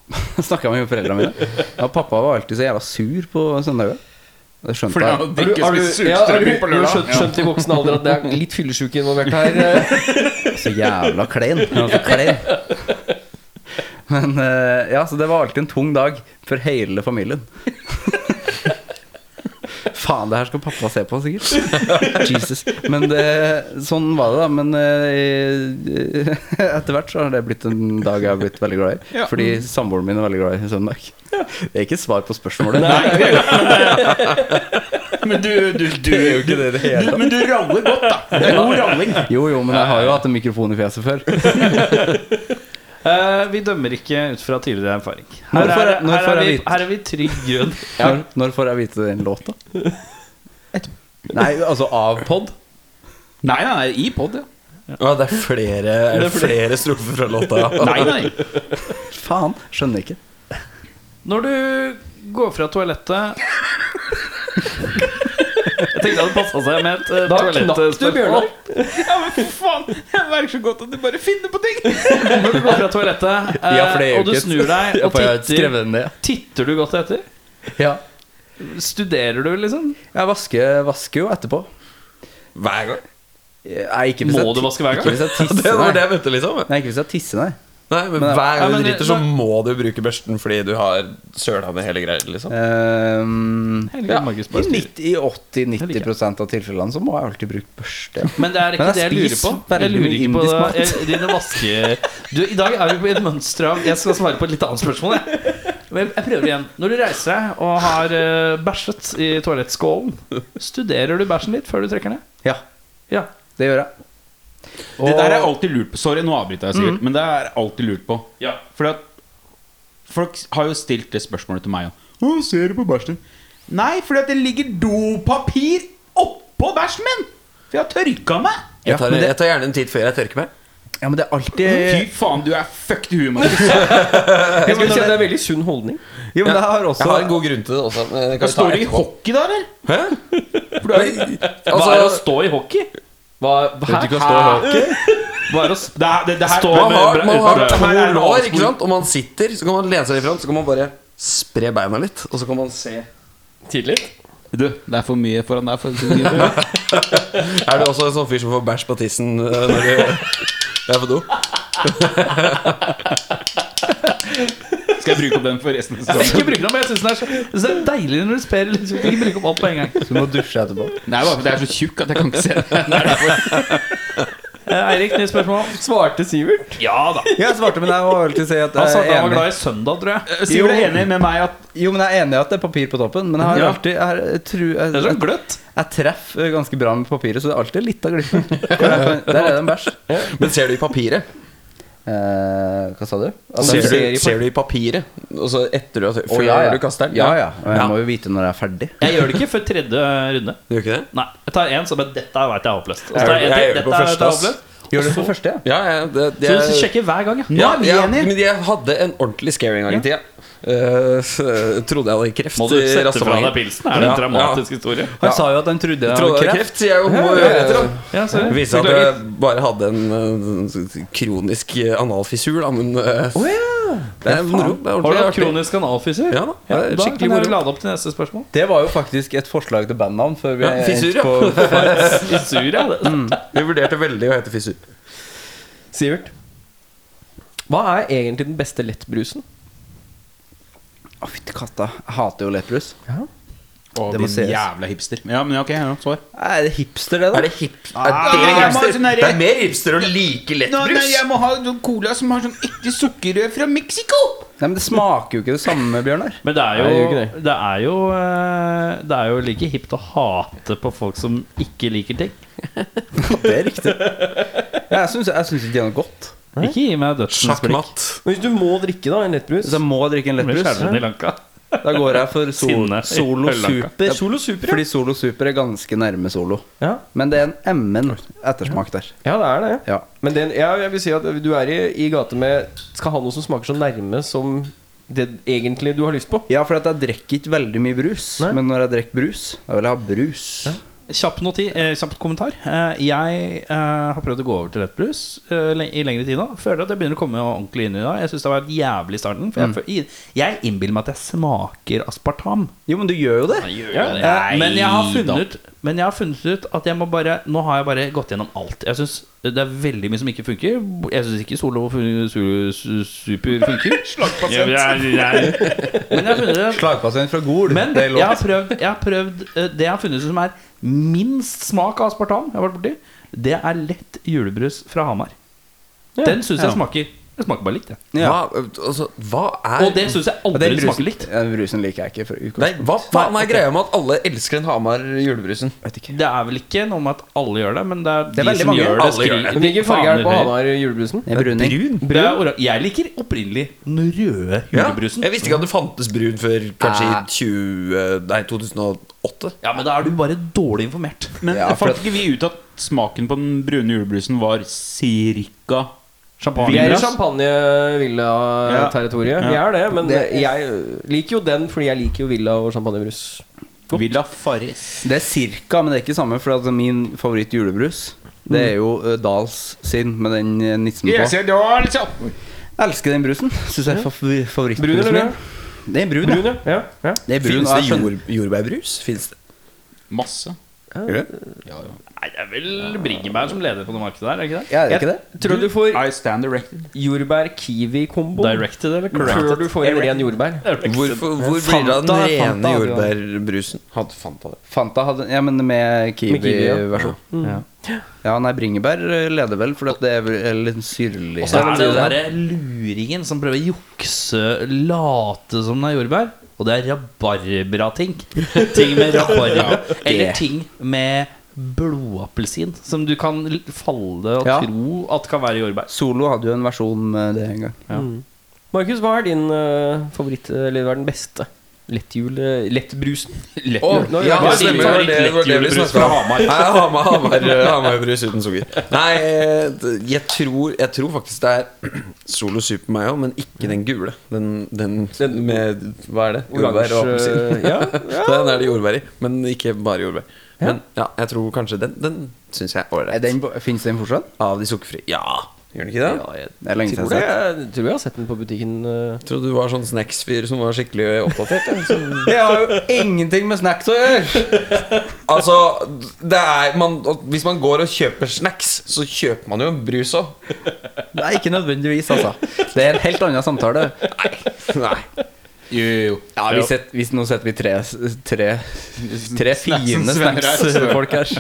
[SPEAKER 7] Snakka med foreldrene mine. Ja, pappa var alltid så jævla sur på søndager. Det skjønte
[SPEAKER 12] Fordi
[SPEAKER 7] jeg.
[SPEAKER 12] han drikker spist
[SPEAKER 3] ja, har du,
[SPEAKER 12] surstrømming på
[SPEAKER 3] du har skjønt,
[SPEAKER 12] lørdag.
[SPEAKER 3] skjønt i voksen alder at det er litt fyllesyke involvert her?
[SPEAKER 7] Så jævla klein. Han var så klein. Men eh, ja, så det var alltid en tung dag for hele familien. [LAUGHS] Faen, det her skal pappa se på, sikkert. [LAUGHS] Jesus. Men det, sånn var det, da. Men eh, [LAUGHS] etter hvert så har det blitt en dag jeg har blitt veldig glad i. Fordi samboeren min er veldig glad i søndag. Det er ikke svar på spørsmålet. [LAUGHS]
[SPEAKER 12] Men du, du, du,
[SPEAKER 7] Det er jo ikke det i det hele
[SPEAKER 12] du Men du raller godt, da. Det er god ralling.
[SPEAKER 7] Jo, jo, men jeg har jo hatt en mikrofon i fjeset før.
[SPEAKER 2] Eh, vi dømmer ikke ut fra tidligere erfaring. Her,
[SPEAKER 7] Når får
[SPEAKER 2] er,
[SPEAKER 7] jeg- når
[SPEAKER 2] her,
[SPEAKER 7] får
[SPEAKER 2] er,
[SPEAKER 7] jeg
[SPEAKER 2] vi,
[SPEAKER 7] vite?
[SPEAKER 2] her er vi trygg grunn.
[SPEAKER 7] Når, når får jeg vite den låta? Nei, altså av pod?
[SPEAKER 4] Nei, nei, nei, i pod, ja.
[SPEAKER 1] Å, det er flere, er det flere strofer fra låta. ja.
[SPEAKER 4] Nei, nei.
[SPEAKER 7] Faen, skjønner ikke.
[SPEAKER 2] Når du går fra toalettet Jeg tenkte det hadde passa seg med et eh,
[SPEAKER 3] Da knakk du,
[SPEAKER 2] toalettspørsmål.
[SPEAKER 3] Bjørnar.
[SPEAKER 12] Ja, men for faen. Jeg merker så godt at du bare finner på ting.
[SPEAKER 2] Når du går fra toalettet, eh,
[SPEAKER 7] [LAUGHS] Ja, for det er jo
[SPEAKER 2] og du
[SPEAKER 7] ikke et-
[SPEAKER 2] snur
[SPEAKER 7] [LAUGHS]
[SPEAKER 2] deg og
[SPEAKER 7] For jeg har
[SPEAKER 2] titter,
[SPEAKER 7] skrevet den ned.
[SPEAKER 2] titter du godt etter?
[SPEAKER 7] Ja.
[SPEAKER 2] Studerer du, liksom?
[SPEAKER 7] Jeg vasker, vasker jo etterpå.
[SPEAKER 1] Hver gang.
[SPEAKER 7] Nei, ikke hvis
[SPEAKER 2] Må
[SPEAKER 7] jeg,
[SPEAKER 2] du vaske hver
[SPEAKER 7] ikke
[SPEAKER 2] gang?
[SPEAKER 7] hvis jeg
[SPEAKER 1] [LAUGHS] Det
[SPEAKER 7] tisser,
[SPEAKER 1] var det
[SPEAKER 7] nei.
[SPEAKER 1] jeg mente, liksom.
[SPEAKER 7] Nei, ikke hvis jeg tisser, nei.
[SPEAKER 1] Nei, men
[SPEAKER 7] Men-
[SPEAKER 1] hver
[SPEAKER 2] Ja,
[SPEAKER 1] gang
[SPEAKER 2] men
[SPEAKER 1] du
[SPEAKER 2] det-
[SPEAKER 1] driter, så
[SPEAKER 2] da-
[SPEAKER 1] må du bruke børsten fordi du har søla ned hele greia, liksom.
[SPEAKER 7] Ehm,
[SPEAKER 2] Helge
[SPEAKER 7] ja,
[SPEAKER 2] Markus
[SPEAKER 7] I
[SPEAKER 2] bare styrer.
[SPEAKER 7] 90 i 80-90 av tilfellene så må jeg alltid bruke
[SPEAKER 1] [LAUGHS]
[SPEAKER 7] børste.
[SPEAKER 2] Men det er ikke
[SPEAKER 7] Men jeg
[SPEAKER 2] det jeg lurer
[SPEAKER 7] spiser
[SPEAKER 2] på. Jeg
[SPEAKER 7] veldig
[SPEAKER 2] lurer
[SPEAKER 7] mye
[SPEAKER 2] ikke på
[SPEAKER 7] indisk mat.
[SPEAKER 2] jeg, dine vaske... Du, I dag er vi på et mønster av Jeg skal svare på et litt annet spørsmål. Jeg, Men jeg prøver igjen. Når du reiser deg og har eh, bæsjet i toalettskålen, studerer du bæsjen litt før du trekker ned?
[SPEAKER 7] Ja,
[SPEAKER 2] Ja.
[SPEAKER 7] det gjør jeg.
[SPEAKER 4] Det der er alltid lurt på. Sorry, nå avbryter jeg
[SPEAKER 2] Mm.
[SPEAKER 4] sikkert. Men det er alltid lurt på.
[SPEAKER 2] Ja.
[SPEAKER 4] Fordi at folk har jo stilt det spørsmålet til meg òg. Å, ser du på bæsjen din? Nei, fordi at det ligger dopapir oppå bæsjen min! For jeg har tørka meg.
[SPEAKER 1] Jeg tar,
[SPEAKER 7] men det-
[SPEAKER 1] jeg tar gjerne en tid før jeg tørker meg.
[SPEAKER 7] Ja, men det er
[SPEAKER 4] Fy
[SPEAKER 7] alltid
[SPEAKER 4] faen, du er fucked i huet, Markus.
[SPEAKER 3] Jeg skulle si at Det er veldig sunn holdning.
[SPEAKER 7] Jo, men det har
[SPEAKER 1] Jeg
[SPEAKER 7] også
[SPEAKER 1] har en god grunn til det også. Men det kan vi ta
[SPEAKER 4] Står det i
[SPEAKER 1] etterpå.
[SPEAKER 4] hockey da, eller?
[SPEAKER 1] Hæ?
[SPEAKER 2] Hva er det å
[SPEAKER 1] Altså,
[SPEAKER 2] stå i hockey? Hva, hæ?
[SPEAKER 4] [LAUGHS]
[SPEAKER 2] Hva er å s-
[SPEAKER 4] Det, er- det, det her
[SPEAKER 2] Står
[SPEAKER 1] man har, man har
[SPEAKER 4] Dette her er en
[SPEAKER 1] to lår,
[SPEAKER 4] avsporing.
[SPEAKER 1] ikke sant? Og man sitter, så kan man lene seg litt fram, så kan man bare spre beina litt, og så kan man se
[SPEAKER 3] Tidlig.
[SPEAKER 4] Du, det er for mye foran deg. For å si det sånn.
[SPEAKER 1] Er du også en sånn fyr som får bæsj på tissen eh, [LAUGHS] når du du er på do?
[SPEAKER 4] Skal jeg bruke opp den for resten av
[SPEAKER 2] Jeg vil
[SPEAKER 4] sesongen?
[SPEAKER 2] ikke bruke den, men jeg syns den er så jeg synes det er deilig når du sper liksom, du kan ikke bruke opp alt på en gang.
[SPEAKER 7] Du må dusje etterpå.
[SPEAKER 4] Nei, bare fordi jeg er så tjukk at jeg kan ikke se den. Det er derfor.
[SPEAKER 2] Eh, Eirik, nytt spørsmål.
[SPEAKER 3] Svarte Sivert.
[SPEAKER 2] Ja da.
[SPEAKER 7] Jeg svarte, men jeg må alltid si at
[SPEAKER 2] Han sa
[SPEAKER 7] jeg
[SPEAKER 2] at
[SPEAKER 7] er
[SPEAKER 2] han var
[SPEAKER 7] enig.
[SPEAKER 2] glad i søndag, tror jeg.
[SPEAKER 4] Sivert er enig med meg at
[SPEAKER 7] Jo, men jeg er enig i at det er papir på toppen, men jeg har
[SPEAKER 2] Ja.
[SPEAKER 7] alltid Jeg, har- jeg, tror- jeg,
[SPEAKER 2] Det er
[SPEAKER 7] jeg,
[SPEAKER 2] sånn gløtt.
[SPEAKER 7] jeg treffer ganske bra med papiret, så det er alltid litt av
[SPEAKER 1] [LAUGHS]
[SPEAKER 7] glippen. Hvor jeg kan- Der er det en bæsj.
[SPEAKER 1] Men ser du i papiret?
[SPEAKER 7] Eh, hva sa du? At jeg
[SPEAKER 1] Ser du,
[SPEAKER 7] i
[SPEAKER 1] ser du i papiret? Og så etter du, altså, før
[SPEAKER 7] ja, ja.
[SPEAKER 1] du kaster den?
[SPEAKER 7] Ja, ja. Og jeg
[SPEAKER 1] Ja.
[SPEAKER 7] må jo vite når jeg er ferdig.
[SPEAKER 2] Jeg gjør det ikke før tredje runde.
[SPEAKER 1] Du gjør ikke det?
[SPEAKER 2] Nei, Jeg tar én som er 'dette veit jeg er oppløst'. Og så
[SPEAKER 1] Jeg
[SPEAKER 2] tar
[SPEAKER 1] gjør-
[SPEAKER 2] jeg en
[SPEAKER 1] jeg
[SPEAKER 2] til,
[SPEAKER 1] gjør det på
[SPEAKER 2] «Dette
[SPEAKER 1] første,
[SPEAKER 2] vet jeg er
[SPEAKER 1] ass».
[SPEAKER 2] oppløst.
[SPEAKER 7] Gjør det for første, ja.
[SPEAKER 1] Ja, ja, det, det,
[SPEAKER 2] Så du sjekker hver gang, ja.
[SPEAKER 1] ja,
[SPEAKER 4] er vi
[SPEAKER 1] ja,
[SPEAKER 4] enige.
[SPEAKER 1] men jeg hadde en ordentlig scary en gang i tida. Eh, så trodde jeg hadde kreft.
[SPEAKER 2] Må du
[SPEAKER 1] i
[SPEAKER 2] sette fra
[SPEAKER 1] rassemagen.
[SPEAKER 2] deg pilsen? Er det
[SPEAKER 1] Ja,
[SPEAKER 2] en dramatisk historie?
[SPEAKER 7] Han sa jo at han trodde jeg
[SPEAKER 1] Trodde
[SPEAKER 7] hadde
[SPEAKER 1] jeg hadde
[SPEAKER 7] kreft.
[SPEAKER 1] kreft, sier jeg jo. Må høre etter, da.
[SPEAKER 2] Ja, sorry.
[SPEAKER 1] Det viste seg at jeg bare hadde en eh, kronisk eh, analfissur, da, men eh, Det er moro. Det er
[SPEAKER 2] Har du
[SPEAKER 1] ordentlig
[SPEAKER 2] hatt
[SPEAKER 1] artig.
[SPEAKER 2] kronisk analfyser?
[SPEAKER 1] Ja da. Det er
[SPEAKER 2] da
[SPEAKER 1] skikkelig
[SPEAKER 2] kan jeg
[SPEAKER 1] moro.
[SPEAKER 2] lade opp til neste spørsmål.
[SPEAKER 7] Det var jo faktisk et forslag til bandnavn før vi
[SPEAKER 1] Ja,
[SPEAKER 7] er
[SPEAKER 1] fissur, [LAUGHS]
[SPEAKER 7] endt på
[SPEAKER 2] I
[SPEAKER 8] Mm.
[SPEAKER 2] Syria, det.
[SPEAKER 1] Vi vurderte veldig å hete Fissur.
[SPEAKER 3] Sivert.
[SPEAKER 1] Hva er egentlig den beste lettbrusen?
[SPEAKER 8] Å, fytti katta. Jeg hater jo lettbrus.
[SPEAKER 4] Å,
[SPEAKER 8] Det må
[SPEAKER 4] din
[SPEAKER 8] ses.
[SPEAKER 4] jævla hipster. Ja, men ja, ok, ja, svar.
[SPEAKER 8] Er det hipster, det, Ah. da?
[SPEAKER 7] Er det hip... Er det,
[SPEAKER 4] jeg må ha
[SPEAKER 7] hipster?
[SPEAKER 4] sånn der-
[SPEAKER 7] det er mer hipster å like
[SPEAKER 4] Nå, nei,
[SPEAKER 7] lettbrus.
[SPEAKER 4] jeg må ha noen cola som har sånn ekte sukkerrør fra Mexico!
[SPEAKER 8] Nei, men Det smaker jo ikke det samme, Bjørnar.
[SPEAKER 3] Men det er
[SPEAKER 1] Nei, det
[SPEAKER 3] jo,
[SPEAKER 1] gjør ikke
[SPEAKER 3] det er jo, eh, det er jo like hipt å hate på folk som ikke liker ting.
[SPEAKER 8] Det er riktig. Ja, jeg syns jeg syns ikke det er noe godt.
[SPEAKER 3] Ikke gi meg dødsens blikk.
[SPEAKER 7] Sjakkmatt.
[SPEAKER 1] Men Hvis du må drikke da, en lettbrus
[SPEAKER 8] Hvis jeg må drikke en
[SPEAKER 3] Jeg blir
[SPEAKER 8] lettbrus,
[SPEAKER 3] skjelven i lanka.
[SPEAKER 8] da går jeg for sol,
[SPEAKER 3] Sinne i
[SPEAKER 8] Solo
[SPEAKER 3] Høylanka.
[SPEAKER 8] Super.
[SPEAKER 1] Solo Super, ja.
[SPEAKER 8] Fordi Solo Super er ganske nærme Solo.
[SPEAKER 1] ja.
[SPEAKER 8] Men det er en emmen ettersmak der.
[SPEAKER 1] Ja, det er det.
[SPEAKER 8] Ja.
[SPEAKER 1] Men den, ja, jeg vil si at du er i, i gate med Skal ha noe som smaker så nærme som det egentlig du har lyst på.
[SPEAKER 8] Ja, for at jeg drikker ikke veldig mye brus.
[SPEAKER 1] Nei.
[SPEAKER 8] Men når jeg drikker brus, da vil jeg ha brus.
[SPEAKER 2] Kjapp, noti, eh, kjapp kommentar. Eh, jeg eh, har prøvd å gå over til lettbrus eh, le- i lengre tid nå. Føler at jeg begynner å komme ordentlig inn i det. Jeg syns det har vært jævlig i starten.
[SPEAKER 8] Mm.
[SPEAKER 2] For jeg, fø- jeg innbiller meg at jeg smaker aspartam.
[SPEAKER 8] Jo, men du gjør jo det.
[SPEAKER 2] Eh, men, jeg har funnet, men jeg har funnet ut at jeg må bare Nå har jeg bare gått gjennom alt. Jeg synes Det er veldig mye som ikke funker. Jeg syns ikke Solo fun- Su- Su- Super
[SPEAKER 8] [LAUGHS]
[SPEAKER 2] funker. Slagpasient. [LAUGHS] Men jeg har funnet ut
[SPEAKER 8] Slagpasient fra Gol.
[SPEAKER 2] men
[SPEAKER 8] det er lov.
[SPEAKER 2] jeg har prøvd, jeg har prøvd eh, Det jeg har funnet ut som er minst smak av aspartam, jeg har vært borti, det er lett julebrus fra Hamar. Den syns jeg smaker Det smaker bare likt. jeg.
[SPEAKER 7] Hva, altså, hva er
[SPEAKER 2] Og det syns jeg
[SPEAKER 8] Men den
[SPEAKER 2] aldri
[SPEAKER 8] brusen-
[SPEAKER 2] smaker likt.
[SPEAKER 8] Ja, den brusen liker jeg ikke. For
[SPEAKER 7] Nei, hva faen er greia med at alle elsker den Hamar julebrusen?
[SPEAKER 2] Det er vel ikke noe med at alle gjør det, men det er,
[SPEAKER 8] er
[SPEAKER 2] de
[SPEAKER 8] veldig
[SPEAKER 2] som
[SPEAKER 8] mange.
[SPEAKER 2] gjør det.
[SPEAKER 7] Alle gjør det.
[SPEAKER 2] skriker-
[SPEAKER 1] Hvilken farge er det på
[SPEAKER 2] faner høyt.
[SPEAKER 1] Hamar julebrusen?
[SPEAKER 8] Det er bruning.
[SPEAKER 2] Det er ora- Jeg liker opprinnelig den røde
[SPEAKER 7] Ja,
[SPEAKER 2] julebrusen.
[SPEAKER 7] jeg visste ikke at det fantes brun før kanskje i 20, nei, 2008.
[SPEAKER 2] Ja, men da er du bare dårlig informert.
[SPEAKER 4] Men
[SPEAKER 8] Ja, for
[SPEAKER 4] fant ikke vi ut at smaken på den brune julebrusen var cirka
[SPEAKER 1] Vi er i
[SPEAKER 4] champagne?
[SPEAKER 1] champagne-villa-territoriet. Vi er det, men
[SPEAKER 8] Det-
[SPEAKER 1] jeg liker jo den fordi jeg liker jo villa og champagnebrus.
[SPEAKER 4] Villa Farris.
[SPEAKER 8] Det er cirka, men det er ikke samme, for altså, min favoritt julebrus det
[SPEAKER 7] Mm.
[SPEAKER 8] er jo eh, Dals sin med den eh, nissen på. Jeg elsker den brusen. Syns jeg er fav
[SPEAKER 1] Brun
[SPEAKER 8] favorittbrusen
[SPEAKER 1] eller
[SPEAKER 8] min. Det er brun, ja.
[SPEAKER 1] Brun, ja. ja.
[SPEAKER 8] Det er brun,
[SPEAKER 7] Fins
[SPEAKER 8] og
[SPEAKER 7] det
[SPEAKER 8] jeg skjønner-
[SPEAKER 7] jord, jordbærbrus? Fins det?
[SPEAKER 4] Masse.
[SPEAKER 3] Nei, det er vel Bringebær som leder på det markedet der, er ikke det?
[SPEAKER 8] Ja, er det ikke det?
[SPEAKER 1] Jeg tror du får
[SPEAKER 4] I stand erected.
[SPEAKER 1] jordbær-kiwi-kombo
[SPEAKER 3] Directed eller
[SPEAKER 1] før
[SPEAKER 3] corrected?
[SPEAKER 1] du får en ren jordbær.
[SPEAKER 7] Hvorfor, hvor blir det av den
[SPEAKER 8] Fanta er Fanta,
[SPEAKER 7] rene
[SPEAKER 8] ja.
[SPEAKER 7] jordbærbrusen? Hadde Fanta det?
[SPEAKER 8] Fanta hadde Ja, men med
[SPEAKER 1] kiwi, ja.
[SPEAKER 8] Kiwi-versjon.
[SPEAKER 4] Mm.
[SPEAKER 8] ja. ja, nei, bringebær eh, leder vel, for at det er vel er litt syrlig
[SPEAKER 2] Og så er det den derre luringen som prøver å jukse, late som den er jordbær. Og det er rabarbrating. [LAUGHS] Ting med rabarbra. Eller ting med blodappelsin, som du kan l- falle og
[SPEAKER 8] Ja.
[SPEAKER 2] tro at kan være jordbær.
[SPEAKER 8] Solo hadde jo en versjon med det en gang.
[SPEAKER 1] Markus, hva er din eh, favoritt, eller hva er den beste? Lettjul... eh, Lettbrusen?
[SPEAKER 7] Å,
[SPEAKER 1] Nå,
[SPEAKER 7] ja,
[SPEAKER 1] hva er
[SPEAKER 7] det stemmer. Det var det, det, var det vi snakket om. Nei, Hamar- Hamar- Hamarbrus uten sukker. Nei, eh, d- jeg tror, jeg tror faktisk det er Solo Super meg òg, men ikke den gule. Den, den med Hva er det? Jordbær og appelsin.
[SPEAKER 1] ja,
[SPEAKER 7] Den er det jordbær i, men ikke bare jordbær. Men ja, jeg tror kanskje den. Den syns jeg er
[SPEAKER 8] Er
[SPEAKER 7] ålreit.
[SPEAKER 8] Den, Fins den fortsatt?
[SPEAKER 7] Av de sukkerfrie. Ja, gjør den ikke det?
[SPEAKER 8] Det er lenge siden
[SPEAKER 1] Tror,
[SPEAKER 8] jeg
[SPEAKER 1] det,
[SPEAKER 8] har sett.
[SPEAKER 1] Eh, jeg tror jeg har sett den på butikken. eh.
[SPEAKER 7] Jeg trodde du var sånn snacksfyr som var skikkelig oppdatert. jeg, som-
[SPEAKER 8] Det har jo ingenting med snacks å gjøre!
[SPEAKER 7] Altså, det er, man, og hvis man går og kjøper snacks, så kjøper man jo en brus òg.
[SPEAKER 8] Nei, ikke nødvendigvis, altså. Det er en helt annen samtale.
[SPEAKER 7] Nei.
[SPEAKER 8] Ja, vi set, hvis nå setter vi tre, tre, tre fine snacks-folk her.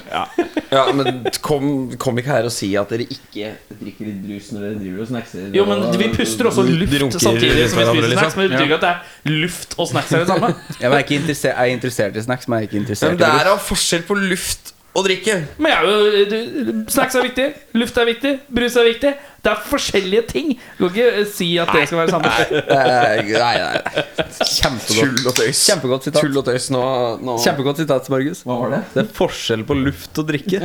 [SPEAKER 7] Ja, men kom, kom ikke her og si at dere ikke drikker litt brus når dere driver og snackser.
[SPEAKER 3] Jo, men vi puster også luft
[SPEAKER 7] Drunker
[SPEAKER 3] samtidig som vi
[SPEAKER 7] hverandre,
[SPEAKER 3] spiser
[SPEAKER 7] liksom.
[SPEAKER 3] snacks. Men det betyr ikke at det er luft og snacks er det samme.
[SPEAKER 8] Jeg er, ikke interessert, jeg er interessert i snacks, men jeg er ikke interessert i
[SPEAKER 7] Men det er
[SPEAKER 8] brus.
[SPEAKER 7] av forskjell på luft og drikke.
[SPEAKER 3] Men jeg er jo, du, snacks er viktig, luft er viktig, brus er viktig. Det er forskjellige ting. Du kan ikke eh, si at det skal være samme.
[SPEAKER 7] Eh, Nei, nei, nei.
[SPEAKER 8] Kjempegodt,
[SPEAKER 7] Tull og tøys.
[SPEAKER 8] kjempegodt sitat.
[SPEAKER 7] Tull og tøys nå. nå.
[SPEAKER 8] Kjempegodt sitat, Markus. Hva var det? Det er forskjell på luft og drikke.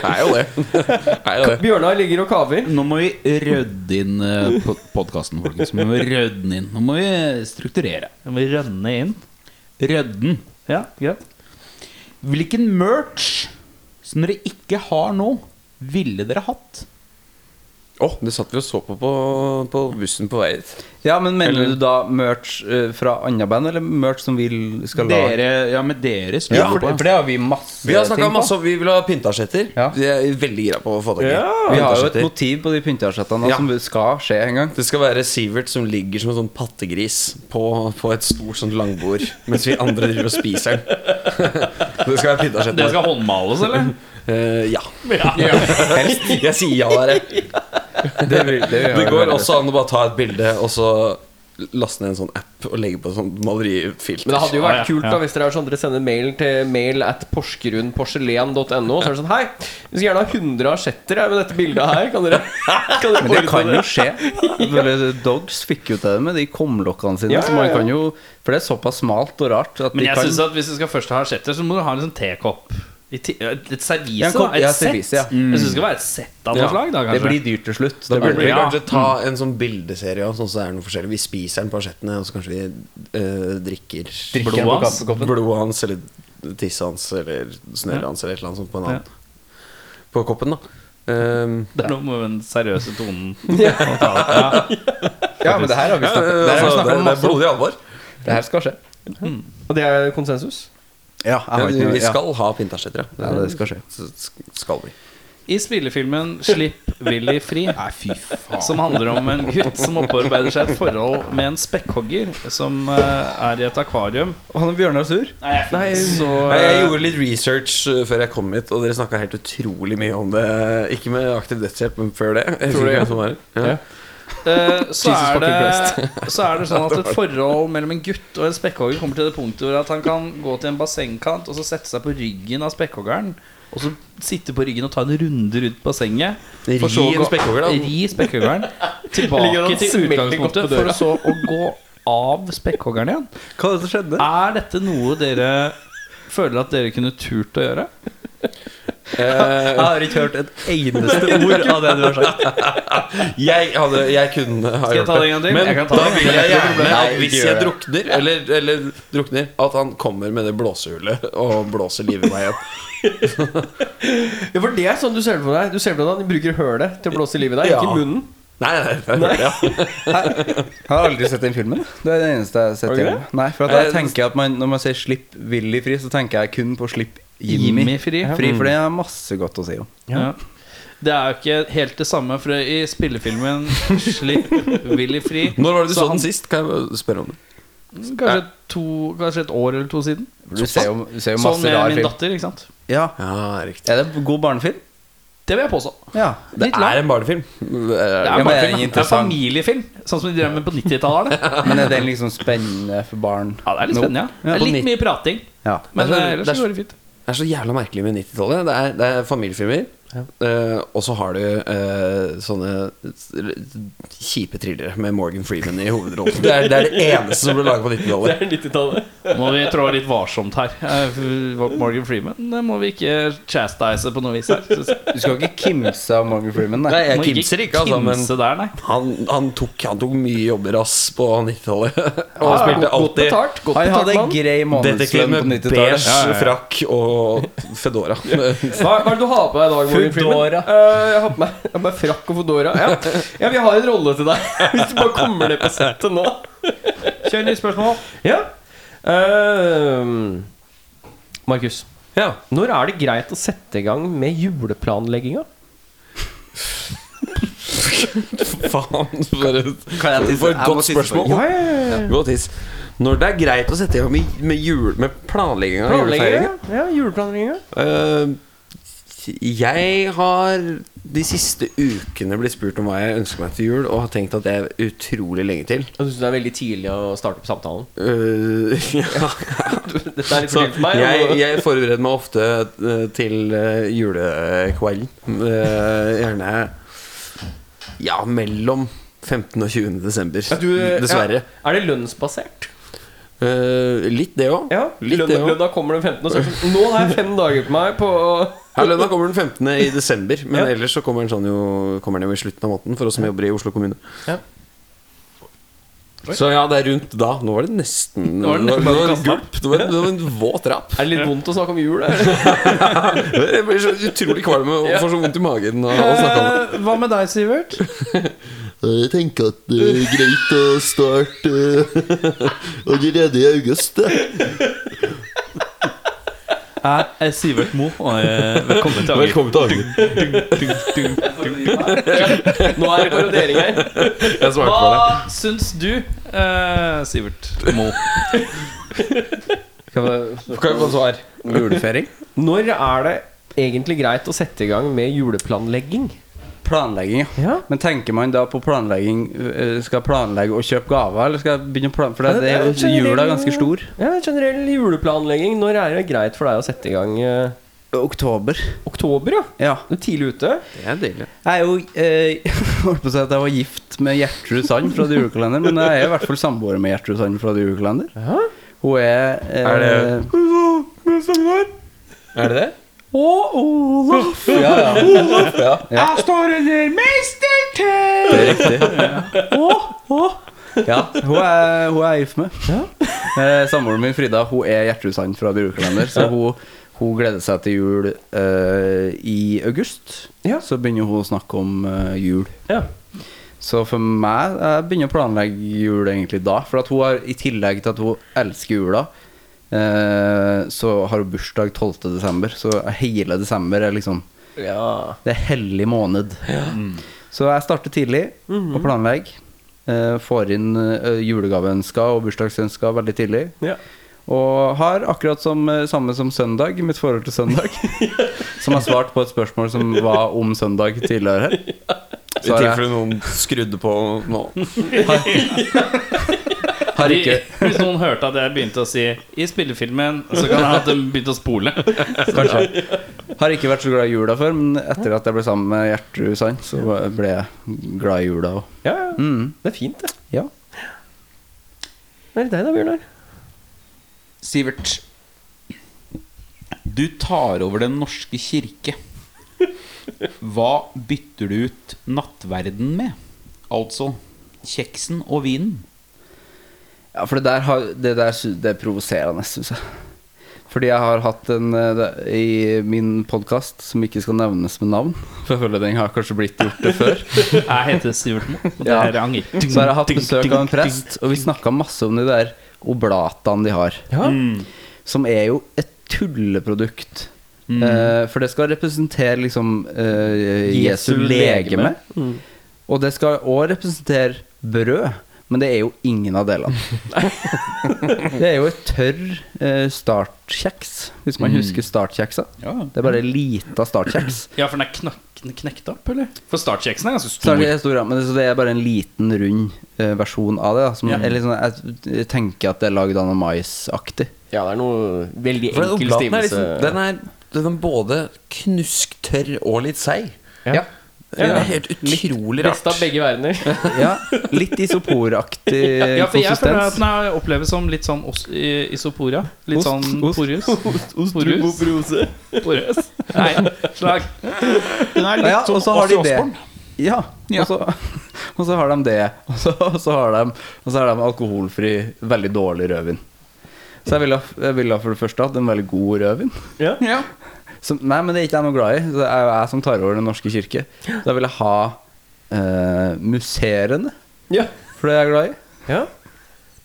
[SPEAKER 7] Er jo [LAUGHS] det. Er jo det.
[SPEAKER 1] Bjørnar ligger og kaver.
[SPEAKER 4] Nå må vi rydde inn podkasten, folkens. Nå må vi rydde den inn. Nå må vi strukturere.
[SPEAKER 3] Jeg må rønne inn.
[SPEAKER 4] Rydde den.
[SPEAKER 3] Ja, greit.
[SPEAKER 4] Hvilken merch som dere ikke har nå, ville dere hatt?
[SPEAKER 7] Åh, det satt vi og så på på, på bussen på vei hit.
[SPEAKER 4] Ja, men mener du da merch eh, fra andre band, eller merch som vi l- skal lage?
[SPEAKER 13] Dere, ja, med dere spiller
[SPEAKER 4] Ja, for,
[SPEAKER 13] på.
[SPEAKER 4] for det har vi masse
[SPEAKER 7] Vi har
[SPEAKER 4] ting
[SPEAKER 7] snakka
[SPEAKER 4] på.
[SPEAKER 7] masse om Vi vil ha pyntasjetter.
[SPEAKER 4] Ja.
[SPEAKER 7] Vi er veldig gira på å få tak
[SPEAKER 4] Vi
[SPEAKER 7] i.
[SPEAKER 4] har jo et
[SPEAKER 7] pyntasjetter.
[SPEAKER 4] motiv på de pynteasjettene
[SPEAKER 7] Ja.
[SPEAKER 4] som skal skje en gang.
[SPEAKER 7] Det skal være Sivert som ligger som en sånn pattegris på, på et stort sånt langbord, mens vi andre driver og spiser den. [LAUGHS] Det skal være pyntasjetter.
[SPEAKER 2] Det skal håndmales, eller?
[SPEAKER 7] Eh, ja. [LAUGHS] Helst. Jeg sier ja, dere.
[SPEAKER 4] Det, vil, det, vil
[SPEAKER 7] Det
[SPEAKER 4] jeg
[SPEAKER 7] går
[SPEAKER 4] gjøre.
[SPEAKER 7] også an å bare ta et bilde og så laste ned en sånn app og legge på sånn malerifilter.
[SPEAKER 1] Men det hadde jo
[SPEAKER 2] Ja, ja,
[SPEAKER 1] vært kult
[SPEAKER 2] ja.
[SPEAKER 1] da hvis dere er sånn dere sender mail til mail at porselen.no. Så er det sånn Hei, vi skal gjerne ha 100 asjetter her med dette bildet her. Kan dere, kan dere
[SPEAKER 4] Men det
[SPEAKER 1] ordne
[SPEAKER 4] kan jo skje. Vel, Dogs fikk jo til det med de kumlokkene sine.
[SPEAKER 1] Ja,
[SPEAKER 4] Så man
[SPEAKER 1] ja, ja.
[SPEAKER 4] kan jo, for det er såpass smalt og rart at
[SPEAKER 2] Men
[SPEAKER 4] de
[SPEAKER 2] jeg
[SPEAKER 4] kan
[SPEAKER 2] synes at hvis du skal først ha asjetter, så må du ha en sånn tekopp. I ti- Et et servise,
[SPEAKER 4] Ja, en kopp-
[SPEAKER 2] da. Et
[SPEAKER 4] ja,
[SPEAKER 2] sett.
[SPEAKER 4] servise, ja.
[SPEAKER 2] Jeg
[SPEAKER 3] Mm.
[SPEAKER 2] synes det skal være et sett av noe slag, da,
[SPEAKER 4] Det
[SPEAKER 2] kanskje.
[SPEAKER 4] blir dyrt til slutt.
[SPEAKER 7] Da
[SPEAKER 4] Det
[SPEAKER 7] burde
[SPEAKER 4] blir,
[SPEAKER 7] vi
[SPEAKER 2] Ja.
[SPEAKER 7] kanskje ta en sånn bildeserie og sånn så er det noe forskjellig. Vi spiser den på asjettene, og så kanskje vi eh, drikker
[SPEAKER 2] Drikker Blodet på hans?
[SPEAKER 7] blodet Blodet hans, eller tisset hans, eller snørret hans, eller et eller annet sånt på en annen. På koppen, da. Ehm,
[SPEAKER 2] Det er noe med den seriøse tonen.
[SPEAKER 4] ja, men det her har vi snakket det her har vi
[SPEAKER 7] altså, det,
[SPEAKER 4] snakket om
[SPEAKER 7] det er
[SPEAKER 4] masse.
[SPEAKER 7] blodig alvor.
[SPEAKER 4] Det her skal skje.
[SPEAKER 1] Og det er konsensus?
[SPEAKER 4] Ja, jeg har ikke
[SPEAKER 7] Men
[SPEAKER 4] noe-
[SPEAKER 7] vi
[SPEAKER 4] ja.
[SPEAKER 7] skal ha pyntasjetter, ja.
[SPEAKER 4] Ja, det skal skje.
[SPEAKER 7] Så sk- skal vi.
[SPEAKER 2] I spillefilmen 'Slipp Willy fri', som handler om en gutt som opparbeider seg et forhold med en spekkhogger som eh, er i et akvarium.
[SPEAKER 4] Han Bjørnar Sur?
[SPEAKER 2] Nei, så
[SPEAKER 7] Nei,
[SPEAKER 2] eh,
[SPEAKER 7] Jeg gjorde litt research uh, før jeg kom hit, og dere snakka helt utrolig mye om det. Ikke med aktiv dødshjelp, men før det. Jeg husker ikke hvem som var det. Ja.
[SPEAKER 2] Eh, så, er det, [LAUGHS] så er det sånn at et forhold mellom en gutt og en spekkhogger kommer til det punktet hvor at han kan gå til en bassengkant og så sette seg på ryggen av spekkhoggeren. Og så sitte på ryggen og ta en runde rundt bassenget. for så å
[SPEAKER 7] Ri en
[SPEAKER 2] gå-
[SPEAKER 7] spekkhogger, da.
[SPEAKER 2] Ri spekkhoggeren
[SPEAKER 1] ligger
[SPEAKER 2] tilbake
[SPEAKER 1] og
[SPEAKER 2] til
[SPEAKER 1] smeller godt på
[SPEAKER 2] utgangspunktet,
[SPEAKER 1] døra.
[SPEAKER 2] for å så å gå av spekkhoggeren igjen.
[SPEAKER 4] Hva er det som skjedde?
[SPEAKER 2] Er dette noe dere føler at dere kunne turt å gjøre?
[SPEAKER 4] [LAUGHS]
[SPEAKER 7] Eh,
[SPEAKER 4] Jeg har ikke hørt et eneste ord av det du har sagt.
[SPEAKER 7] [LAUGHS] Jeg, hadde, jeg kunne ha
[SPEAKER 2] Skal jeg
[SPEAKER 7] gjort
[SPEAKER 2] ta det en gang til?
[SPEAKER 7] Men
[SPEAKER 2] Jeg kan ta
[SPEAKER 7] da
[SPEAKER 2] det.
[SPEAKER 7] vil jeg gjerne
[SPEAKER 4] Nei,
[SPEAKER 7] at
[SPEAKER 4] ikke
[SPEAKER 7] hvis
[SPEAKER 4] gjør
[SPEAKER 7] jeg
[SPEAKER 4] det.
[SPEAKER 7] drukner, eller, eller drukner, at han kommer med det blåsehullet og blåser livet i meg opp.
[SPEAKER 1] [LAUGHS] Ja, for det er sånn du ser det for deg. Du ser det for deg at de bruker hølet til å blåse i livet i deg,
[SPEAKER 7] Ja.
[SPEAKER 1] ikke munnen.
[SPEAKER 7] Nei, nei, nei, nei. Ja.
[SPEAKER 4] Jeg har aldri sett den filmen. Det er det eneste jeg har sett.
[SPEAKER 1] Har du
[SPEAKER 4] i
[SPEAKER 1] ikke
[SPEAKER 4] den. Nei, for at jeg tenker at man, Når man sier 'slipp Willy fri', så tenker jeg kun på 'slipp Jimmy,
[SPEAKER 2] Jimmy fri.
[SPEAKER 4] fri'. For det er masse godt å si om.
[SPEAKER 2] Ja. Det er jo ikke helt det samme, for i spillefilmen 'Slipp Willy fri'
[SPEAKER 7] Når var det du så,
[SPEAKER 2] han-
[SPEAKER 7] den sist? Kan jeg bare spørre om det?
[SPEAKER 2] Kanskje, to, kanskje et år eller to siden.
[SPEAKER 4] Du ser jo, du ser jo
[SPEAKER 2] Sånn
[SPEAKER 4] masse
[SPEAKER 2] med
[SPEAKER 4] rar
[SPEAKER 2] min
[SPEAKER 4] film.
[SPEAKER 2] datter, ikke sant.
[SPEAKER 4] Ja.
[SPEAKER 7] Ja, riktig.
[SPEAKER 4] Er det god barnefilm?
[SPEAKER 2] Det vil jeg påstå.
[SPEAKER 4] Ja.
[SPEAKER 7] Det
[SPEAKER 2] Litt lang.
[SPEAKER 7] er en barnefilm. Det er-
[SPEAKER 4] Ja, men
[SPEAKER 2] bare
[SPEAKER 4] er
[SPEAKER 2] film.
[SPEAKER 4] den
[SPEAKER 2] det er
[SPEAKER 4] interessant?
[SPEAKER 2] familiefilm, sånn som de drev med på 90-tallet. er det.
[SPEAKER 4] Men er den liksom spennende for barn?
[SPEAKER 2] Ja, det er litt
[SPEAKER 4] Nå?
[SPEAKER 2] spennende, ja. Det er
[SPEAKER 7] på
[SPEAKER 2] litt
[SPEAKER 7] nitt-
[SPEAKER 2] mye prating,
[SPEAKER 4] Ja.
[SPEAKER 2] men
[SPEAKER 7] Det er så-
[SPEAKER 2] eh, ellers
[SPEAKER 7] det er
[SPEAKER 2] så går det fint.
[SPEAKER 7] Det er så jævla merkelig med 90-tallet. Det, er- det er familiefilmer, eh, og så har du eh, sånne kjipe thrillere med Morgan Freeman i hovedrollen. Det er det, er det eneste som ble laget på 90-tallet.
[SPEAKER 1] 90-tallet.
[SPEAKER 2] Må vi trå litt varsomt her. Eh, Morgan Freeman det må vi ikke chastise på noe vis her. synes jeg.
[SPEAKER 4] Du skal ikke kimse av Morgan Freeman, nei.
[SPEAKER 7] Nei, jeg
[SPEAKER 2] Må
[SPEAKER 7] kimser ikke, altså, men
[SPEAKER 2] kimse der, nei.
[SPEAKER 7] han, han, tok, han tok mye jobber, ass, på [LAUGHS] 90-tallet. Og han
[SPEAKER 1] Godt
[SPEAKER 7] spilte alltid
[SPEAKER 1] betalt. Godt
[SPEAKER 4] Han hadde
[SPEAKER 1] betalt
[SPEAKER 4] en
[SPEAKER 1] mann.
[SPEAKER 4] grei
[SPEAKER 7] detektiv
[SPEAKER 4] månedslønn på
[SPEAKER 7] med
[SPEAKER 4] 90-tallet.
[SPEAKER 7] beige
[SPEAKER 4] [LAUGHS]
[SPEAKER 7] frakk og fedora. [LAUGHS]
[SPEAKER 1] Hva, hva er det du har på deg i dag, Morgan Freeman?
[SPEAKER 4] Foodora.
[SPEAKER 1] Eh, jeg har på meg, jeg har på meg frakk og fodora. Ja. ja, vi har en rolle til deg, [LAUGHS] hvis du bare kommer ned på settet nå.
[SPEAKER 2] Kjør nytt spørsmål.
[SPEAKER 1] Ja. Ehm, Markus,
[SPEAKER 7] Ja.
[SPEAKER 1] når er det greit å sette i gang med juleplanlegginga?
[SPEAKER 7] Faen, for et,
[SPEAKER 4] Kan jeg tisse?
[SPEAKER 7] for et
[SPEAKER 4] Jeg må
[SPEAKER 7] godt
[SPEAKER 4] tisse
[SPEAKER 7] spørsmål. Gå og tiss. Når det er greit å sette i gang med, med, jul- med planlegging av julefeiringa
[SPEAKER 1] Planlegginga? Ja, juleplanlegginga.
[SPEAKER 7] Eh, jeg har de siste ukene blitt spurt om hva jeg ønsker meg til jul, og har tenkt at det er utrolig lenge til.
[SPEAKER 1] Jeg syns det er veldig tidlig å starte opp samtalen.
[SPEAKER 7] Eh, [LAUGHS] ja.
[SPEAKER 1] Dette er litt for
[SPEAKER 7] Så
[SPEAKER 1] tidlig for meg.
[SPEAKER 7] jeg,
[SPEAKER 1] og-
[SPEAKER 7] jeg forbereder meg ofte eh, til eh, julekvelden. Eh, gjerne ja, mellom 15. og 20. desember.
[SPEAKER 1] Ja, du, eh,
[SPEAKER 7] Dessverre.
[SPEAKER 1] ja. Er det lønnsbasert?
[SPEAKER 7] Eh, litt det òg.
[SPEAKER 1] Ja.
[SPEAKER 7] Litt
[SPEAKER 1] Lønna,
[SPEAKER 7] det også.
[SPEAKER 1] lønna kommer den 15. og så er det sånn, Nå har jeg fem dager på meg på å-
[SPEAKER 7] Ja, lønna kommer den 15. i desember, men
[SPEAKER 1] Ja.
[SPEAKER 7] ellers så kommer den, sånn jo, kommer den jo i slutten av måneden for oss som jobber i Oslo kommune.
[SPEAKER 1] Ja.
[SPEAKER 8] Så ja, det er rundt da. Nå var det nesten Det var, det var en gulp. Det var, det var en våt rap.
[SPEAKER 1] Er det litt vondt å snakke om jul, eller?
[SPEAKER 8] [LAUGHS] Jeg blir så utrolig kvalm og får så vondt i magen av å snakke om det.
[SPEAKER 2] Eh, hva med deg, Sivert?
[SPEAKER 14] [LAUGHS] Jeg tenker at det er greit å starte [LAUGHS] allerede i august. eh.
[SPEAKER 15] Jeg er Sivert Mo, og eh, velkommen til Anger.
[SPEAKER 8] [LAUGHS] Velkommen til Agder.
[SPEAKER 1] Nå er det parodiering
[SPEAKER 2] [LAUGHS]
[SPEAKER 1] her.
[SPEAKER 8] Jeg svarte på det.
[SPEAKER 2] Hva syns du, eh, Sivert Mo?
[SPEAKER 8] Kan jeg få svar?
[SPEAKER 7] Julefeiring?
[SPEAKER 1] Når er det egentlig greit å sette i gang med juleplanlegging?
[SPEAKER 7] Planlegging,
[SPEAKER 1] Ja.
[SPEAKER 7] Men tenker man da på planlegging eh, Skal jeg planlegge og kjøpe gaver, eller skal jeg begynne å planlegge For det, det, er jo- jula er ganske stor.
[SPEAKER 1] Ja, generell juleplanlegging. Når er det greit for deg å sette i gang eh,
[SPEAKER 7] Oktober.
[SPEAKER 1] oktober, ja?
[SPEAKER 7] Ja.
[SPEAKER 1] Du er tidlig ute.
[SPEAKER 8] Det er deilig.
[SPEAKER 7] Jeg er jo eh, [LAUGHS] holdt på å si at jeg var gift med Gjertrud Sand fra The Julekalender, men jeg er i hvert fall samboer med Gjertrud Sand fra The Julekalender. Hun er eh, Er det
[SPEAKER 8] Er det det?
[SPEAKER 7] Ja, ja.
[SPEAKER 16] Jeg står under mestertøy!
[SPEAKER 7] Det er riktig. Ja, hun er, hun er gift med. Eh, Samboeren min Frida hun er Gjertrud Sand fra The Julekalender, så hun, hun gleder seg til jul eh, i august.
[SPEAKER 1] Ja.
[SPEAKER 7] Så begynner hun å snakke om eh, jul.
[SPEAKER 1] Ja.
[SPEAKER 7] Så for meg Jeg begynner å planlegge jul egentlig da. For at hun har, i tillegg til at hun elsker jula, eh, så har hun bursdag 12. desember. Så hele desember er liksom Det er hellig måned.
[SPEAKER 8] Mm.
[SPEAKER 7] Så jeg starter tidlig og planlegger. Eh, får inn eh, julegaveønsker og bursdagsønsker veldig tidlig.
[SPEAKER 1] Ja.
[SPEAKER 7] Og har akkurat som, eh, samme som søndag, mitt forhold til søndag. som har svart på et spørsmål som var om søndag tidligere her.
[SPEAKER 8] I tilfelle noen skrudde på nå.
[SPEAKER 7] Har ikke
[SPEAKER 2] Hvis noen hørte at jeg begynte å si 'i spillefilmen', så kan jeg at de begynte å spole.
[SPEAKER 7] Kanskje. Har ikke vært så glad i jula før, men etter at jeg ble sammen med Gjertrud Sand, så ble jeg glad i jula òg.
[SPEAKER 1] Ja, ja.
[SPEAKER 7] Mm.
[SPEAKER 1] Det er fint, det.
[SPEAKER 7] Ja.
[SPEAKER 1] Det er deg da, Bjørnar.
[SPEAKER 4] Sivert, du tar over Den norske kirke. Hva bytter du ut nattverden med? Altså kjeksen og vinen.
[SPEAKER 7] ja, for det der, har, det der sy- det er provoserende, syns jeg. Fordi jeg har hatt en eh, det- i min podkast som ikke skal nevnes med navn. For jeg føler den har kanskje blitt gjort det før.
[SPEAKER 2] Jeg heter Sivert Mo, [LAUGHS] og det
[SPEAKER 7] Ja.
[SPEAKER 2] her er Anger.
[SPEAKER 7] Så har jeg hatt besøk av en prest, og vi snakka masse om de der oblatene de har. Som er jo et tulleprodukt. Eh, for det skal representere liksom eh, Jesu legeme. Og det skal òg representere brød, men det er jo ingen av delene. det er jo et tørr eh, startkjeks, hvis man husker startkjeksa. Det er bare lita startkjeks.
[SPEAKER 2] Ja, for den er knak- knekt opp, eller? For startkjeksen er ganske stor.
[SPEAKER 7] Startkjeks er stor, ja, men det, så det er bare en liten, rund eh, versjon av det. Da, som er litt sånn, jeg tenker at det er lagd av noe maisaktig.
[SPEAKER 1] Ja, det er noe veldig
[SPEAKER 8] For den
[SPEAKER 1] enkel
[SPEAKER 8] oblaten
[SPEAKER 1] stivelse.
[SPEAKER 8] er liksom Den er, den er både knusktørr og litt seig.
[SPEAKER 1] Ja.
[SPEAKER 8] Det er helt utrolig rart.
[SPEAKER 1] Beste av begge verdener.
[SPEAKER 7] [LAUGHS] Ja, litt isoporaktig
[SPEAKER 2] Ja, for jeg føler at
[SPEAKER 7] konsistens.
[SPEAKER 2] den er- oppleves som litt sånn os i- isopora. Litt
[SPEAKER 7] Ost,
[SPEAKER 2] sånn
[SPEAKER 7] ost.
[SPEAKER 2] porøs. Porøs. porøs. Nei, slag.
[SPEAKER 16] Den er
[SPEAKER 7] Ja, og så har de
[SPEAKER 16] Ozzy
[SPEAKER 7] det.
[SPEAKER 16] Osbourne.
[SPEAKER 7] Ja, og så, [LAUGHS] og så har de det. Og så, og så, har, de, og så har de alkoholfri, veldig dårlig rødvin. Så jeg ville, jeg ville for det første hatt en veldig god rødvin.
[SPEAKER 16] Ja.
[SPEAKER 7] Som, nei, men det er ikke jeg noe glad i. Det er jo jeg som tar over Den norske kirke. Så jeg ville ha eh, musserende,
[SPEAKER 1] Ja.
[SPEAKER 7] for det er jeg glad i.
[SPEAKER 1] ja.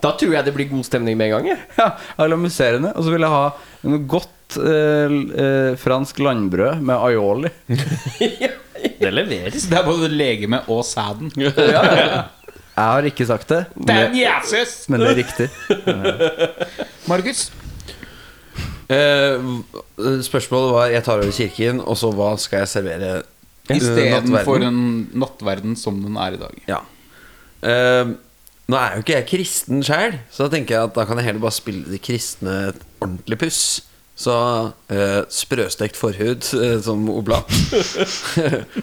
[SPEAKER 1] Da tror jeg det blir god stemning med en gang. Jeg.
[SPEAKER 7] Ja, jeg vil ha musserende, og så vil jeg ha noe godt eh, l- eh, fransk landbrød med aioli.
[SPEAKER 2] Det leveres.
[SPEAKER 4] Det er både legeme og sæden.
[SPEAKER 7] Jeg har ikke sagt det, men,
[SPEAKER 16] Damn Jesus!
[SPEAKER 7] men det er
[SPEAKER 1] [LAUGHS]
[SPEAKER 7] riktig.
[SPEAKER 4] Markus?
[SPEAKER 8] Eh, v- spørsmålet var Jeg tar over kirken, og så hva skal jeg servere? eh,
[SPEAKER 4] Istedenfor
[SPEAKER 8] nattverden?
[SPEAKER 4] en nattverden som den er i dag.
[SPEAKER 8] Ja. Eh, nå er jo ikke jeg kristen sjøl, så da tenker jeg at da kan jeg heller bare spille de kristne et ordentlig puss. Så eh, sprøstekt forhud [LAUGHS] eh, som oblat.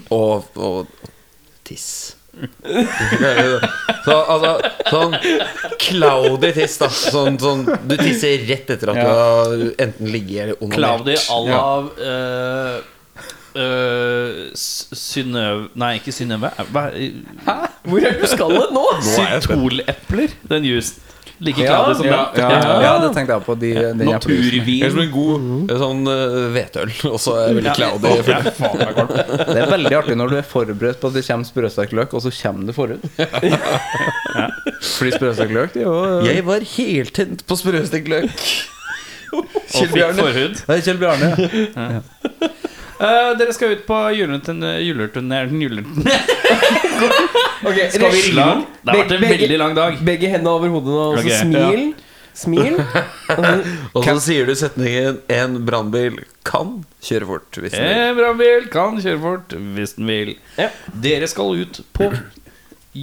[SPEAKER 8] og, og, og tiss. [LAUGHS] Så altså Sånn cloudy tiss, da. Sånn, sånn du tisser rett etter at du har enten ligget eller onanert.
[SPEAKER 2] Claudi à la eh, øh, S- Synnøve Nei, ikke Synnøve. Hva-
[SPEAKER 1] Hvor er du skal
[SPEAKER 2] [LAUGHS]
[SPEAKER 1] hen nå?
[SPEAKER 2] Sytolepler, den jusen. Like
[SPEAKER 8] Ja,
[SPEAKER 2] gladig som
[SPEAKER 8] ja,
[SPEAKER 2] den.
[SPEAKER 8] ja, ja, ja, det tenkte jeg på. De, den jeg pleier.
[SPEAKER 7] Det er som en god eh, sånn eh, hvetøl. Og så er jeg veldig cloudy. for-
[SPEAKER 8] det er veldig artig når du er forberedt på at det kommer sprøstekløk, og så kommer det forut. Fordi sprøstekløk det er jo
[SPEAKER 7] Jeg var heltent på sprøstekt løk.
[SPEAKER 2] Og fikk forhud.
[SPEAKER 8] Det er Kjell Bjarne.
[SPEAKER 2] Eh, dere skal ut på juleturneren [LAUGHS] Juleturneren
[SPEAKER 1] Okay,
[SPEAKER 2] Skal vi
[SPEAKER 1] rekke-
[SPEAKER 2] ringe noen? Det har vært en
[SPEAKER 1] Begge-
[SPEAKER 2] veldig lang dag.
[SPEAKER 1] Begge hendene over hodet nå, og så
[SPEAKER 2] Ok.
[SPEAKER 1] smil. Smil.
[SPEAKER 7] Og så sier du setningen 'En brannbil kan kjøre fort'. Hvis den vil.
[SPEAKER 2] En brannbil Eh, kan kjøre fort hvis den vil.
[SPEAKER 1] Ja.
[SPEAKER 2] Dere skal ut på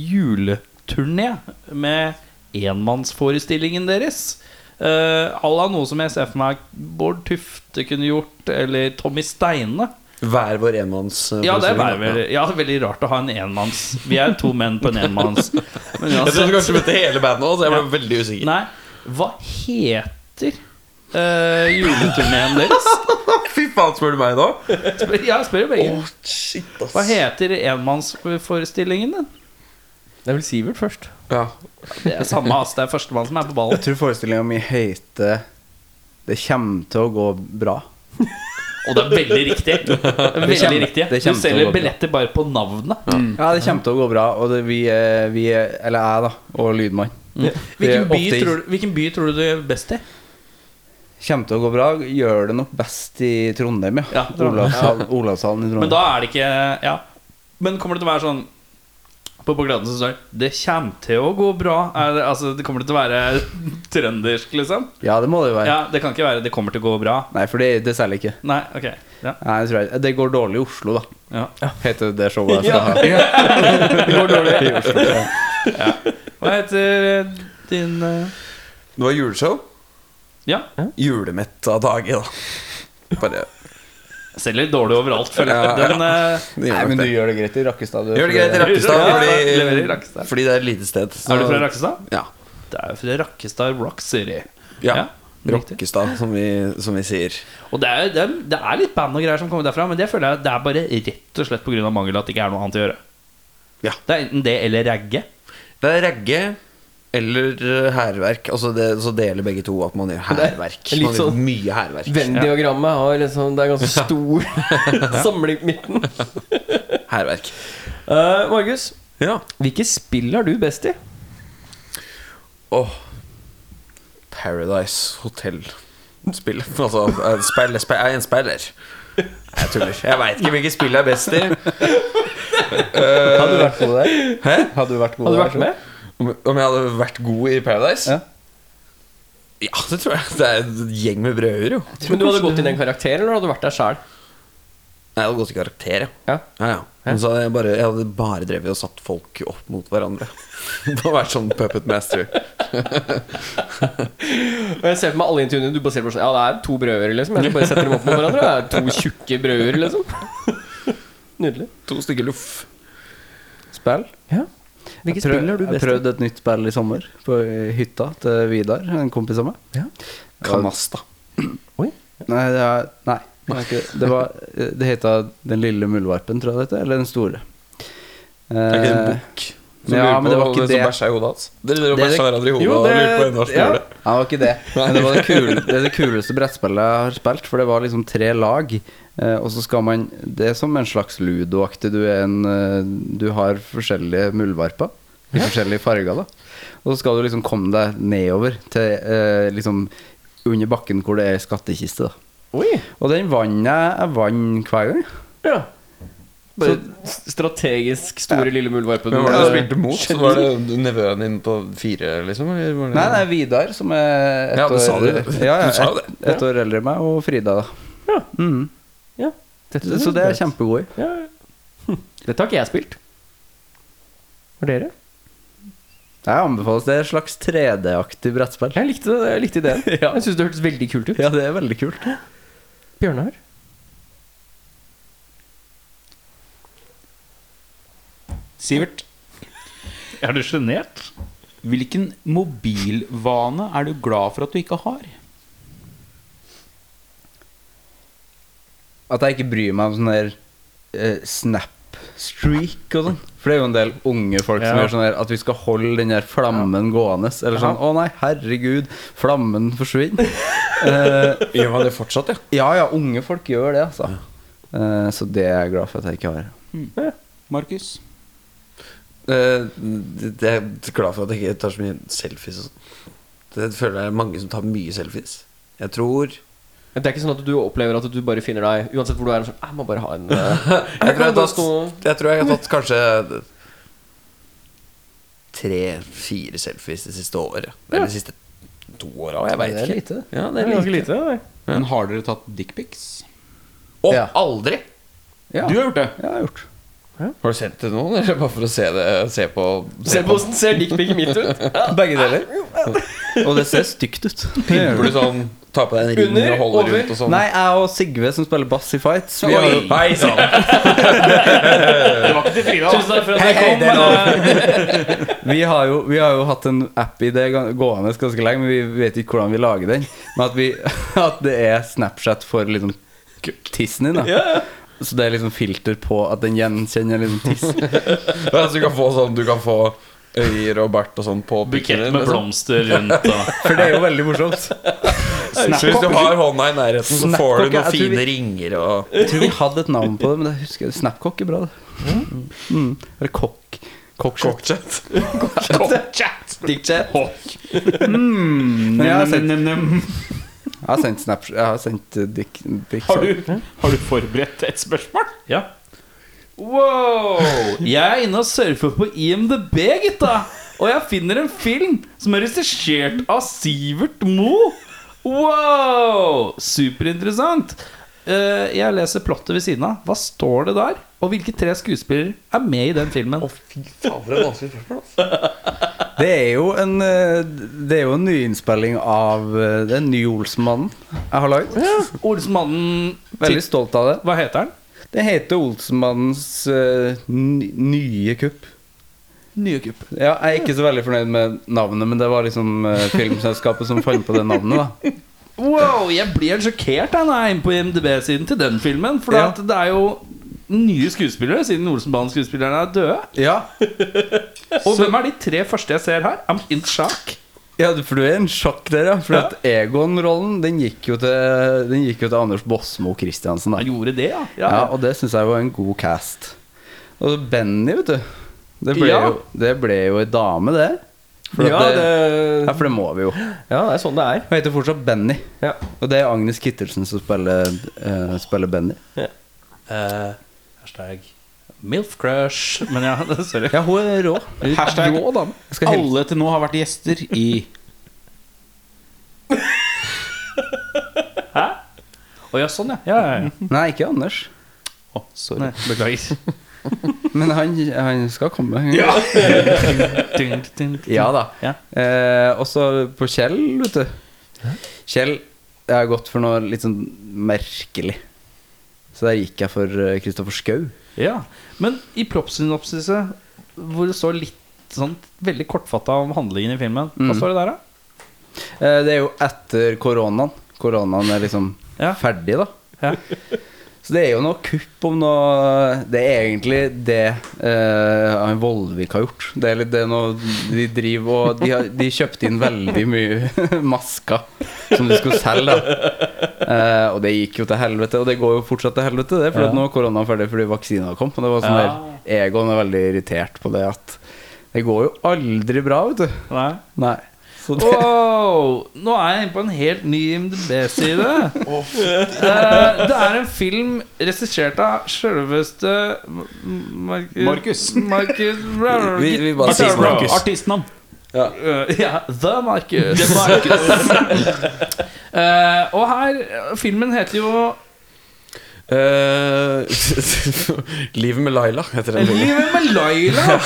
[SPEAKER 2] juleturné med enmannsforestillingen deres. Uh, à la noe som jeg ser for meg Bård Tufte kunne gjort, eller Tommy Steine.
[SPEAKER 7] Hver vår enmanns eh,
[SPEAKER 2] Ja, det er
[SPEAKER 7] forestilling,
[SPEAKER 2] bare
[SPEAKER 7] da.
[SPEAKER 2] veldig, ja, det er veldig rart å ha en enmanns. Vi er to menn på en enmanns. Men
[SPEAKER 7] Jeg
[SPEAKER 2] uansett-
[SPEAKER 7] trodde kanskje du mente hele bandet òg, så jeg ble veldig usikker.
[SPEAKER 2] Nei, hva heter uh, juleturneen deres?
[SPEAKER 7] [LAUGHS] Fy faen, spør du meg nå?
[SPEAKER 2] Spør, ja, spør jo begge.
[SPEAKER 7] shit, ass.
[SPEAKER 2] Hva heter enmannsforestillingen din?
[SPEAKER 1] Det er vel Sivert først.
[SPEAKER 7] Ja.
[SPEAKER 2] Det er samme ass, det er førstemann som er på ballen.
[SPEAKER 8] Jeg tror forestillinga mi heter 'Det kommer til å gå bra'.
[SPEAKER 2] Og det er veldig riktig. Det er Veldig
[SPEAKER 8] kjempe-
[SPEAKER 2] riktig
[SPEAKER 8] det er
[SPEAKER 2] Du
[SPEAKER 8] kjempe-
[SPEAKER 2] selger billetter bare på navnet.
[SPEAKER 8] Ja, det kommer til å gå bra, og det, vi, er- vi er Eller jeg, da. Og lydmann.
[SPEAKER 2] Mm. Hvilken by,
[SPEAKER 8] Det er ofte-
[SPEAKER 2] tror, du- hvilken by tror du du gjør best i?
[SPEAKER 8] Kommer til å gå bra. Gjør det nok best i Trondheim, ja.
[SPEAKER 2] [LAUGHS] Ja, Trondheim.
[SPEAKER 8] Olavshallen, Olavshallen i
[SPEAKER 2] Men
[SPEAKER 8] Trondheim.
[SPEAKER 2] da er det ikke Ja. Men kommer det til å være sånn på plakaten så står det 'Det kommer til å gå bra'. Er det, altså, det kommer til å være [LAUGHS] trøndersk, liksom?
[SPEAKER 8] Ja, det må det jo være.
[SPEAKER 2] Ja, Det kan ikke være 'det kommer til å gå bra'.
[SPEAKER 8] Nei, for det, det selger ikke.
[SPEAKER 2] Nei, ok ja.
[SPEAKER 8] Nei, det, tror jeg. det går dårlig i Oslo, da.
[SPEAKER 2] Ja.
[SPEAKER 8] Heter det
[SPEAKER 2] [LAUGHS]
[SPEAKER 8] showet jeg skal ha. det går dårlig i Oslo. Ja.
[SPEAKER 2] Hva heter eh, din eh,
[SPEAKER 7] Det var juleshow.
[SPEAKER 2] Ja.
[SPEAKER 7] Julemett av dage, da.
[SPEAKER 8] [LAUGHS]
[SPEAKER 7] Bare
[SPEAKER 2] Selger dårlig overalt, føler jeg.
[SPEAKER 7] Ja.
[SPEAKER 2] Den eh,
[SPEAKER 8] Nei, men du
[SPEAKER 7] Gjør
[SPEAKER 8] gjør det greit i Rakkestad. du.
[SPEAKER 7] det greit i Rakkestad,
[SPEAKER 2] Ja, leverer i
[SPEAKER 7] fordi,
[SPEAKER 2] Rakkestad.
[SPEAKER 7] fordi det er et lite sted. så-
[SPEAKER 2] Er du fra Rakkestad?
[SPEAKER 7] Ja.
[SPEAKER 2] Det er jo fra Rakkestad Rock City.
[SPEAKER 7] ja.
[SPEAKER 2] riktig.
[SPEAKER 7] Rokkestad, som vi, som vi sier.
[SPEAKER 2] Og det er, jo- det, er, det er litt band og greier som kommer derfra, men det føler jeg det er bare rett og slett pga. mangel at det ikke er noe annet å gjøre.
[SPEAKER 7] Ja.
[SPEAKER 2] Det er enten det eller ragge.
[SPEAKER 7] Det er ragge eller eh, hærverk. Altså det, så deler begge to at man gjør hærverk.
[SPEAKER 1] litt
[SPEAKER 7] Man gjør
[SPEAKER 1] sånn-
[SPEAKER 7] mye hærverk.
[SPEAKER 1] Venn-diagrammet har liksom Det er ganske
[SPEAKER 7] [LAUGHS]
[SPEAKER 1] stor [LAUGHS] samling på midten.
[SPEAKER 7] Hærverk.
[SPEAKER 1] Eh, Markus,
[SPEAKER 7] Ja.
[SPEAKER 1] hvilke spill er du best i?
[SPEAKER 7] Åh. Paradise Hotel. Spill. [LAUGHS] Altså, eh, spill, spill, jeg er en spiller. Jeg tuller. Jeg veit ikke hvilket spill jeg er best
[SPEAKER 8] [LAUGHS]
[SPEAKER 7] i.
[SPEAKER 8] Hadde du vært god der?
[SPEAKER 7] Hæ?
[SPEAKER 8] Hadde du vært god
[SPEAKER 1] Hadde du
[SPEAKER 8] der?
[SPEAKER 1] vært med?
[SPEAKER 7] Om om jeg hadde vært god i Paradise?
[SPEAKER 8] Ja.
[SPEAKER 7] Ja, det tror jeg. Det er en gjeng med brødhuer, jo.
[SPEAKER 1] Men du hadde gått inn i en karakter, eller hadde du vært deg sjæl?
[SPEAKER 7] Nei, Jeg hadde gått i karakter,
[SPEAKER 1] Ja.
[SPEAKER 7] ja, ja. Men så hadde jeg, bare, jeg hadde bare drevet og satt folk opp mot hverandre. [LAUGHS] Det hadde vært sånn puppet master.
[SPEAKER 1] Og jeg ser for meg alle intervjuene du bare ser på sånn Ja, det er to brødre, liksom. Jeg bare setter dem opp mot
[SPEAKER 7] [LAUGHS]
[SPEAKER 1] hverandre. Det er to tjukke brødre, liksom. Nydelig.
[SPEAKER 7] To stykker loff.
[SPEAKER 8] Spill?
[SPEAKER 1] Ja. Hvilke
[SPEAKER 8] Prøv-
[SPEAKER 1] spill er du
[SPEAKER 8] Jeg
[SPEAKER 1] best i?
[SPEAKER 8] prøvde et nytt spill i sommer på eh, hytta til Vidar, en kompis av meg.
[SPEAKER 1] Ja.
[SPEAKER 7] Kanasta.
[SPEAKER 8] Nei, det er, nei, det, er ikke, det. det var eh, Det heta Den lille muldvarpen, tror jeg det heter. Eller Den store.
[SPEAKER 7] Er ikke det en
[SPEAKER 8] Eh,
[SPEAKER 7] bukk?
[SPEAKER 8] Som ja, lurer men det var på- ikke som det.
[SPEAKER 7] bæsja i hodet hans? Dere drev og
[SPEAKER 8] Det er
[SPEAKER 7] bæsja
[SPEAKER 8] det-
[SPEAKER 7] hverandre i hodet
[SPEAKER 1] Jo,
[SPEAKER 7] og
[SPEAKER 1] det-
[SPEAKER 7] lurte på hvem som
[SPEAKER 1] ja.
[SPEAKER 7] gjorde det?
[SPEAKER 8] Ja, det var ikke det. Men det var det, kule, det, er det kuleste brettspillet jeg har spilt, for det var liksom tre lag. Eh, og så skal man Det er som en slags ludoaktig. Du, er en, eh, du har forskjellige muldvarper i forskjellige farger, da. Og så skal du liksom komme deg nedover til eh, liksom under bakken hvor det er skattkiste, da.
[SPEAKER 1] Oi.
[SPEAKER 8] Og den vant jeg. Jeg vant hver gang.
[SPEAKER 1] Ja. Bare strategisk store lille muldvarpen.
[SPEAKER 7] Hvem var det du spilte mot? Så var det nevøen din på fire, liksom? Eller var det...
[SPEAKER 8] Nei, det er Vidar som er ett
[SPEAKER 7] Ja, du
[SPEAKER 8] år,
[SPEAKER 7] sa det.
[SPEAKER 8] Ja, ja,
[SPEAKER 7] Du sa det.
[SPEAKER 8] ett, ett år eldre enn meg, og Frida, da.
[SPEAKER 1] Ja.
[SPEAKER 8] Mhm.
[SPEAKER 1] Ja. Dette,
[SPEAKER 8] Så det er jeg kjempegod i.
[SPEAKER 1] ja. Hm. [LAUGHS] Dette har ikke jeg spilt. For dere?
[SPEAKER 8] Jeg anbefales det er et slags 3D-aktig brettspill.
[SPEAKER 1] Jeg likte, det, jeg likte ideen.
[SPEAKER 2] [LAUGHS]
[SPEAKER 1] Jeg syns det hørtes veldig kult ut.
[SPEAKER 8] Ja, det er veldig kult.
[SPEAKER 1] Bjørnar?
[SPEAKER 4] Sivert,
[SPEAKER 2] Er du sjenert?
[SPEAKER 4] hvilken mobilvane er du glad for at du ikke har?
[SPEAKER 8] At jeg ikke bryr meg om sånn der eh, snap-streak og sånn. For det er jo en del unge folk som
[SPEAKER 2] Ja.
[SPEAKER 8] gjør sånn der at vi skal holde den der flammen gående. Eller sånn 'Å nei, herregud, flammen forsvinner'.
[SPEAKER 7] Gjør man det fortsatt, ja?
[SPEAKER 8] ja ja, unge folk gjør det, altså. Eh, så det er jeg glad for at jeg ikke har.
[SPEAKER 4] Markus?
[SPEAKER 7] Eh, Jeg er glad for at jeg ikke tar så mye selfies og sånn. Det føler jeg er mange som tar mye selfies. Jeg tror
[SPEAKER 1] Det er ikke sånn at du opplever at du bare finner deg Uansett hvor du er. Sånn, jeg må bare ha en
[SPEAKER 7] Jeg tror jeg har tatt, jeg tror jeg har tatt kanskje tre-fire selfies det siste året. Eller de siste to åra. Jeg veit ikke.
[SPEAKER 8] lite.
[SPEAKER 1] [LAUGHS] Ja, det er ganske lite. det.
[SPEAKER 4] Men har dere tatt dickpics?
[SPEAKER 7] Å,
[SPEAKER 8] Ja.
[SPEAKER 7] aldri!
[SPEAKER 8] Ja.
[SPEAKER 4] Du har gjort det?
[SPEAKER 8] Ja, jeg har gjort.
[SPEAKER 7] Har du sendt det til noen, eller bare for å se, det, se på
[SPEAKER 1] Se på hvordan ser dickpicen mitt ut.
[SPEAKER 8] Begge deler. Og det ser stygt ut.
[SPEAKER 7] Pimper du sånn, tar på deg en ring
[SPEAKER 1] Under,
[SPEAKER 7] og holder
[SPEAKER 1] over.
[SPEAKER 7] rundt og sånn?
[SPEAKER 8] Nei, jeg og Sigve som spiller bass i Fight vi har jo-
[SPEAKER 7] Oi. Hei sann!
[SPEAKER 1] Tusen takk for at
[SPEAKER 7] Hei,
[SPEAKER 1] jeg
[SPEAKER 7] hei,
[SPEAKER 1] kom.
[SPEAKER 7] det er lov.
[SPEAKER 8] Vi har, jo, vi har jo hatt en app i det ga- gående ganske lenge, men vi vet ikke hvordan vi lager den. Men at, vi, at det er Snapchat for liksom k- tissen din, da. Så det er liksom filter på at den gjenkjenner liksom tissen.
[SPEAKER 7] [LAUGHS] Ja, så du kan få sånn Du kan få øyer og bart og sånn på pikken
[SPEAKER 2] Bukett
[SPEAKER 7] din.
[SPEAKER 2] med
[SPEAKER 7] liksom.
[SPEAKER 2] blomster rundt
[SPEAKER 1] [LAUGHS]
[SPEAKER 2] og
[SPEAKER 8] For det er jo veldig morsomt.
[SPEAKER 7] Så hvis du har hånda i nærheten, så får
[SPEAKER 8] Snapcock,
[SPEAKER 7] du
[SPEAKER 8] ja,
[SPEAKER 7] noen
[SPEAKER 8] jeg tror
[SPEAKER 7] fine
[SPEAKER 8] vi-
[SPEAKER 7] ringer og
[SPEAKER 8] Jeg tror vi hadde et navn på det, men det husker jeg Snapcock er bra, det. Mm. Eller kokk. Cockshot.
[SPEAKER 7] cockchat.
[SPEAKER 8] Dickchat. Men jeg har sendt, jeg har sendt Snapchat Jeg har sendt eh, dick, dick
[SPEAKER 4] Har du, har du forberedt et spørsmål?
[SPEAKER 2] Ja. Wow! Jeg er inne og surfer på IMDb, gutta. Og jeg finner en film som er regissert av Sivert Mo. Wow! Superinteressant. Eh, jeg leser plottet ved siden av. Hva står det der? Og hvilke tre skuespillere er med i den filmen?
[SPEAKER 8] Det er jo en eh, Det er jo en nyinnspilling av eh, Det er en ny Olsenmannen jeg har laget.
[SPEAKER 2] Olsmannen
[SPEAKER 8] Veldig stolt av det.
[SPEAKER 2] Hva heter den?
[SPEAKER 8] Det heter Olsenmannens eh, ny- nye kupp.
[SPEAKER 2] Nye kupp.
[SPEAKER 8] Ja, jeg er ikke så veldig fornøyd med navnet, men det var liksom eh, filmselskapet som fant på det navnet. da
[SPEAKER 2] Wow, jeg blir helt sjokkert da, når jeg er inne på IMDb-siden til den filmen. For
[SPEAKER 8] Ja.
[SPEAKER 2] at det er jo nye skuespillere, siden Olsenbanen-skuespillerne er døde.
[SPEAKER 8] Ja,
[SPEAKER 2] [LAUGHS] Og hvem er de tre første jeg ser her? I'm in shock.
[SPEAKER 8] ja for du er en sjakk der, ja. For at Egon-rollen den gikk jo til Den gikk jo til Anders Båsmo Christiansen. da
[SPEAKER 2] Han gjorde det, ja. ja.
[SPEAKER 8] Ja, og det syns jeg var en god cast. Og så Benny, vet du. Det ble,
[SPEAKER 2] Ja.
[SPEAKER 8] jo, det ble jo ei dame, det. For at
[SPEAKER 1] Ja,
[SPEAKER 8] det, ja,
[SPEAKER 1] det,
[SPEAKER 8] for det må vi jo.
[SPEAKER 1] ja, det er sånn det er.
[SPEAKER 8] Hun heter fortsatt Benny.
[SPEAKER 1] Ja.
[SPEAKER 8] Og det er Agnes Kittelsen som spiller, eh, spiller Benny.
[SPEAKER 2] Hashtag MILF crush. Men ja, sorry.
[SPEAKER 8] Ja, hun er rå.
[SPEAKER 4] [LAUGHS] Hashtag
[SPEAKER 8] rå dame. Jeg skal hilse.
[SPEAKER 4] Alle til nå har vært gjester i
[SPEAKER 2] Å ja, sånn, ja. ja, ja, ja.
[SPEAKER 8] Nei, ikke Anders.
[SPEAKER 4] Å, sorry.
[SPEAKER 2] Nei,
[SPEAKER 8] [LAUGHS]
[SPEAKER 2] beklager.
[SPEAKER 8] Men han, han skal komme. [LAUGHS]
[SPEAKER 2] Dun, dun, dun.
[SPEAKER 8] Ja da.
[SPEAKER 2] Ja.
[SPEAKER 8] Eh, og så på Kjell, vet du. Kjell Jeg har gått for noe litt sånn merkelig. Så der gikk jeg for eh, Kristoffer Schou.
[SPEAKER 2] ja. Men i proppsynopsiset, hvor det står litt sånn veldig kortfatta om handlingen i filmen, hva
[SPEAKER 8] Mm.
[SPEAKER 2] står det der, da?
[SPEAKER 8] Eh, Det er jo etter koronaen. Koronaen er liksom
[SPEAKER 2] Ja.
[SPEAKER 8] ferdig, da.
[SPEAKER 2] Ja.
[SPEAKER 8] Så det er jo noe kupp om noe Det er egentlig det eh, han Vollvik har gjort. Det er litt det er noe de driver og De, har, de kjøpte inn veldig mye [LAUGHS] masker som de skulle selge, da. Eh, og det gikk jo til helvete, og det går jo fortsatt til helvete, det. For at nå er koronaen ferdig fordi vaksina kom. Og det var sånn der Egon er veldig irritert på det at Det går jo aldri bra, vet du.
[SPEAKER 2] Nei.
[SPEAKER 8] Nei. Så det,
[SPEAKER 2] Wow! Nå er jeg inne på en helt ny IMDb-side. Eh, det er en film regissert av sjølveste
[SPEAKER 4] Markus.
[SPEAKER 2] Markus
[SPEAKER 8] Vi, vi bare sier
[SPEAKER 4] Artistnavn.
[SPEAKER 8] Markus.
[SPEAKER 4] Artistnavn.
[SPEAKER 2] Eh, ja, The Marcus. [LAUGHS] Eh, og her eh, Filmen heter jo
[SPEAKER 7] [LAUGHS] Eh, Livet med Laila heter den. filmen.
[SPEAKER 2] Livet med Laila.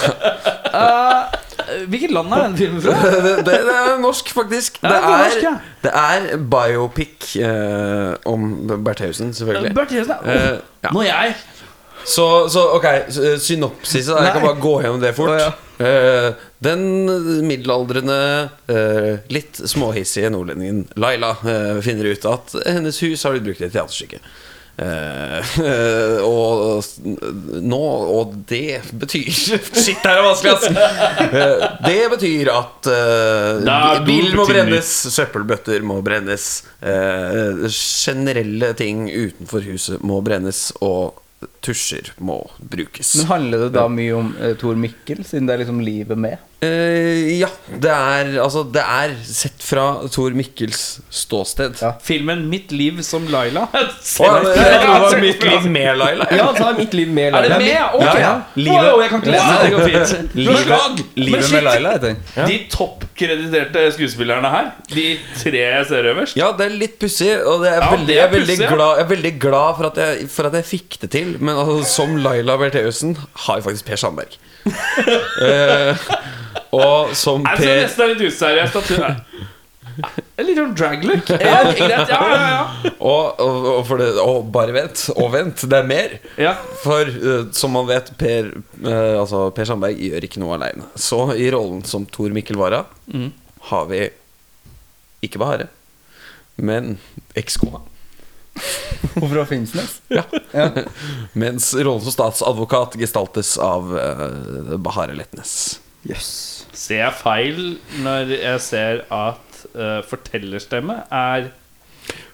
[SPEAKER 2] Eh, hvilket land er den filmen fra?
[SPEAKER 7] det, det, det er norsk, faktisk.
[SPEAKER 2] Ja,
[SPEAKER 7] det,
[SPEAKER 2] det er norsk,
[SPEAKER 7] er,
[SPEAKER 2] ja.
[SPEAKER 7] det er biopic eh, om Bertheussen, selvfølgelig.
[SPEAKER 2] Bert Jørgensen. er-
[SPEAKER 7] Eh, ja.
[SPEAKER 2] Når jeg
[SPEAKER 7] Så, så ok, s- synopsis da. Jeg kan bare gå gjennom det fort. Eh, den middelaldrende, eh, litt småhissige nordlendingen Laila eh, finner ut at hennes hus har blitt brukt i et teaterstykke. Eh, [LAUGHS] og s- nå Og det betyr [LAUGHS] Shit, det her er vanskelig, ass! Eh, det betyr at uh,
[SPEAKER 3] Da-
[SPEAKER 7] bil må
[SPEAKER 3] betyr det.
[SPEAKER 7] brennes, søppelbøtter må brennes, eh, generelle ting utenfor huset må brennes, og tusjer må brukes.
[SPEAKER 8] Men handler det da mye om eh, Tor Mikkel, siden det er liksom livet med?
[SPEAKER 7] Eh, ja, det er Altså, det er sett fra Tor Mikkels ståsted.
[SPEAKER 8] Ja.
[SPEAKER 2] Filmen 'Mitt liv som [LAUGHS] Laila'.
[SPEAKER 7] Å, ja, men jeg tror det var mitt liv med Laila.
[SPEAKER 1] Ja, ta mitt liv med
[SPEAKER 2] Er det
[SPEAKER 1] Laila.
[SPEAKER 2] med? Ok!
[SPEAKER 7] Ja, ja.
[SPEAKER 2] Wow, jeg kan ikke lese det. det. går [LAUGHS] fint.
[SPEAKER 8] Livet, livet med Laila, heter den.
[SPEAKER 3] De toppkrediterte skuespillerne her, de tre jeg ser øverst
[SPEAKER 7] Ja, det er litt pussig, og det er
[SPEAKER 3] Ja,
[SPEAKER 7] veldig,
[SPEAKER 3] det er
[SPEAKER 7] jeg, er veldig
[SPEAKER 3] pussig, ja.
[SPEAKER 7] glad, jeg er veldig glad for at jeg, for at jeg fikk det til. Men altså, som Laila Bertheussen har jeg faktisk Per
[SPEAKER 3] [LAUGHS]
[SPEAKER 7] Sandberg. Eh, og som
[SPEAKER 3] Jeg synes
[SPEAKER 7] Per
[SPEAKER 3] nesten er sånn litt useriøst at
[SPEAKER 2] [LAUGHS]
[SPEAKER 3] hun er En litt sånn draglook. Ja, ok, greit. ja, ja,
[SPEAKER 2] [LAUGHS]
[SPEAKER 3] ja.
[SPEAKER 7] og, og, og, for det, og bare vent, og vent, det er mer.
[SPEAKER 3] ja.
[SPEAKER 7] For eh, som man vet, Per, eh, altså, per Sandberg gjør ikke noe aleine. Så i rollen som Tor Mikkel Wara
[SPEAKER 3] Mm.
[SPEAKER 7] har vi ikke Bahareh, men ekskona.
[SPEAKER 8] Og fra Finnsnes.
[SPEAKER 7] Mens rollen som statsadvokat gestaltes av uh, Bahareh Letnes.
[SPEAKER 3] Ser jeg feil når jeg ser at eh, fortellerstemme er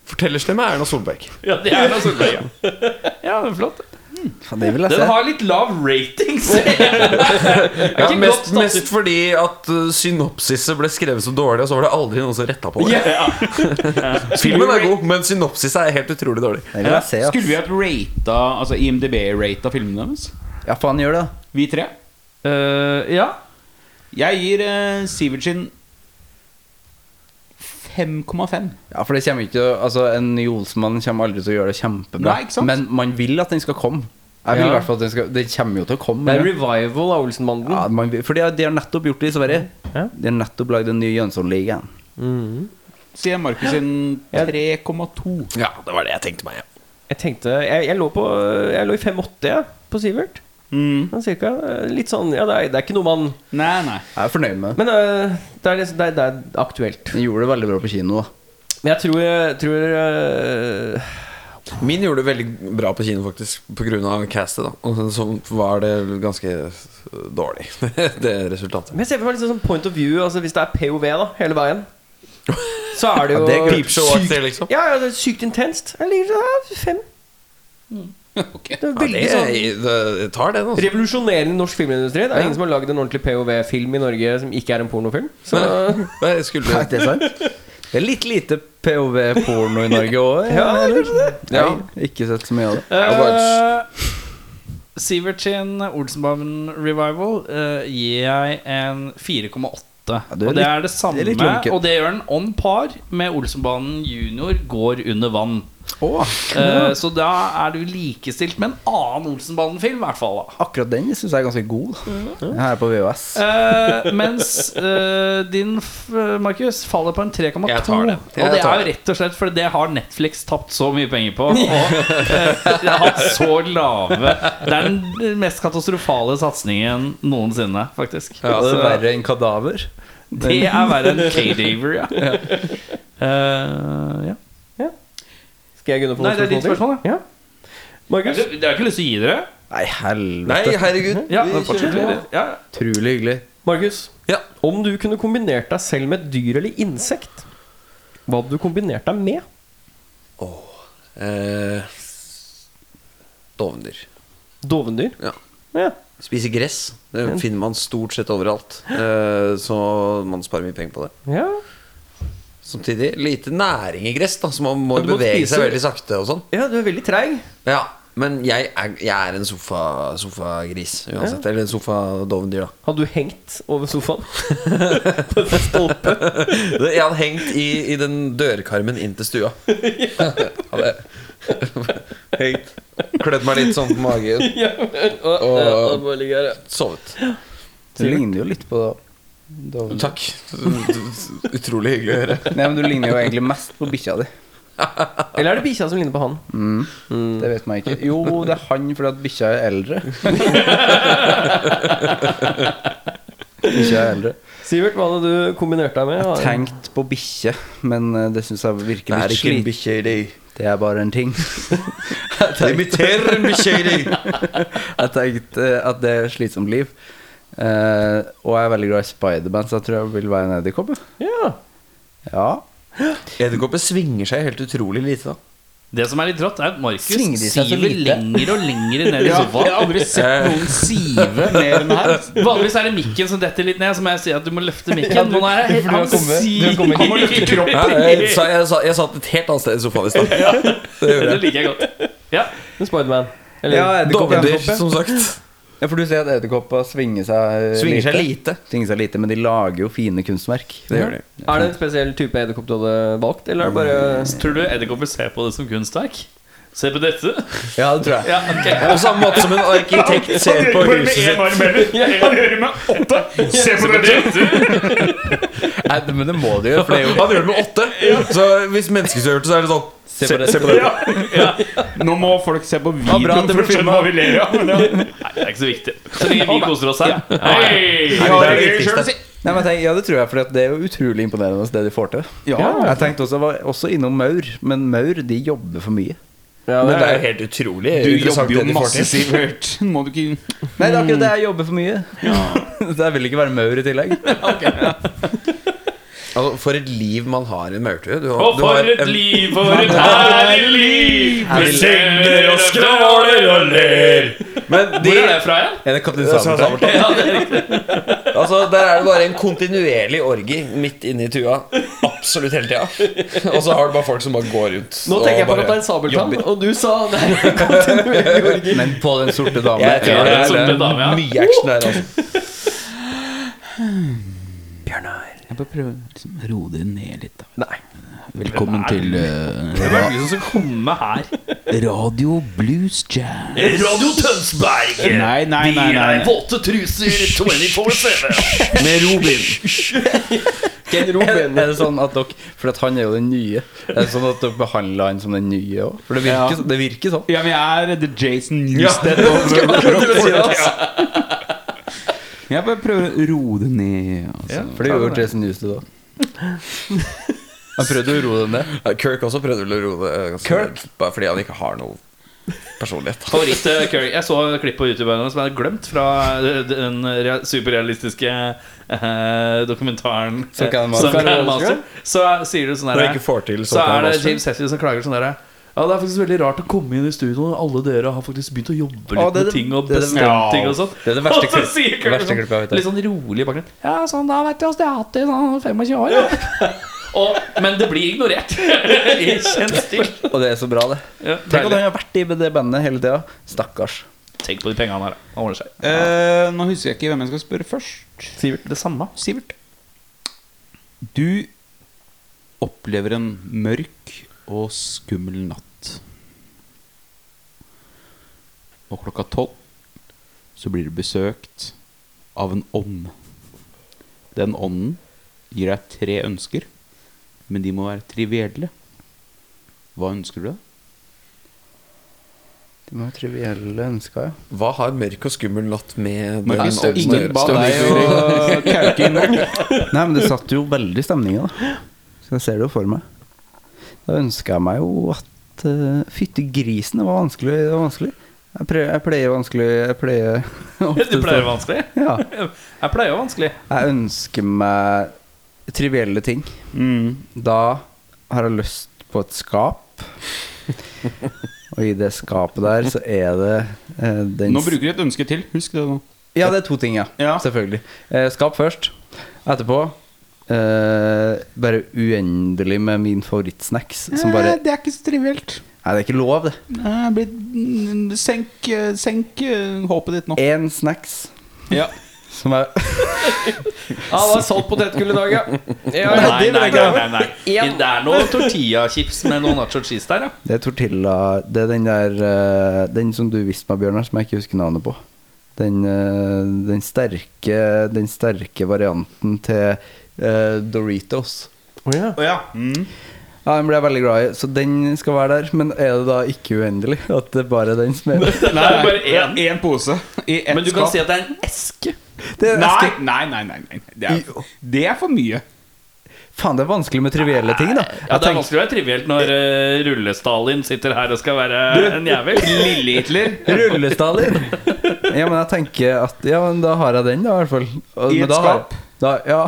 [SPEAKER 7] Fortellerstemme er Erna Solberg.
[SPEAKER 3] Ja, det er
[SPEAKER 2] altså
[SPEAKER 3] noe sånt. Ja, [LAUGHS] ja det er flott.
[SPEAKER 7] Mm.
[SPEAKER 8] Det vil jeg
[SPEAKER 3] Den
[SPEAKER 8] se.
[SPEAKER 3] har litt lav rating, ser jeg. Det er
[SPEAKER 7] Ja,
[SPEAKER 3] ikke
[SPEAKER 7] mest,
[SPEAKER 3] godt status-
[SPEAKER 7] mest fordi at eh, synopsiset ble skrevet så dårlig, og så var det aldri noen som retta på det. Filmen er god, men synopsiset er helt utrolig dårlig.
[SPEAKER 8] Det vil jeg se, ass.
[SPEAKER 4] Skulle vi hatt rata Altså IMDb-rata filmene deres?
[SPEAKER 8] Ja, faen gjør det, da.
[SPEAKER 4] Vi tre?
[SPEAKER 2] Eh, ja.
[SPEAKER 4] Jeg gir uh, Sivertsen 5,5.
[SPEAKER 8] Ja, for det kommer ikke til å- Altså, en ny Olsmann kommer aldri til å gjøre det kjempebra.
[SPEAKER 4] Nei, ikke sant?
[SPEAKER 8] Men man vil at den skal komme. Jeg vil i
[SPEAKER 2] Ja.
[SPEAKER 8] hvert fall at den skal Den kommer jo til å komme.
[SPEAKER 1] Det er
[SPEAKER 8] ja.
[SPEAKER 1] revival av Olsenbanden.
[SPEAKER 8] Ja, man, vil- for de har, de har nettopp gjort det i Sverige.
[SPEAKER 1] Ja.
[SPEAKER 8] De har nettopp lagd den nye Jønsson-ligaen.
[SPEAKER 4] Sier Markus sin 3,2.
[SPEAKER 7] Ja, det var det jeg tenkte meg. Ja.
[SPEAKER 1] Jeg tenkte Jeg, jeg, lå, på, jeg lå i 5,80 jeg, på Sivert. Sånn cirka. Litt sånn Ja, det er, det er ikke noe man
[SPEAKER 4] Nei, nei.
[SPEAKER 8] Jeg er fornøyd med det.
[SPEAKER 1] Men øh, det, er, liksom- det, er, det er aktuelt.
[SPEAKER 8] Den gjorde det veldig bra på kino. [LAUGHS] da
[SPEAKER 1] Men jeg tror, jeg tror øh,
[SPEAKER 7] Min gjorde det veldig bra på kino, faktisk, pga. castet. da Og så- Så var det ganske øh, dårlig, [LAUGHS] det resultatet.
[SPEAKER 1] Men jeg ser for meg liksom sånn point of view. Altså Hvis det er POV da hele veien, så er det jo
[SPEAKER 7] Det er Peepshow-aktig, liksom.
[SPEAKER 1] ja, ja, det er sykt intenst. Jeg liker det her. Fem. Det er
[SPEAKER 7] Ja,
[SPEAKER 1] veldig sånn
[SPEAKER 7] det, det jeg tar den, altså.
[SPEAKER 1] Revolusjonerende norsk filmindustri. Det er ingen som har lagd en ordentlig POV-film i Norge som ikke er en pornofilm. Så
[SPEAKER 7] Men, men jeg skulle
[SPEAKER 8] Er ikke det sant? Det er litt lite POV-porno i Norge òg.
[SPEAKER 1] Ja,
[SPEAKER 7] Ja.
[SPEAKER 8] Ikke sett så mye av det.
[SPEAKER 2] Uh, Sivert sin Olsenbanen Revival eh, gir jeg en 4,8.
[SPEAKER 8] det er
[SPEAKER 2] og det
[SPEAKER 8] litt-
[SPEAKER 2] er det samme,
[SPEAKER 8] det er litt lunket.
[SPEAKER 2] og det gjør den on par med Olsenbanen Junior går under vann. Eh, så da er du likestilt med en annen Olsenbanen-film, i hvert fall. da
[SPEAKER 8] Akkurat den syns jeg er ganske god. da. Den her er på VHS.
[SPEAKER 2] Eh, mens eh, din, f- Markus, faller på en 3,2.
[SPEAKER 7] Jeg tar det. Jeg
[SPEAKER 2] og det
[SPEAKER 7] tar
[SPEAKER 2] er jo rett og slett fordi det har Netflix tapt så mye penger på. Og eh, det har hatt så lave Det er den mest katastrofale satsingen noensinne, faktisk.
[SPEAKER 8] Og altså,
[SPEAKER 7] altså,
[SPEAKER 8] det er verre enn Kadaver.
[SPEAKER 2] Det er verre enn Cadaver, ja. Eh, ja.
[SPEAKER 1] Skal jeg gunne på
[SPEAKER 2] Nei, det er ditt spørsmål,
[SPEAKER 1] ja. Markus?
[SPEAKER 2] Jeg har ikke lyst til å gi dere.
[SPEAKER 8] Nei,
[SPEAKER 7] Nei,
[SPEAKER 8] helvete.
[SPEAKER 7] herregud.
[SPEAKER 2] Ja,
[SPEAKER 7] vi
[SPEAKER 2] men fortsett
[SPEAKER 7] kjører.
[SPEAKER 2] dere. Ja.
[SPEAKER 8] Utrolig hyggelig.
[SPEAKER 1] Markus,
[SPEAKER 7] Ja.
[SPEAKER 1] om du kunne kombinert deg selv med et dyr eller insekt, hva hadde du kombinert deg med?
[SPEAKER 7] Eh, Dovendyr.
[SPEAKER 1] Dovendyr?
[SPEAKER 7] Ja.
[SPEAKER 1] Ja.
[SPEAKER 7] Spise gress. Det finner man stort sett overalt. Eh, så man sparer mye penger på det.
[SPEAKER 1] ja.
[SPEAKER 7] Samtidig lite næring i gress, da, så man må
[SPEAKER 1] Ja, du må
[SPEAKER 7] bevege seg
[SPEAKER 1] spise-
[SPEAKER 7] veldig sakte og sånn.
[SPEAKER 1] ja, du er veldig treig.
[SPEAKER 7] Ja, men jeg er, jeg er en sofa, sofagris uansett. Eller en sofadovendyr, da.
[SPEAKER 1] Hadde du hengt over [LAUGHS] sofaen? På en stolpe?
[SPEAKER 7] Jeg hadde hengt i, i den dørkarmen inn til [LAUGHS] stua. Hadde hengt. Klødd meg litt sånn på magen og sovet.
[SPEAKER 8] Du ligner jo litt på Dover.
[SPEAKER 7] Takk. Utrolig hyggelig å høre.
[SPEAKER 8] Nei, men du ligner jo egentlig mest på bikkja di.
[SPEAKER 1] Eller er det bikkja som ligner på han?
[SPEAKER 8] Det vet man ikke. Jo, [LAUGHS] det er han fordi at bikkja er eldre. Ikke jeg heller.
[SPEAKER 1] Sivert, hva hadde du kombinert deg med?
[SPEAKER 8] Tenkt på bikkje, men eh, det syns jeg virker litt
[SPEAKER 7] Det er ikke en
[SPEAKER 8] slitsomt.
[SPEAKER 7] bikkje i deg.
[SPEAKER 8] Det er bare en ting.
[SPEAKER 7] [LAUGHS] Det imiterer en bikkje i deg.
[SPEAKER 8] [LAUGHS] Jeg tenkte eh, at det er et slitsomt liv. Eh, og jeg er veldig glad i Spiderman, så jeg tror jeg vil være en edderkopp. jeg.
[SPEAKER 1] Ja.
[SPEAKER 8] Ja.
[SPEAKER 7] Edderkopper svinger seg helt utrolig lite, da.
[SPEAKER 2] Det som er litt rått, er at Markus
[SPEAKER 8] Svinger de seg så
[SPEAKER 2] siver
[SPEAKER 8] lite?
[SPEAKER 2] lenger og lenger ned i
[SPEAKER 4] Ja, jeg
[SPEAKER 2] sofaen. Eh.
[SPEAKER 4] har aldri sett noen sive mer enn her.
[SPEAKER 2] Vanligvis er det mikken som detter litt ned, så må jeg si at du må løfte mikken. Nå er jeg, han,
[SPEAKER 4] Han må løfte kroppen.
[SPEAKER 7] Ja, jeg, sa, jeg, sa, jeg satt et helt annet sted i sofaen i [LAUGHS] stad. Det
[SPEAKER 2] det
[SPEAKER 7] gjorde jeg.
[SPEAKER 2] liker jeg godt. Ja,
[SPEAKER 1] Men Spiderman. Eller
[SPEAKER 8] Ja, edderkopp,
[SPEAKER 7] Dovner,
[SPEAKER 8] edderkopp, ja.
[SPEAKER 7] som sagt.
[SPEAKER 8] ja, for du ser at edderkopper svinger seg
[SPEAKER 7] Svinger seg lite.
[SPEAKER 8] Svinger seg lite, men de lager jo fine kunstverk.
[SPEAKER 7] Det gjør de.
[SPEAKER 1] Er det en spesiell type edderkopp du hadde valgt, eller er det bare
[SPEAKER 2] Tror du edderkopper ser på det som kunstverk? Se på dette.
[SPEAKER 8] Ja, det tror jeg.
[SPEAKER 2] Ja, ok
[SPEAKER 7] På samme måte som en arkitekt ser på huset sitt.
[SPEAKER 2] Se på dette.
[SPEAKER 8] Nei, det- men det må de jo, for det er jo
[SPEAKER 7] Han gjør det med åtte. Så hvis mennesker skulle gjort det, så er det sånn. Se,
[SPEAKER 8] på det.
[SPEAKER 7] se på det.
[SPEAKER 4] Nå må folk se på
[SPEAKER 8] Ja, bra at
[SPEAKER 4] videoen
[SPEAKER 8] det
[SPEAKER 4] for
[SPEAKER 8] ble
[SPEAKER 4] å skjønne hva vi ler
[SPEAKER 2] Nei,
[SPEAKER 4] av.
[SPEAKER 2] det er ikke så viktig. Så lenge vi koser oss her. Hei!
[SPEAKER 7] Ja, det er det viktigste.
[SPEAKER 8] Nei, men jeg tenker, Ja, det tror jeg, for det er jo utrolig imponerende det de får til. Jeg tenkte også, var også innom maur, men maur de jobber for mye.
[SPEAKER 1] ja, det,
[SPEAKER 7] Men det er jo helt utrolig
[SPEAKER 4] Du
[SPEAKER 7] interessant
[SPEAKER 4] jobber jo
[SPEAKER 7] det de får
[SPEAKER 4] masse,
[SPEAKER 7] til.
[SPEAKER 4] Sivert. Må du ikke
[SPEAKER 8] Nei, det er akkurat det jeg jobber for mye. [LAUGHS] så jeg vil ikke være maur i [LAUGHS] tillegg.
[SPEAKER 7] Altså, for et liv man har i en maurtue. Du har-
[SPEAKER 2] Og
[SPEAKER 7] du har
[SPEAKER 2] for et
[SPEAKER 7] en-
[SPEAKER 2] liv, for et herlig liv! Vi synger og skråler og ler.
[SPEAKER 7] Men
[SPEAKER 2] Hvor er
[SPEAKER 7] de
[SPEAKER 2] det fra igjen?
[SPEAKER 7] En kaptein Sabeltann. Altså, der er det bare en kontinuerlig orgi midt inne i tua. Absolutt hele tida. Og så har du bare folk som bare går rundt.
[SPEAKER 1] Nå
[SPEAKER 7] og
[SPEAKER 1] tenker jeg på
[SPEAKER 7] bare-
[SPEAKER 1] Kaptein Sabeltann, og du sa nei.
[SPEAKER 8] Men på den sorte dame.
[SPEAKER 7] Jeg tror det
[SPEAKER 2] Den
[SPEAKER 7] er
[SPEAKER 2] sorte
[SPEAKER 7] det.
[SPEAKER 2] dame, ja.
[SPEAKER 7] mye action der, altså.
[SPEAKER 4] Jeg bare prøver å liksom, roe det ned litt. Da. Velkommen til eh,
[SPEAKER 2] Hvem er det som skal komme her?
[SPEAKER 4] Radio Blues Jam.
[SPEAKER 2] Radio Tønsberg.
[SPEAKER 4] Nei, nei, nei, nei, nei.
[SPEAKER 2] våte truser 24-7.
[SPEAKER 7] Med Robin.
[SPEAKER 8] Er det sånn at dere For at han er jo den nye. Er det sånn at dere behandler han som den nye òg? For det virker,
[SPEAKER 4] Ja.
[SPEAKER 8] så- det virker sånn.
[SPEAKER 4] Ja, men jeg er The Jason [LAUGHS] Newsted. [LAUGHS] Jeg bare prøver å roe det ned. Altså.
[SPEAKER 8] For det gjorde Jason Newsted òg. [LAUGHS] Han prøvde å roe det ned.
[SPEAKER 7] Ja, Kirk også prøvde vel å roe det eh, ganske ned, Bare fordi han ikke har noe personlighet.
[SPEAKER 2] Favoritt eh, Curry. Jeg så et klipp på YouTube av henne som jeg hadde glemt fra eh, den rea- superrealistiske eh, dokumentaren
[SPEAKER 8] Sunken Master.
[SPEAKER 2] Sunken Master. Så sier du sånn
[SPEAKER 7] Når
[SPEAKER 2] der
[SPEAKER 7] jeg ikke får til
[SPEAKER 2] Så
[SPEAKER 7] Sunken
[SPEAKER 2] er det
[SPEAKER 7] Master.
[SPEAKER 2] James Hetfield som klager sånn der Ja, det er faktisk veldig rart å komme inn i studio når alle dere har faktisk begynt å jobbe litt
[SPEAKER 8] Å, det er
[SPEAKER 2] med
[SPEAKER 8] det-
[SPEAKER 2] ting og
[SPEAKER 8] det er det-
[SPEAKER 2] bestemt
[SPEAKER 8] ja.
[SPEAKER 2] ting og sånn.
[SPEAKER 8] Det er det
[SPEAKER 2] [LAUGHS]
[SPEAKER 8] verste
[SPEAKER 2] Og så
[SPEAKER 8] klipp-
[SPEAKER 2] sier
[SPEAKER 8] det
[SPEAKER 2] Curry
[SPEAKER 8] verste
[SPEAKER 2] sånn,
[SPEAKER 8] klippet jeg vet om.
[SPEAKER 2] Litt sånn rolig i bakgrunnen. Ja, sånn, da vet jeg åssen jeg har hatt det i sånn 25 år. Ja. [LAUGHS] og, men det blir ignorert. [LAUGHS] I kjent stil.
[SPEAKER 8] Og det er så bra, det.
[SPEAKER 2] Ja,
[SPEAKER 8] Tenk at
[SPEAKER 2] deilig.
[SPEAKER 8] han har vært i det bandet hele tida. Stakkars.
[SPEAKER 2] Tenk på de pengene han har. da. Han ordner seg.
[SPEAKER 4] Eh, nå husker jeg ikke hvem jeg skal spørre først.
[SPEAKER 2] Sivert, det samme.
[SPEAKER 4] Sivert. Du opplever en mørk og skummel natt. Og klokka tolv så blir du besøkt av en ånd. Den ånden gir deg tre ønsker, men de må være trivielle. Hva ønsker du deg?
[SPEAKER 8] Det var trivielle ønsker, ja.
[SPEAKER 7] Hva har mørk og skummel natt med den
[SPEAKER 4] Markus,
[SPEAKER 7] ånden å
[SPEAKER 4] ingen
[SPEAKER 7] gjøre?
[SPEAKER 4] ba deg å kauke inn
[SPEAKER 8] [LAUGHS] Nei, men det satte jo veldig stemninga, da. Så jeg ser det jo for meg. Da ønska jeg meg jo at uh, Fytti grisen, det var vanskelig. Det var vanskelig. Jeg, pleier, jeg pleier vanskelig Jeg pleier [LAUGHS]
[SPEAKER 2] Du pleier vanskelig.
[SPEAKER 8] Ja.
[SPEAKER 2] [LAUGHS] Jeg pleier jo vanskelig.
[SPEAKER 8] Jeg ønsker meg trivielle ting.
[SPEAKER 2] Mm.
[SPEAKER 8] Da har jeg lyst på et
[SPEAKER 2] [LAUGHS]
[SPEAKER 8] skap. Og i det skapet der så er det eh, den
[SPEAKER 4] Nå bruker du et ønske til. Husk det nå.
[SPEAKER 8] Ja, det er to ting, ja.
[SPEAKER 4] Ja.
[SPEAKER 8] Selvfølgelig. Eh, skap først. Etterpå eh, bare uendelig med min favorittsnacks. Som bare
[SPEAKER 4] Eh, Det er ikke så trivielt.
[SPEAKER 8] Nei, det er ikke lov, det.
[SPEAKER 4] Nei, bli- Senk, eh, senk eh, håpet ditt nå.
[SPEAKER 8] Én snacks
[SPEAKER 4] Ja.
[SPEAKER 8] som er
[SPEAKER 1] Ja, det var salt potetgull i dag, ja. ja, ja
[SPEAKER 2] Nei,
[SPEAKER 1] det vil
[SPEAKER 2] nei,
[SPEAKER 1] jeg ikke
[SPEAKER 2] nei,
[SPEAKER 1] ha.
[SPEAKER 2] nei, nei. Det er noe tortillachips med noe nacho cheese der, ja.
[SPEAKER 8] Det er tortilla Det er den der eh, Den som du viste meg, Bjørnar, som jeg ikke husker navnet på. Den, eh, den sterke Den sterke varianten til eh, Doritos.
[SPEAKER 1] Å, ja.
[SPEAKER 4] Å ja.
[SPEAKER 8] Jeg Ja, den ble jeg veldig glad i, så den skal være der. Men er det da ikke uendelig? At det er bare den som er
[SPEAKER 2] [LAUGHS]
[SPEAKER 8] der?
[SPEAKER 4] Nei, bare én pose i ett
[SPEAKER 7] Men du kan
[SPEAKER 4] skap.
[SPEAKER 7] si at det er en eske.
[SPEAKER 8] Det er
[SPEAKER 4] Nei,
[SPEAKER 8] eske.
[SPEAKER 4] nei, nei. nei, nei. Det, er, det er for mye.
[SPEAKER 8] Faen, det er vanskelig med trivielle ting, da.
[SPEAKER 2] Ja, det er vanskelig å være trivielt når uh, Rulle-Stalin sitter her og skal være en jævel.
[SPEAKER 4] Lille-Hitler
[SPEAKER 8] Rullestaler. Ja, men jeg tenker at Ja, men da har jeg den, da, i hvert fall. Og-
[SPEAKER 4] I
[SPEAKER 8] men
[SPEAKER 4] et
[SPEAKER 8] da har-
[SPEAKER 4] skap?
[SPEAKER 8] Da, ja.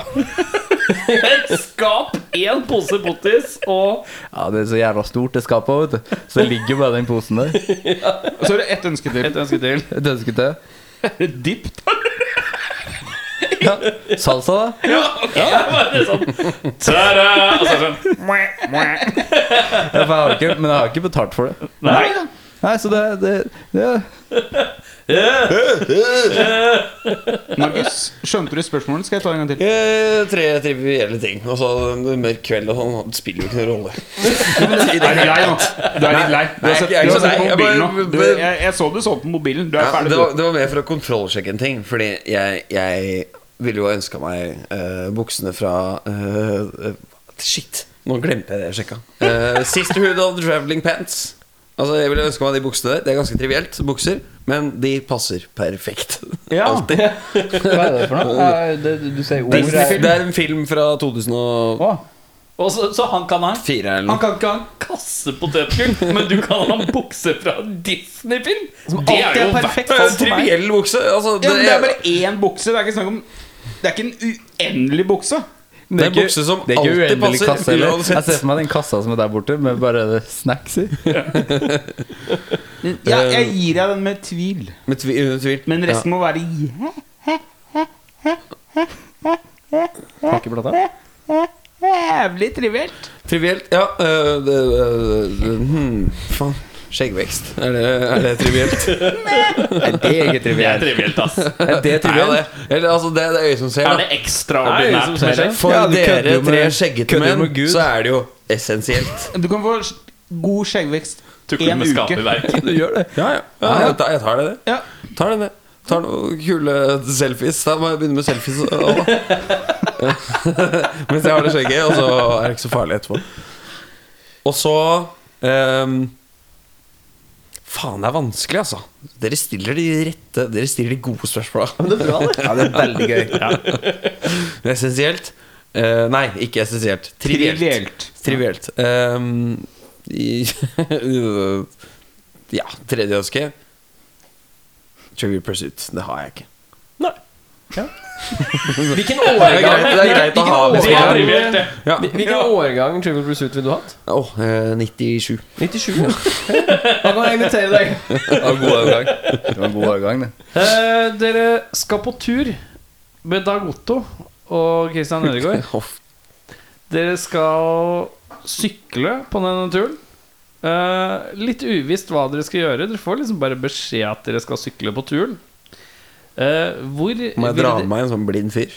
[SPEAKER 2] Et [LAUGHS] skap, én pose pottis og
[SPEAKER 8] ja, det er så jævla stort, det skapet, vet du. Så det ligger bare den posen der.
[SPEAKER 4] Og så er det ett ønske til.
[SPEAKER 2] et ønske til.
[SPEAKER 8] Et ønske til.
[SPEAKER 4] Dipp.
[SPEAKER 8] Ja. Salsa, da?
[SPEAKER 2] Ta-da! Og så er det sånn
[SPEAKER 8] Ja, for jeg har ikke, men jeg har ikke betalt for det.
[SPEAKER 2] Nei.
[SPEAKER 8] Nei, så det, det, det
[SPEAKER 4] Markus, skjønte du spørsmålet? Skal jeg ta en gang til?
[SPEAKER 7] Eh, tre trivielle ting. Altså, Og så en mørk kveld og sånn. Det spiller jo ikke noen rolle.
[SPEAKER 4] Du er litt lei nå. Du er litt lei. Du
[SPEAKER 7] Nei,
[SPEAKER 4] har sett,
[SPEAKER 7] jeg er
[SPEAKER 4] du
[SPEAKER 7] ikke
[SPEAKER 4] har sett
[SPEAKER 7] lei.
[SPEAKER 4] på
[SPEAKER 7] Jeg
[SPEAKER 4] mobilen
[SPEAKER 7] bare-
[SPEAKER 4] nå. Du, jeg, jeg så du så på mobilen. Du er
[SPEAKER 7] Ja,
[SPEAKER 4] ferdig.
[SPEAKER 7] det,
[SPEAKER 4] du.
[SPEAKER 7] var, det var mer for å kontrollsjekke en ting. Fordi jeg, jeg ville jo ha ønska meg eh, buksene fra eh, eh, Shit, nå glemte jeg det jeg sjekka. Eh, Sisterhood of the Traveling Pants. Altså Jeg ville ønska meg de buksene der. Det er ganske trivielt, bukser, men de passer perfekt. Alltid.
[SPEAKER 8] Hva er det for noe? Eh, det, du sier ord
[SPEAKER 7] Det er,
[SPEAKER 8] her.
[SPEAKER 7] det er en film fra 2004
[SPEAKER 2] Og så, så han kan ha en
[SPEAKER 7] eller
[SPEAKER 2] Han
[SPEAKER 7] noe.
[SPEAKER 2] kan ikke ha en kasse potetgull, men du kan ha en bukse fra en Disney-film! Det er
[SPEAKER 4] alltid
[SPEAKER 2] jo
[SPEAKER 4] er perfekt.
[SPEAKER 2] verdt
[SPEAKER 7] Det er en triviell bukse. Altså,
[SPEAKER 4] Ja,
[SPEAKER 7] det,
[SPEAKER 4] men det er bare én bukse. Det er ikke snakk om Det er ikke en uendelig bukse.
[SPEAKER 7] det er en bukse som
[SPEAKER 8] Det er ikke
[SPEAKER 7] alltid
[SPEAKER 8] uendelig
[SPEAKER 7] passer.
[SPEAKER 8] kasse heller. Jeg
[SPEAKER 7] uansett.
[SPEAKER 8] ser for meg den kassa som er der borte, med bare snacks i.
[SPEAKER 4] Ja, jeg gir deg den med tvil.
[SPEAKER 7] Med tvi- uten tvil.
[SPEAKER 4] Men resten må være i.
[SPEAKER 17] Kakeplata.
[SPEAKER 4] jævlig trivielt.
[SPEAKER 7] Trivielt? Ja. øh, det, øh, det, hmm, faen. Skjeggvekst. Er det, er det trivielt?
[SPEAKER 8] Det er ikke
[SPEAKER 2] Det
[SPEAKER 1] [LAUGHS]
[SPEAKER 2] er
[SPEAKER 8] trivielt.
[SPEAKER 2] trivielt, ass.
[SPEAKER 7] Er det trivielt? det. Eller, altså, det er det øyet som ser.
[SPEAKER 2] Er
[SPEAKER 7] Da.
[SPEAKER 2] det ekstraordinært med skjegg?
[SPEAKER 7] For
[SPEAKER 8] Ja, du kødder
[SPEAKER 7] dere
[SPEAKER 8] jo med-
[SPEAKER 7] tre skjeggete
[SPEAKER 8] kødder jo
[SPEAKER 7] menn,
[SPEAKER 8] med Gud.
[SPEAKER 7] så er det jo essensielt.
[SPEAKER 4] Du kan få s- god skjeggvekst
[SPEAKER 2] Tukler
[SPEAKER 4] en
[SPEAKER 2] med skapet i
[SPEAKER 4] uke.
[SPEAKER 2] verk.
[SPEAKER 8] Du gjør det.
[SPEAKER 7] Ja, ja. ja jeg, tar, jeg tar det, det.
[SPEAKER 4] Ja.
[SPEAKER 7] Tar det, det. Tar noen kule selfies. Da må jeg begynne med selfies. og- [LAUGHS] Mens jeg har det skjegget, og så er det ikke så farlig etterpå. Og så ehm, Faen, det er vanskelig, altså. Dere stiller de rette Dere stiller de gode spørsmåla. [LAUGHS]
[SPEAKER 8] Ja, det er veldig gøy.
[SPEAKER 7] Essensielt. Eh, nei, ikke essensielt. Trivielt.
[SPEAKER 4] Trivielt.
[SPEAKER 7] Trivielt. Ehm, i, [LAUGHS] ja, tredje ønske. Trivial Pursuit. Det har jeg ikke.
[SPEAKER 17] Nei.
[SPEAKER 7] [LAUGHS]
[SPEAKER 17] Hvilken
[SPEAKER 7] Det er greit,
[SPEAKER 17] årgang
[SPEAKER 7] det er greit å ha med
[SPEAKER 2] Det er
[SPEAKER 7] seg.
[SPEAKER 2] trivielt, det.
[SPEAKER 7] Ja.
[SPEAKER 17] Hvilken årgang Trivial Pursuit ville du hatt?
[SPEAKER 7] Åh, eh, 97.
[SPEAKER 17] 97, ja. Da kan jeg invitere deg.
[SPEAKER 8] Det var en god overgang. Det var en god overgang, det.
[SPEAKER 3] Eh, dere skal på tur med Dag Otto og Christian Ødegaard.
[SPEAKER 7] Hoff.
[SPEAKER 3] Dere skal sykle på denne turen. Eh, litt uvisst hva dere skal gjøre. Dere får liksom bare beskjed at dere skal sykle på turen. Eh, hvor
[SPEAKER 7] Må jeg
[SPEAKER 3] vil
[SPEAKER 7] dra
[SPEAKER 3] de-
[SPEAKER 7] med meg en sånn blind fyr?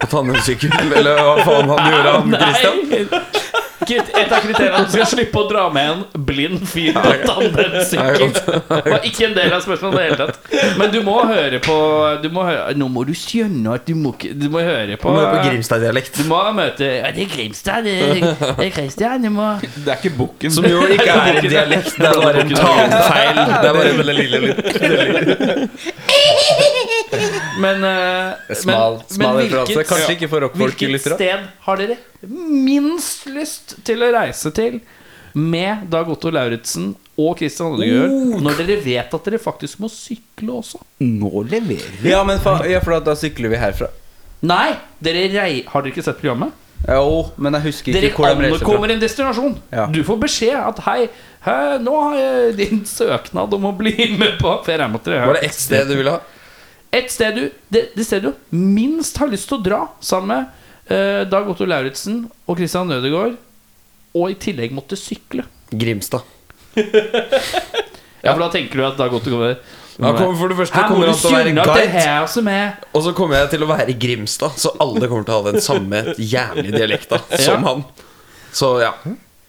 [SPEAKER 7] På tandemsykkel? Eller hva faen han gjorde, [LAUGHS] han Christian?
[SPEAKER 2] [LAUGHS] Krit- Et av kriteriene er at du skal slippe å dra med en blind fyr på tandemsykkel. Det var ikke en del av spørsmålet i det hele tatt. Men du må høre på du må høre, Nå må du skjønne at du må ikke Du må høre på
[SPEAKER 7] Han er på Grimstad-dialekt.
[SPEAKER 2] Du må møte Ja, det er Grimstad. Det det er Christian. Du må
[SPEAKER 4] Det er ikke bukken.
[SPEAKER 7] Som jo ikke er en dialekt, det er bare en talefeil. Det er bare en lille
[SPEAKER 2] Men eh,
[SPEAKER 8] Smal,
[SPEAKER 2] men-
[SPEAKER 8] smal
[SPEAKER 2] men
[SPEAKER 8] referanse.
[SPEAKER 2] hvilket-
[SPEAKER 8] Kanskje ikke for rockfolk i
[SPEAKER 2] Hvilket
[SPEAKER 8] lyttere.
[SPEAKER 2] sted har dere minst lyst til å reise til med Dag Otto Lauritzen og Christian Oddegård,
[SPEAKER 8] Oh!
[SPEAKER 2] når dere vet at dere faktisk må sykle også?
[SPEAKER 4] Nå leverer
[SPEAKER 8] Ja, men fa ja, for da- da sykler vi herfra.
[SPEAKER 2] Nei, dere rei... Har dere ikke sett programmet?
[SPEAKER 8] Jo, men jeg husker
[SPEAKER 2] Dere
[SPEAKER 8] ikke hvor de reiser fra.
[SPEAKER 2] ankommer en destinasjon.
[SPEAKER 8] Ja.
[SPEAKER 2] Du får beskjed at hei, hæ, nå har jeg din søknad om å bli med på For jeg regner med at dere har
[SPEAKER 7] Var det ett sted du ville ha?
[SPEAKER 2] Et sted du det, det stedet du minst har lyst til å dra sammen med eh, Dag Otto Lauritzen og Christian Nødegård, og i tillegg måtte sykle.
[SPEAKER 7] Grimstad.
[SPEAKER 2] Ja, for da tenker du at Dag Otto kommer
[SPEAKER 7] Han kommer for det første
[SPEAKER 2] Her må
[SPEAKER 7] kommer
[SPEAKER 2] du
[SPEAKER 7] han til å være
[SPEAKER 2] skynde at det
[SPEAKER 7] guide,
[SPEAKER 2] her som er
[SPEAKER 7] og så kommer jeg til å være i Grimstad, så alle kommer til å ha den samme jævlige dialekta som han. Så ja.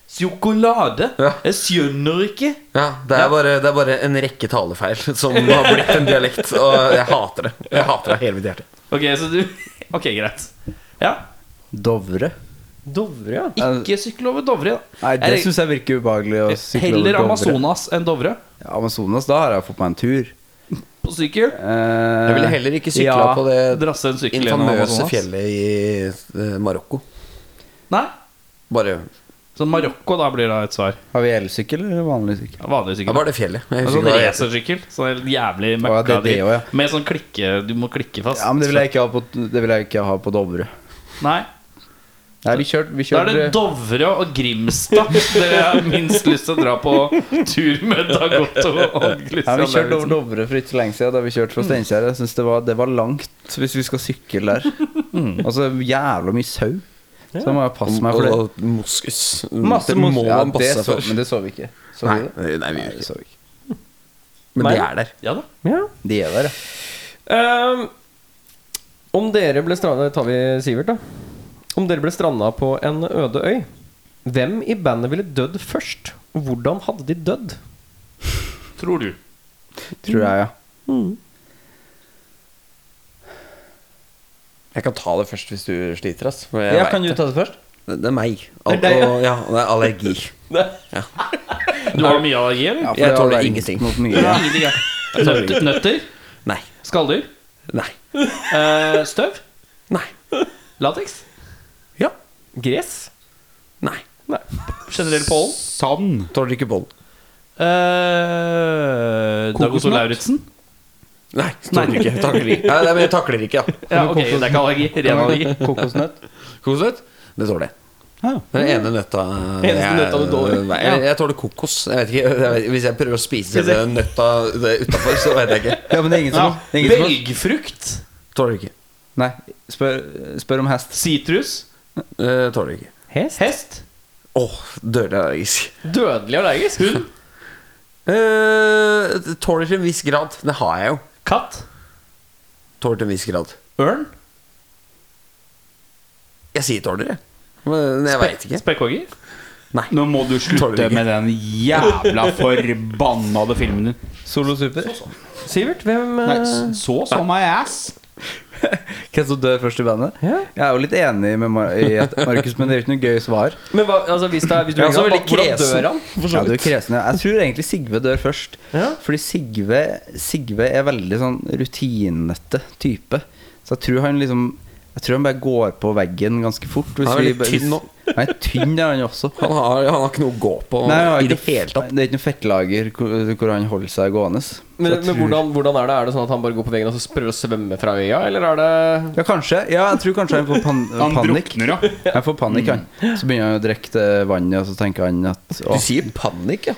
[SPEAKER 2] Sjokolade.
[SPEAKER 7] Ja.
[SPEAKER 2] Jeg skjønner ikke.
[SPEAKER 7] ja det, er bare, det er bare en rekke talefeil som har blitt en dialekt, og jeg hater det.
[SPEAKER 2] [LAUGHS]
[SPEAKER 7] Jeg hater det av hele mitt hjerte.
[SPEAKER 2] Ok, så du Ok, greit. Ja.
[SPEAKER 8] Dovre.
[SPEAKER 1] Dovre, ja.
[SPEAKER 2] Ikke sykle over Dovre. da.
[SPEAKER 8] Nei, det
[SPEAKER 2] Jeg-
[SPEAKER 8] syns jeg virker ubehagelig. Å sykle over
[SPEAKER 2] Heller
[SPEAKER 8] Dovre.
[SPEAKER 2] Amazonas enn Dovre
[SPEAKER 8] Ja, Amazonas, da har jeg fått meg en tur.
[SPEAKER 2] på sykkel.
[SPEAKER 8] Eh,
[SPEAKER 7] Jeg ville heller ikke sykla
[SPEAKER 8] ja.
[SPEAKER 7] på det
[SPEAKER 2] Drasse en sykkel gjennom
[SPEAKER 7] infamøse
[SPEAKER 2] Amazonas.
[SPEAKER 7] fjellet i eh, Marokko.
[SPEAKER 2] Nei,
[SPEAKER 7] Bare
[SPEAKER 2] så Marokko da blir da et svar.
[SPEAKER 8] Har vi elsykkel eller vanlig sykkel?
[SPEAKER 2] Ja, Vanlig
[SPEAKER 7] ja,
[SPEAKER 2] sykkel.
[SPEAKER 7] Bare det fjellet. Jeg
[SPEAKER 2] En
[SPEAKER 7] husker
[SPEAKER 2] sånn
[SPEAKER 7] ikke hva Altså, det heter.
[SPEAKER 2] racersykkel. Sånn helt jævlig
[SPEAKER 8] Å, ja, det
[SPEAKER 2] møkka
[SPEAKER 8] er det
[SPEAKER 2] dritt.
[SPEAKER 8] også, ja.
[SPEAKER 2] Med sånn klikke Du må klikke fast.
[SPEAKER 8] Ja, men det vil jeg ikke ha på, det vil jeg ikke ha på Dovre.
[SPEAKER 2] Nei.
[SPEAKER 8] Nei, vi kjørte vi
[SPEAKER 2] Da er det
[SPEAKER 8] kjørte-
[SPEAKER 2] Dovre og Grimstad dere har minst lyst til å dra på tur med Dagotto og
[SPEAKER 8] ja, vi kjørte over
[SPEAKER 2] Christian Lauritzen.
[SPEAKER 8] Dovre for ikke så lenge siden. Da vi kjørte fra Steinkjer. Jeg synes det, var- det var langt hvis vi skal sykle der. Og så jævla mye sau. Så da må jeg passe meg for det.
[SPEAKER 7] Og moskus.
[SPEAKER 8] Masse
[SPEAKER 7] det må
[SPEAKER 8] mos- ja,
[SPEAKER 7] man passe
[SPEAKER 8] det
[SPEAKER 7] seg
[SPEAKER 8] så,
[SPEAKER 7] for.
[SPEAKER 8] Men det så vi ikke. Så
[SPEAKER 7] Nei,
[SPEAKER 8] vi det?
[SPEAKER 7] nei, vi
[SPEAKER 8] Nei,
[SPEAKER 7] gjør
[SPEAKER 8] det
[SPEAKER 7] ikke
[SPEAKER 8] så vi ikke.
[SPEAKER 7] Men det er der.
[SPEAKER 2] Ja da.
[SPEAKER 1] ja.
[SPEAKER 8] De er der, ja.
[SPEAKER 1] Ehm, om dere ble stranda Tar vi Sivert, da. Om dere ble stranda på en øde øy, hvem i bandet ville dødd først? Og hvordan hadde de dødd?
[SPEAKER 2] Tror du.
[SPEAKER 8] Tror jeg, ja.
[SPEAKER 7] Jeg kan ta det først hvis du sliter, ass. For
[SPEAKER 8] ja
[SPEAKER 7] vet
[SPEAKER 8] kan du
[SPEAKER 7] det.
[SPEAKER 8] ta det først?
[SPEAKER 7] Det det er meg. Al og, ja, det er allergi.
[SPEAKER 2] Du har mye allergi, eller?
[SPEAKER 8] Ja, for
[SPEAKER 7] Jeg
[SPEAKER 8] det var
[SPEAKER 7] tåler
[SPEAKER 8] lengst
[SPEAKER 7] ingenting.
[SPEAKER 8] Mot mye. Ja.
[SPEAKER 2] Ingenting, ja. Nøtter? nøtter
[SPEAKER 7] Nei.
[SPEAKER 2] Skalldyr?
[SPEAKER 7] Nei.
[SPEAKER 2] eh, støv?
[SPEAKER 7] Nei.
[SPEAKER 2] Lateks?
[SPEAKER 7] Ja.
[SPEAKER 1] Gress?
[SPEAKER 7] Nei.
[SPEAKER 2] Generell pollen?
[SPEAKER 4] Sand.
[SPEAKER 7] Tåler ikke bånd.
[SPEAKER 2] Eh, Dagotto
[SPEAKER 4] Kokosnøtt?
[SPEAKER 2] Lauritzen?
[SPEAKER 7] Nei, tåler ikke. Takler ikke. Nei, nei, men jeg takler ikke, ja.
[SPEAKER 2] Ja, ok, det er ikke allergi. Ren allergi. [LAUGHS]
[SPEAKER 8] Kokosnøtt.
[SPEAKER 7] Kokosnøtt? Det tåler jeg.
[SPEAKER 4] Ja.
[SPEAKER 7] Det er Den ene nøtta
[SPEAKER 1] Eneste nøtta du tåler.
[SPEAKER 7] Nei, jeg, jeg tåler kokos. Jeg vet ikke, jeg vet, hvis jeg prøver å spise
[SPEAKER 1] Hvis jeg-
[SPEAKER 7] den nøtta utafor, så vet jeg ikke.
[SPEAKER 8] Ja, men det er ingen som det er ingen som-
[SPEAKER 2] Belgfrukt?
[SPEAKER 7] Tåler ikke.
[SPEAKER 8] Nei, spør, Eh, spør om hest.
[SPEAKER 2] Sitrus?
[SPEAKER 7] Eh, tåler ikke.
[SPEAKER 1] Hest?
[SPEAKER 2] Hest?
[SPEAKER 7] Åh, dødelig allergisk.
[SPEAKER 1] Dødelig allergisk? Hund?
[SPEAKER 7] Eh, tåler til en viss grad. Det har jeg jo.
[SPEAKER 2] Katt?
[SPEAKER 7] Tåler til en viss grad.
[SPEAKER 2] Ørn?
[SPEAKER 7] Jeg sier tåler, jeg. Men jeg veit ikke.
[SPEAKER 2] Spekkhogger?
[SPEAKER 7] Nei.
[SPEAKER 4] Nå må du
[SPEAKER 7] Tåler
[SPEAKER 4] slutte
[SPEAKER 7] ikke.
[SPEAKER 4] med den jævla forbannede filmen din.
[SPEAKER 8] Solo Super.
[SPEAKER 1] Sivert, hvem
[SPEAKER 4] sånn. Nei,
[SPEAKER 1] eh,
[SPEAKER 4] s- så sånn. som ei ass.
[SPEAKER 8] Hvem som dør først i bandet?
[SPEAKER 1] Ja.
[SPEAKER 8] Jeg er jo litt enig med Mar i at Markus, men det er jo ikke noe gøy svar.
[SPEAKER 1] Men hva, altså, hvis, det er, hvis du
[SPEAKER 7] Jeg er også
[SPEAKER 1] ringer
[SPEAKER 7] veldig
[SPEAKER 1] han, hvordan
[SPEAKER 7] kresen.
[SPEAKER 1] dør han?
[SPEAKER 8] Ja, du er kresen, ja. Jeg tror egentlig Sigve dør først.
[SPEAKER 1] Ja.
[SPEAKER 8] Fordi Sigve, Sigve er veldig sånn rutinete type. Så jeg tror han liksom Jeg tror han bare går på veggen ganske fort. hvis
[SPEAKER 7] Han er
[SPEAKER 8] vi
[SPEAKER 7] litt
[SPEAKER 8] bare-
[SPEAKER 7] tynn nå.
[SPEAKER 8] Han er tynn, er han også.
[SPEAKER 7] Han har, han har ikke noe å gå på
[SPEAKER 8] Nei, han har
[SPEAKER 7] i det
[SPEAKER 8] ikke-
[SPEAKER 7] hele tatt.
[SPEAKER 8] Det er ikke noe fettlager hvor, hvor han holder seg gående. Så
[SPEAKER 1] Men,
[SPEAKER 8] jeg
[SPEAKER 1] men
[SPEAKER 8] tror-
[SPEAKER 1] hvordan, hvordan er det? Er det sånn at han bare går på veggen og så prøver å svømme fra øya, eller er det
[SPEAKER 8] Ja, kanskje. Ja, jeg tror kanskje han får pan
[SPEAKER 4] [LAUGHS] Han
[SPEAKER 8] panikk.
[SPEAKER 4] drukner, ja.
[SPEAKER 8] Han får panikk, han. Så begynner han å drikke det vannet, og så tenker han at
[SPEAKER 7] Du
[SPEAKER 8] å,
[SPEAKER 7] sier panikk, ja.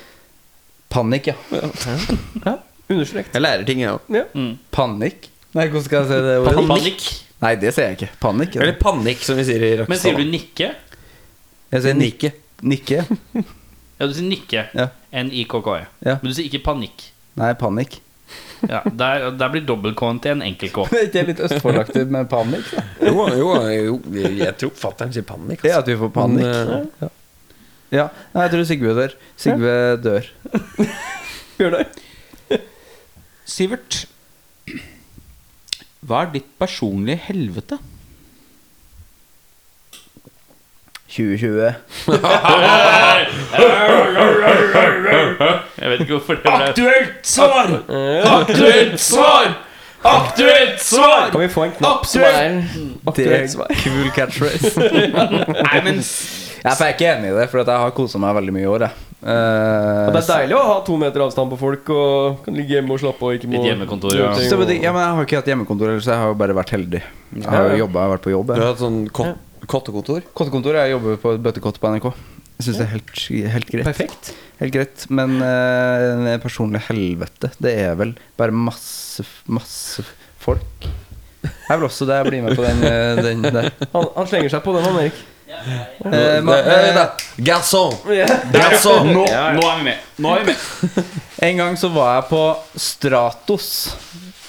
[SPEAKER 8] Panikk, ja.
[SPEAKER 1] understrekt?
[SPEAKER 7] Jeg lærer ting, jeg òg.
[SPEAKER 8] Panikk? Nei, hvordan skal jeg si det ordet?
[SPEAKER 2] Panikk?
[SPEAKER 8] Nei, det sier jeg ikke. Panikk. altså. ja.
[SPEAKER 7] Eller panikk, som vi sier i
[SPEAKER 2] Men sier du
[SPEAKER 4] sånn.
[SPEAKER 7] Rakkestad.
[SPEAKER 2] nikke?
[SPEAKER 8] Jeg sier nikke. Nikke.
[SPEAKER 2] Ja, du sier nikke.
[SPEAKER 8] Ja.
[SPEAKER 2] N-i-k-k-e.
[SPEAKER 8] Ja.
[SPEAKER 2] Men du sier ikke panikk.
[SPEAKER 8] Nei, panikk.
[SPEAKER 2] Ja, der, der blir dobbelt-k-en til en enkel k.
[SPEAKER 8] [LAUGHS] Det er ikke litt østfoldaktig med panikk? Da.
[SPEAKER 7] Jo, jo, jo, jeg tror fatter'n sier panikk. altså.
[SPEAKER 8] Det er at vi får panikk.
[SPEAKER 7] Men,
[SPEAKER 8] Ja. ja. Nei, jeg tror Sigve dør. Sigve dør.
[SPEAKER 4] Sivert, hva er ditt personlige helvete?
[SPEAKER 8] 2020.
[SPEAKER 2] Jeg vet ikke hvorfor det ble
[SPEAKER 9] Aktuelt svar! Aktuelt svar! Aktuelt svar!
[SPEAKER 1] Kan vi få en knapp som Mm. er
[SPEAKER 8] Det er
[SPEAKER 1] aktuelt svar?
[SPEAKER 8] kul catchphrase. [LAUGHS] Nei, men Jeg er ikke enig i det, for at jeg har kosa meg veldig mye i år. Jeg. Eh,
[SPEAKER 1] Og det er deilig å ha to meter avstand på folk og kan ligge hjemme og slappe av. og Ikke må
[SPEAKER 2] Litt hjemmekontor, ja.
[SPEAKER 1] gjøre ting
[SPEAKER 8] så, men, det-
[SPEAKER 1] og-
[SPEAKER 8] ja, men jeg har ikke hatt hjemmekontor, ellers jeg har jo bare vært heldig. Jeg har jo jobbet, jeg har vært på jobb.
[SPEAKER 7] Du
[SPEAKER 8] Jeg.
[SPEAKER 7] har hatt sånn kot kottekontor?
[SPEAKER 8] Kottekontor, jeg jobber på et bøttekott på NRK. Jeg syns det er helt, helt greit.
[SPEAKER 1] Perfekt.
[SPEAKER 8] Helt greit, men eh, det personlige helvete, det er vel bare masse, masse folk. Jeg vil også det, jeg blir med på den, eh, den der.
[SPEAKER 1] Han, han slenger seg på den, han Erik.
[SPEAKER 8] Eh, ma-
[SPEAKER 7] Hei da!
[SPEAKER 8] eh,
[SPEAKER 7] Garçon! Garçon!
[SPEAKER 4] Nå, nå er vi med! Nå er vi med.
[SPEAKER 8] eh, en gang så var jeg på Stratos,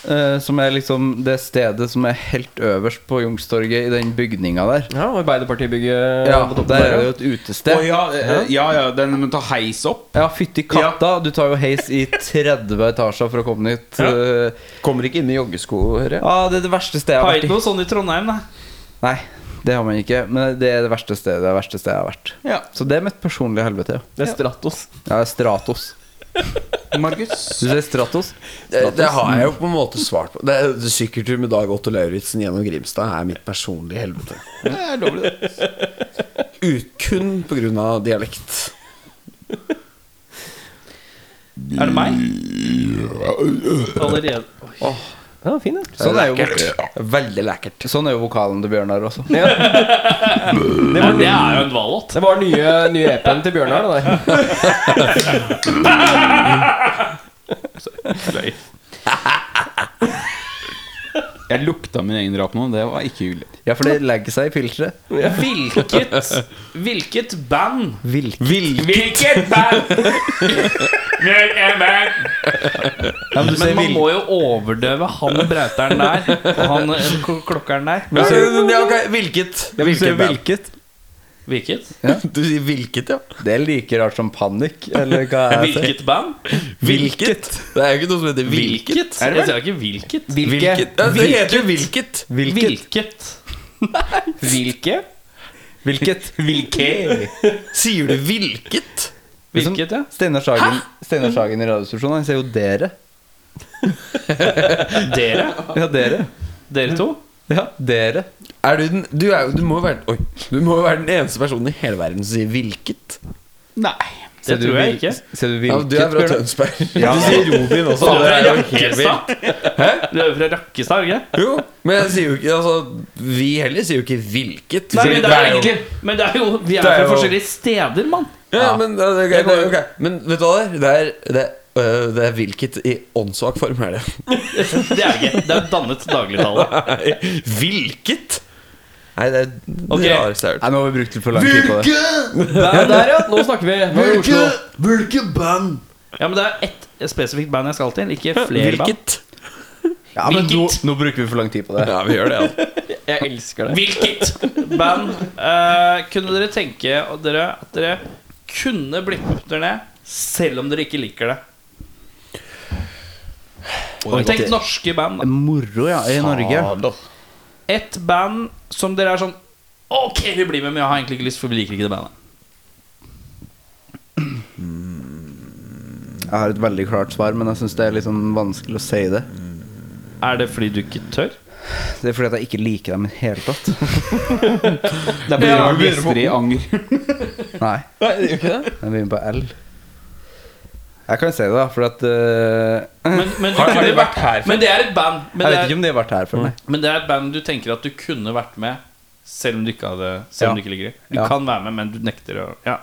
[SPEAKER 8] eh, som er liksom det stedet som er helt øverst på Youngstorget i den bygninga der.
[SPEAKER 1] Ja, Arbeiderpartibygget
[SPEAKER 8] Ja,
[SPEAKER 1] på toppen
[SPEAKER 8] der er det
[SPEAKER 1] ja.
[SPEAKER 8] jo et
[SPEAKER 4] Å
[SPEAKER 8] utested.
[SPEAKER 4] ja, eh, ja, ja, den må ta heis opp.
[SPEAKER 8] Ja, fytti katta, du tar jo heis i 30 etasjer for å komme dit. eh.
[SPEAKER 7] Kommer ikke inn i joggesko, hører jeg.
[SPEAKER 8] Ja, det er det verste stedet jeg har
[SPEAKER 2] Har
[SPEAKER 8] vært
[SPEAKER 2] ikke
[SPEAKER 8] i.
[SPEAKER 2] noe sånn i Trondheim, da.
[SPEAKER 8] Nei, Det har man ikke, men det er det verste stedet, det verste stedet jeg har vært.
[SPEAKER 4] Ja.
[SPEAKER 8] Så det er mitt personlige helvete. Ja.
[SPEAKER 1] Det er Stratos.
[SPEAKER 8] Ja, Stratos.
[SPEAKER 4] Markus?
[SPEAKER 8] Du sier Stratos?
[SPEAKER 7] Det, Eh, det har jeg jo på en måte svart på. Det er Sykkeltur med Dag Otto Lauritzen gjennom Grimstad er mitt personlige helvete.
[SPEAKER 4] Det er lovlig, det.
[SPEAKER 7] Ut, kun pga. dialekt.
[SPEAKER 2] Er det meg? Allerede.
[SPEAKER 1] Ja, fin, den.
[SPEAKER 8] Sånn er jo, vok-
[SPEAKER 7] Veldig lækkert.
[SPEAKER 8] sånn er jo vokalen til Bjørnar også.
[SPEAKER 2] Det, det er jo en hvallåt.
[SPEAKER 1] Det var nye, nye EP-en til Bjørnar. da, Det.
[SPEAKER 4] Jeg lukta min egen rap nå. Det var ikke hyggelig.
[SPEAKER 8] Ja, for det legger seg i filteret.
[SPEAKER 2] Hvilket, hvilket band
[SPEAKER 4] Hvilket band?
[SPEAKER 2] Ja, men man må jo overdøve han brauteren der og han eh, k- klokkeren der.
[SPEAKER 7] Ja, ok, Hvilket? Hvilket band?
[SPEAKER 8] Hvilket?
[SPEAKER 2] Hvilket?
[SPEAKER 7] Du sier hvilket, ja.
[SPEAKER 8] Det er like rart som panikk, eller hva er det?
[SPEAKER 2] Hvilket band?
[SPEAKER 7] Hvilket? Det er jo ikke noe som heter hvilket.
[SPEAKER 2] Hvilket? Jeg sa ikke hvilket.
[SPEAKER 7] Hvilket? Ja, Det heter jo hvilket.
[SPEAKER 2] Hvilket? Hvilke?
[SPEAKER 8] Hvilket?
[SPEAKER 7] Sier du hvilket?
[SPEAKER 2] Hvilket, ja.
[SPEAKER 8] Liksom Steinar Sagen, Steinar Sagen i Radioresepsjonen, han sier jo 'dere'.
[SPEAKER 2] Dere?
[SPEAKER 8] Ja, dere.
[SPEAKER 2] Dere to?
[SPEAKER 8] Ja, dere.
[SPEAKER 7] Er du, den, du, er, jo- du, må jo være, oi, du må jo være den eneste personen i hele verden som sier 'hvilket'.
[SPEAKER 4] Nei.
[SPEAKER 2] Det tror jeg ikke.
[SPEAKER 8] Sier du
[SPEAKER 7] Ja,
[SPEAKER 8] hvilket?
[SPEAKER 7] du er fra
[SPEAKER 8] Bjørnar?
[SPEAKER 7] Tønsberg.
[SPEAKER 8] Ja.
[SPEAKER 7] Du sier Robin også.
[SPEAKER 2] Du
[SPEAKER 7] det
[SPEAKER 2] er
[SPEAKER 7] er
[SPEAKER 2] fra
[SPEAKER 7] jo helt vilt.
[SPEAKER 2] Rakkestad? Du er jo fra Rakkestad, ikke sant?
[SPEAKER 7] Jo, men jeg sier jo ikke altså, Vi heller sier jo ikke 'hvilket'.
[SPEAKER 2] Nei,
[SPEAKER 7] Sier-
[SPEAKER 2] men det er jo egentlig Men det er jo Vi er
[SPEAKER 7] Det er
[SPEAKER 2] fra
[SPEAKER 7] jo-
[SPEAKER 2] forskjellige steder, mann.
[SPEAKER 7] Ja, men, ja, det er greit, det er ok. men vet du hva det er? Det er, det er, øh, det er hvilket i åndssvak form er det.
[SPEAKER 2] [LAUGHS] Det er det ikke. Det er dannet dagligtale.
[SPEAKER 7] hvilket? Nei, det er
[SPEAKER 2] Ok.
[SPEAKER 7] det rareste jeg har hørt.
[SPEAKER 8] Nei, nå har vi brukt litt for lang tid på det.
[SPEAKER 1] Ja, der, ja. Nå snakker vi. Nå er vi i Oslo.
[SPEAKER 5] Hvilke, hvilke band?
[SPEAKER 2] Ja, men det er ett spesifikt band jeg skal til, ikke flere band.
[SPEAKER 8] Ja, men nå, nå bruker vi for lang tid på det.
[SPEAKER 7] Ja, vi gjør det. altså. Ja.
[SPEAKER 1] Jeg elsker det.
[SPEAKER 2] Hvilket band eh, kunne dere tenke at dere, at dere kunne blitt med dere ned selv om dere ikke liker det? Tenk norske band. da.
[SPEAKER 8] Moro, ja. I Norge.
[SPEAKER 2] Et band som dere er sånn Ok, vi blir med, men jeg har egentlig ikke lyst, for vi liker ikke det bandet.
[SPEAKER 8] Jeg har et veldig klart svar, men jeg syns det er litt sånn vanskelig å si det.
[SPEAKER 2] Er det fordi du ikke tør?
[SPEAKER 8] Det er fordi at jeg ikke liker dem i det hele [LAUGHS] tatt.
[SPEAKER 4] Det blir ja, i anger.
[SPEAKER 2] [LAUGHS]
[SPEAKER 8] Nei.
[SPEAKER 7] Nei, det gjør ikke det.
[SPEAKER 8] Jeg begynner på L. Jeg kan si det, da, for at eh,
[SPEAKER 2] Men,
[SPEAKER 8] [LAUGHS]
[SPEAKER 2] men, du kunne vært her men det er et band. Men det
[SPEAKER 8] Jeg vet
[SPEAKER 2] er,
[SPEAKER 8] ikke om de har vært her før, nei.
[SPEAKER 2] men det er et band du tenker at du kunne vært med selv om du ikke hadde Selv om
[SPEAKER 8] Ja.
[SPEAKER 2] du ikke liker det. Du
[SPEAKER 8] Ja.
[SPEAKER 2] kan være med, men du nekter å ja.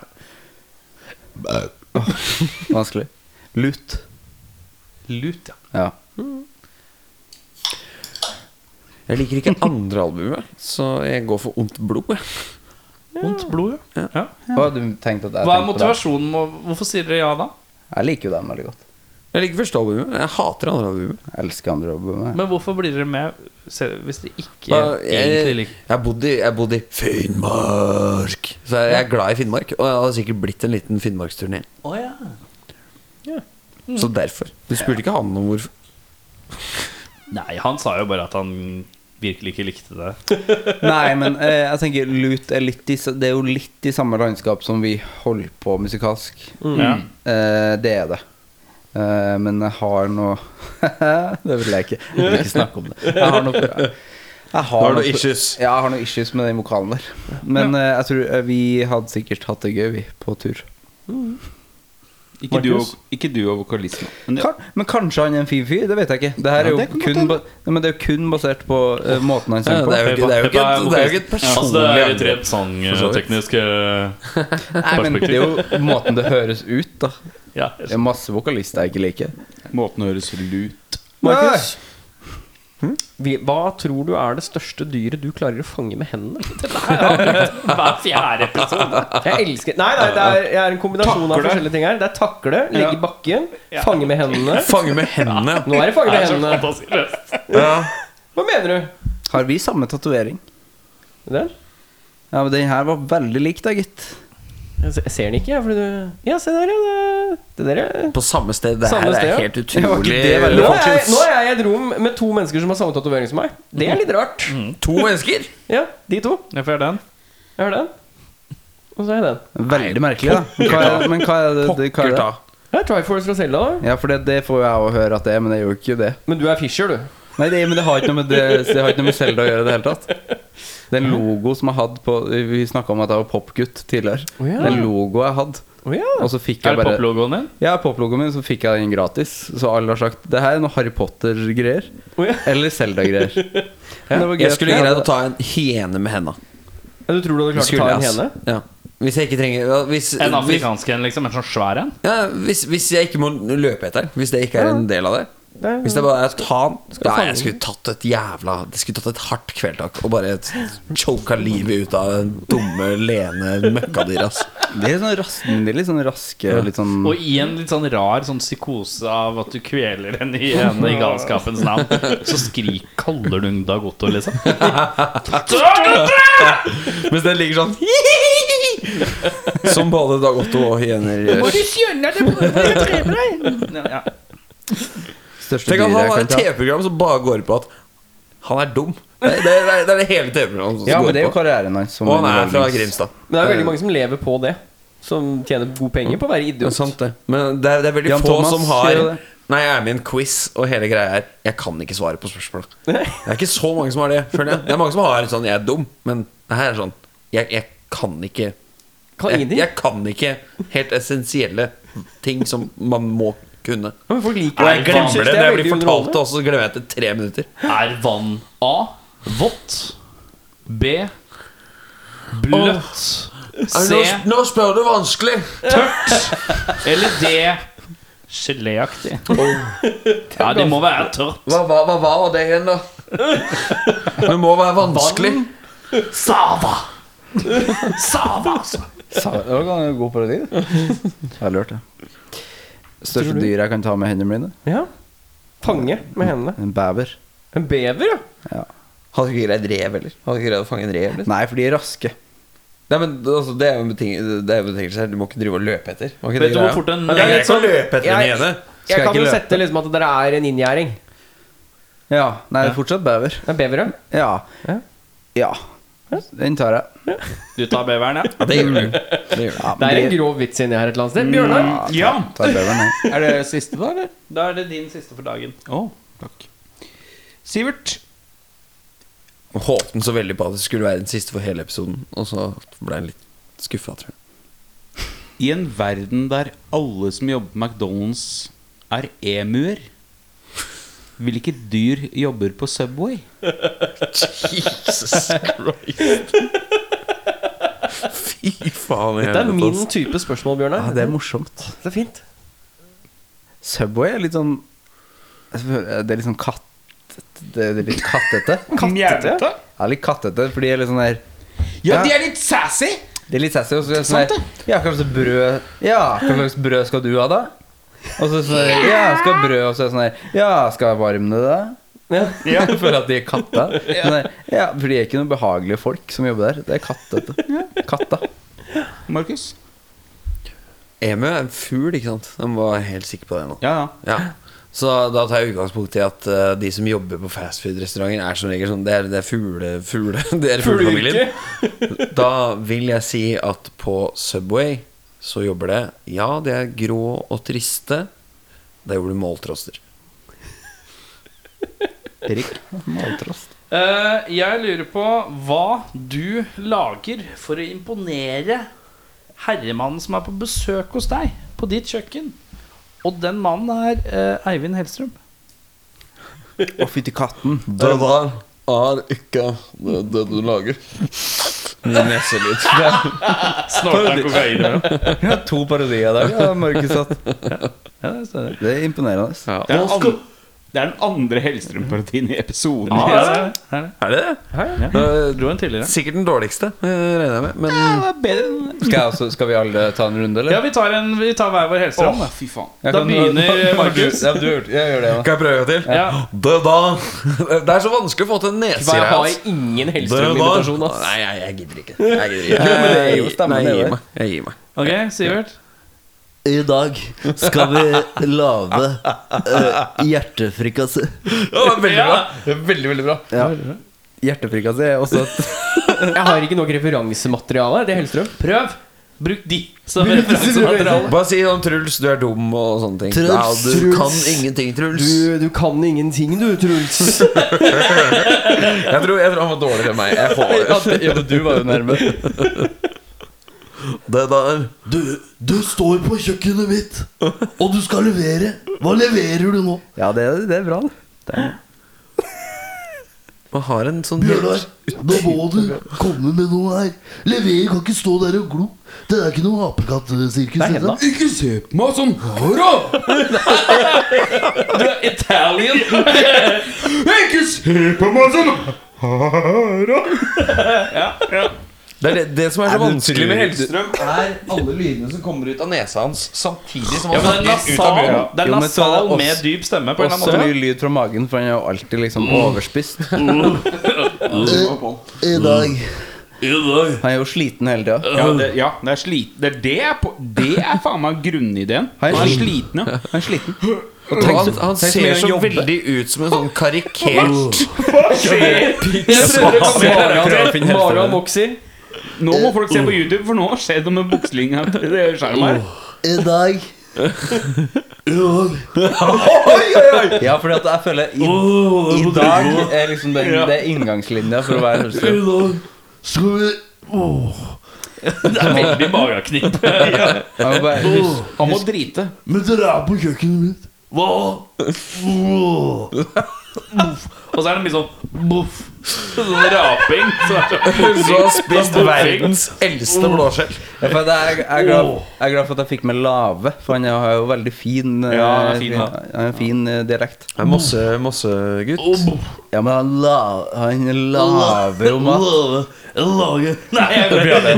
[SPEAKER 2] Mm.
[SPEAKER 8] Vanskelig. Lut.
[SPEAKER 2] Lut, ja.
[SPEAKER 8] Ja.
[SPEAKER 7] Jeg liker ikke andre albumet, så jeg går for Ondt blod. jeg.
[SPEAKER 2] Vondt blod, ja. ja.
[SPEAKER 8] Hva hadde du tenkt at
[SPEAKER 2] Hva er
[SPEAKER 8] jeg tenkte på det?
[SPEAKER 2] motivasjonen? med- Hvorfor sier dere ja da?
[SPEAKER 8] Jeg liker jo dem veldig godt.
[SPEAKER 7] Jeg liker første albumet. Jeg hater andre albumet.
[SPEAKER 8] Jeg elsker andre albumet.
[SPEAKER 2] Men hvorfor blir dere med selv hvis dere ikke
[SPEAKER 7] Da,
[SPEAKER 2] egentlig
[SPEAKER 7] jeg,
[SPEAKER 2] liker
[SPEAKER 7] jeg bodde i- jeg bodde i Finnmark, så jeg er glad i Finnmark. Og jeg hadde sikkert blitt en liten Finnmarksturné.
[SPEAKER 2] Å ja.
[SPEAKER 7] Så derfor. Du spurte ikke han om hvorfor.
[SPEAKER 2] Nei, han sa jo bare at han virkelig ikke likte det. [LAUGHS]
[SPEAKER 8] Nei, men eh, jeg tenker Lut er litt i, s- Det er jo litt i samme landskap som vi holder på musikalsk.
[SPEAKER 2] Ja.
[SPEAKER 8] Eh, det er det. Eh, men jeg har noe [LAUGHS] Det vil jeg ikke. Jeg vil ikke snakke om det. Jeg har noe jeg
[SPEAKER 7] Har du issues?
[SPEAKER 8] Ja, jeg har noe issues med den vokalen der. Men eh, jeg tror eh, vi hadde sikkert hatt det gøy, vi, på tur.
[SPEAKER 4] Ikke du, og, ikke du og vokalisten. Men det,
[SPEAKER 8] Kan, men kanskje han er en fin fyr? Det vet jeg ikke. Det her er jo
[SPEAKER 4] det kan godt
[SPEAKER 8] kun, ba, Nei, men det er jo kun basert på eh, måten han
[SPEAKER 7] Ja,
[SPEAKER 8] synger på.
[SPEAKER 7] det er jo ikke, det er jo ikke, et, altså, det er jo ikke et
[SPEAKER 2] Altså,
[SPEAKER 7] personlig angrep.
[SPEAKER 2] sånn, sangteknisk eh,
[SPEAKER 8] Nei, men det er jo måten det høres ut, da.
[SPEAKER 2] ja,
[SPEAKER 8] Det er masse vokalister jeg ikke liker.
[SPEAKER 4] måten høres lut
[SPEAKER 1] Markus. Vi, hva tror du er det største dyret du klarer å fange med
[SPEAKER 2] [LAUGHS]
[SPEAKER 1] hendene?
[SPEAKER 2] Hver fjerde episode.
[SPEAKER 1] Jeg elsker Nei, nei det er, jeg er en kombinasjon av forskjellige ting her. Det er takle, legge i bakken, fange med hendene.
[SPEAKER 7] Fange med hendene.
[SPEAKER 1] Nå er det fange
[SPEAKER 2] Det
[SPEAKER 1] med
[SPEAKER 2] er så
[SPEAKER 1] hendene.
[SPEAKER 2] fantastisk løst.
[SPEAKER 1] Hva mener du?
[SPEAKER 8] Har vi samme tatovering?
[SPEAKER 1] Den?
[SPEAKER 8] Ja, men den her var veldig lik, da, gitt.
[SPEAKER 1] Jeg se- ser den ikke, jeg. Fordi du Ja, se der, ja. Det, det der, ja.
[SPEAKER 7] På samme sted. Det
[SPEAKER 1] Samme
[SPEAKER 7] her
[SPEAKER 1] sted, ja.
[SPEAKER 7] er helt utrolig.
[SPEAKER 1] Nå er, jeg, nå er jeg i et rom med to mennesker som har samme tatovering som meg. Det er litt rart.
[SPEAKER 7] To mennesker!
[SPEAKER 1] Ja, de to.
[SPEAKER 2] Jeg får gjøre den.
[SPEAKER 1] Jeg har den. Og så har jeg den.
[SPEAKER 8] Veldig merkelig, da. Hva er, men hva er det, det, hva er det?
[SPEAKER 1] Det er Triforce fra Selda, da.
[SPEAKER 8] Ja, for det, det får jo jeg òg høre at det er, men det er jo ikke det.
[SPEAKER 1] Men du er Fisher, du.
[SPEAKER 8] Nei, det, men det har ikke noe med det, det har ikke noe med Zelda å gjøre i det hele tatt. Det er en logo som jeg hadde på Vi snakka om at jeg var popgutt tidligere.
[SPEAKER 1] Å ja.
[SPEAKER 8] Det er en logo jeg hadde.
[SPEAKER 1] Å ja.
[SPEAKER 8] Og så fikk
[SPEAKER 2] Er det
[SPEAKER 8] jeg bare
[SPEAKER 2] poplogoen din?
[SPEAKER 8] Ja, poplogoen min, så fikk jeg den gratis. Så alle har sagt det her er noe Harry Potter-greier.
[SPEAKER 1] Å ja.
[SPEAKER 8] Eller Zelda-greier. Men det var gøy
[SPEAKER 7] Jeg
[SPEAKER 8] at
[SPEAKER 7] skulle
[SPEAKER 8] jeg
[SPEAKER 7] greid
[SPEAKER 8] hadde-
[SPEAKER 7] å ta en hyene med henda.
[SPEAKER 1] Ja, Du tror du hadde klart å ta
[SPEAKER 7] Skulle jeg,
[SPEAKER 1] en
[SPEAKER 7] ass.
[SPEAKER 1] hene?
[SPEAKER 7] Ja. Hvis jeg ikke trenger ja, hvis,
[SPEAKER 2] En
[SPEAKER 7] hvis,
[SPEAKER 2] afrikansk en, liksom? En sånn svær en?
[SPEAKER 7] ja, hvis, hvis jeg ikke må løpe etter den. Hvis det ikke er en del av det.
[SPEAKER 1] Det er-
[SPEAKER 7] Hvis det bare er å ta den Ja, jeg skulle tatt et jævla Jeg skulle tatt et hardt kveldtak og bare choka livet ut av den dumme, lene møkkadyret, ass.
[SPEAKER 8] Det er sånn ras- men det er litt sånn raske litt sånn
[SPEAKER 2] Og i en litt sånn rar sånn psykose av at du kveler en hyene i galskapens navn, så skrik kaller du en Dagotto, liksom.
[SPEAKER 7] Mens den ligger sånn Som både Dag Otto og hyener gjør.
[SPEAKER 2] Ja, ja.
[SPEAKER 8] største dyret
[SPEAKER 7] Tenk at
[SPEAKER 8] jeg
[SPEAKER 7] han har
[SPEAKER 8] kan
[SPEAKER 7] et
[SPEAKER 8] ta.
[SPEAKER 7] TV-program som bare går på at han er dum. Det, det, det, det er det hele TV-programmet som
[SPEAKER 8] Ja, men
[SPEAKER 7] går
[SPEAKER 8] det er jo
[SPEAKER 7] på.
[SPEAKER 8] karrieren hans. som
[SPEAKER 7] Og han er fra
[SPEAKER 8] underholdnings-
[SPEAKER 7] Grimstad.
[SPEAKER 1] Men det er veldig mange som lever på det. Som tjener gode penger på å være
[SPEAKER 7] Det er
[SPEAKER 1] idiot.
[SPEAKER 7] sant, det. Men det er, det er veldig
[SPEAKER 8] Jan
[SPEAKER 7] få
[SPEAKER 8] Thomas
[SPEAKER 7] som
[SPEAKER 8] sier
[SPEAKER 7] har
[SPEAKER 8] jo det.
[SPEAKER 7] Nei, jeg er med i en quiz, og hele greia er Jeg kan ikke svare på spørsmål. Det er ikke så mange som har det, føler jeg. Det er mange som har sånn Jeg er dum, men det her er sånn Jeg, jeg kan ikke
[SPEAKER 1] Kan
[SPEAKER 7] jeg,
[SPEAKER 1] ingenting.
[SPEAKER 7] jeg kan ikke helt essensielle ting som man må kunne.
[SPEAKER 1] Ja, Men folk liker
[SPEAKER 7] Og
[SPEAKER 1] det.
[SPEAKER 7] jeg
[SPEAKER 1] Jeg
[SPEAKER 7] glemmer
[SPEAKER 1] synes
[SPEAKER 7] det
[SPEAKER 1] det
[SPEAKER 7] når
[SPEAKER 1] er
[SPEAKER 7] jeg blir
[SPEAKER 1] veldig
[SPEAKER 7] fortalt det, og så glemmer jeg det etter tre minutter.
[SPEAKER 2] Er vann A vått? B bløtt? C
[SPEAKER 7] spør du vanskelig!
[SPEAKER 2] eller D geléaktig? Ja, det må være tørt.
[SPEAKER 7] Hva, hva, hva var det igjen, [LAUGHS] da? Det må være vanskelig.
[SPEAKER 8] Sa- Det var ganske god parodi, det. Jeg har lurt det. Største dyret jeg kan ta med hendene mine?
[SPEAKER 1] Ja. Fange med hendene.
[SPEAKER 8] En bever.
[SPEAKER 1] En bever, ja.
[SPEAKER 7] Hadde ikke greid rev heller. Hadde ikke greid å fange en rev. Liksom.
[SPEAKER 8] Nei, for de er raske.
[SPEAKER 7] Nei, men altså, Det er jo en beting- det er jo en betingelse her. Du må ikke drive og løpe etter. Var ikke
[SPEAKER 2] Vet du
[SPEAKER 7] greia?
[SPEAKER 2] hvor fort en
[SPEAKER 1] det er
[SPEAKER 7] Jeg
[SPEAKER 1] litt
[SPEAKER 7] kan
[SPEAKER 1] sånn-
[SPEAKER 7] løpe etter en
[SPEAKER 1] Jeg-
[SPEAKER 7] hyene.
[SPEAKER 1] Jeg
[SPEAKER 8] jeg
[SPEAKER 1] kan
[SPEAKER 8] ikke
[SPEAKER 1] jo
[SPEAKER 8] løpe?
[SPEAKER 1] sette liksom at dere er en inngjerding.
[SPEAKER 8] Ja. Nei, det er fortsatt bever.
[SPEAKER 1] Det er bever, ja.
[SPEAKER 8] Ja.
[SPEAKER 1] Ja.
[SPEAKER 8] Ja. Den tar jeg.
[SPEAKER 2] Du tar beveren, ja?
[SPEAKER 7] Det gjør du.
[SPEAKER 8] Ja,
[SPEAKER 1] Det er en
[SPEAKER 8] de-
[SPEAKER 1] grov vits inni her et eller annet sted. Bjørnar?
[SPEAKER 2] Ja!
[SPEAKER 8] tar beveren, jeg.
[SPEAKER 18] Er det siste, da? eller?
[SPEAKER 2] Da er det din siste for dagen.
[SPEAKER 18] Sivert.
[SPEAKER 7] Håpet den så veldig på at det skulle være den siste for hele episoden, og så ble jeg litt skuffa, tror jeg.
[SPEAKER 4] I en verden der alle som jobber på McDonald's, er emuer Hvilke dyr jobber på Subway?
[SPEAKER 7] Jesus Christ. Fy faen.
[SPEAKER 1] Dette er min type spørsmål,
[SPEAKER 8] Ja,
[SPEAKER 1] Bjørnar.
[SPEAKER 8] det er morsomt.
[SPEAKER 1] Det er fint.
[SPEAKER 8] Subway er litt sånn jeg føler- Det er litt sånn katt... Det det er litt kattete.
[SPEAKER 1] Kattete?
[SPEAKER 8] Ja, litt kattete, for de er litt sånn der
[SPEAKER 18] Ja,
[SPEAKER 8] Ja.
[SPEAKER 18] de er litt sassy!
[SPEAKER 8] Det er litt sassy. Og så er det sånn der, ja, hva slags brød Ja, hva slags brød skal du ha, da? Og så sånn der, ja, skal ha brød, og så er det sånn der Ja, skal jeg varme det, da? Ja. [LAUGHS] Jeg føler at de er katta. Sånn der, ja, for de er ikke noen behagelige folk som jobber der. Det er kattete. Katta.
[SPEAKER 4] Markus?
[SPEAKER 7] Emu er en fugl, ikke sant? Den var helt sikker på det nå.
[SPEAKER 4] Ja, ja.
[SPEAKER 7] Ja. Så da tar jeg utgangspunkt i at eh, de som jobber på fastfood-restauranter, er som regel sånn Det er, det er fugle... fugle [LAUGHS] det er fuglefamilien. da vil jeg si at på Subway så jobber det Ja, de er grå og triste. Da jobber du måltroster.
[SPEAKER 2] Eh, jeg lurer på hva du lager for å imponere herremannen som er på besøk hos deg på ditt kjøkken. Og den mannen er eh, Eivind Hellstrøm.
[SPEAKER 8] Å, fytti katten.
[SPEAKER 7] Det der er ikke det, du lager. Neselyd.
[SPEAKER 8] Ja, to parodier der, ja, Markus. at- Det er imponerende.
[SPEAKER 7] Ja. Og,
[SPEAKER 4] Det er den andre Hellstrøm-parodien i episoden.
[SPEAKER 7] Er det det?
[SPEAKER 2] Dro en tidligere.
[SPEAKER 7] Sikkert den dårligste, [LAUGHS] eh, regner jeg med. Men
[SPEAKER 4] det var bedre enn
[SPEAKER 8] Skal, jeg også, skal vi alle ta en runde, eller?
[SPEAKER 2] Ja, vi tar, en, vi tar hver vår Hellstrøm.
[SPEAKER 4] Åh, fy faen.
[SPEAKER 8] Jeg
[SPEAKER 2] da
[SPEAKER 8] kan- [LAUGHS]
[SPEAKER 2] begynner Markus.
[SPEAKER 8] Ja, du, jeg gjør det, da.
[SPEAKER 7] kan jeg prøve en gang til?
[SPEAKER 2] Ja.
[SPEAKER 7] Det, da, det er så vanskelig å få til en
[SPEAKER 1] Jeg
[SPEAKER 7] nesegreie.
[SPEAKER 1] har
[SPEAKER 7] ass.
[SPEAKER 1] ingen
[SPEAKER 7] Hellstrøm-imitasjon,
[SPEAKER 1] Hellstrøm-invitasjon, ass.
[SPEAKER 7] Nei, jeg, jeg gidder ikke. Jeg
[SPEAKER 8] [LAUGHS]
[SPEAKER 7] gidder ikke.
[SPEAKER 8] det er jo
[SPEAKER 7] Jeg-
[SPEAKER 8] stemmen,
[SPEAKER 7] Nei, jeg
[SPEAKER 8] det er
[SPEAKER 7] gir
[SPEAKER 8] det.
[SPEAKER 7] meg. Jeg gir meg.
[SPEAKER 2] Ok, Sivert.
[SPEAKER 5] I dag skal vi lage eh, hjertefrikassé.
[SPEAKER 7] Ja, det er veldig bra.
[SPEAKER 8] Hjertefrikassé er også et
[SPEAKER 1] [LAUGHS] Jeg har ikke noe referansemateriale. Det er Hellstrøm. Prøv! Bruk de som
[SPEAKER 7] Bra.
[SPEAKER 1] referansemateriale.
[SPEAKER 7] Bare si sånn 'Truls, du er dum' og sånne ting.
[SPEAKER 5] Truls,
[SPEAKER 7] ja, du
[SPEAKER 5] Truls.
[SPEAKER 7] kan ingenting, Truls.
[SPEAKER 1] du kan ingenting, du, Truls.
[SPEAKER 7] Jeg, tror, jeg tror han var dårligere enn meg. Jeg får det.
[SPEAKER 8] Du var jo nærme.
[SPEAKER 7] det der.
[SPEAKER 5] Du, du står på kjøkkenet mitt, og du skal levere. Hva leverer du nå?
[SPEAKER 8] Ja, det, er- det er bra, det.
[SPEAKER 7] Man har en sånn
[SPEAKER 5] Bjørnar, nå må du komme med noe her. Levere kan ikke stå der og glo. Det er ikke noe apekattsirkus. dette.
[SPEAKER 4] Ikke se på meg sånn! Hurra!
[SPEAKER 2] Italian.
[SPEAKER 4] Ikke se på meg sånn!
[SPEAKER 7] Det er det, det som er så vanskelig med Hellstrøm.
[SPEAKER 8] er alle lydene som kommer ut
[SPEAKER 7] Ut av nesa hans samtidig som
[SPEAKER 2] Ja,
[SPEAKER 7] han
[SPEAKER 2] men det er
[SPEAKER 7] snakker
[SPEAKER 2] nasal,
[SPEAKER 7] ut av munnen.
[SPEAKER 2] det er
[SPEAKER 8] Jo, men så er det
[SPEAKER 2] nasal
[SPEAKER 8] også-
[SPEAKER 2] med dyp stemme. på en eller
[SPEAKER 8] Også
[SPEAKER 2] annen måte
[SPEAKER 8] mye lyd fra magen, for han er jo alltid liksom overspist.
[SPEAKER 5] I dag
[SPEAKER 8] Han er jo sliten hele tida.
[SPEAKER 4] Ja, det, ja, det er sliten det, er det, er på- det er faen meg grunnideen.
[SPEAKER 8] Hei,
[SPEAKER 4] Han er
[SPEAKER 8] sliten.
[SPEAKER 4] sliten, ja.
[SPEAKER 8] Han er sliten.
[SPEAKER 7] Og han, han
[SPEAKER 8] tenk så
[SPEAKER 7] ser
[SPEAKER 8] mye
[SPEAKER 7] så
[SPEAKER 8] jobbe.
[SPEAKER 7] veldig ut som en sånn karikert
[SPEAKER 1] Maran vokser.
[SPEAKER 4] Nå må folk se på YouTube, for nå skjer det noe med bukselinja til det skjermen her.
[SPEAKER 5] I dag
[SPEAKER 8] Ja, fordi at jeg føler i, i dag Oh, oh. er liksom den, det er inngangslinja for å være
[SPEAKER 5] I dag skal vi Åh.
[SPEAKER 2] Veldig mageknip.
[SPEAKER 8] [LAUGHS] Jeg må bare huske
[SPEAKER 4] Han må drite.
[SPEAKER 5] Men dere er på kjøkkenet mitt. Hva? Åh.
[SPEAKER 2] Og så er det mye sånn boff. Sånn
[SPEAKER 8] [LAUGHS]
[SPEAKER 2] raping. Så er det
[SPEAKER 7] Hun [LAUGHS] som har spist verdens eldste blåskjell.
[SPEAKER 8] ja, for at jeg, jeg, er glad, jeg er glad for at jeg fikk med Lave, for han har jo veldig fin eh,
[SPEAKER 2] Ja, han er fin, da.
[SPEAKER 8] han har en fin eh, dialekt.
[SPEAKER 7] En mosse, mossegutt.
[SPEAKER 8] Ja, men han, la, han laver jo mat.
[SPEAKER 5] Lave. Lage.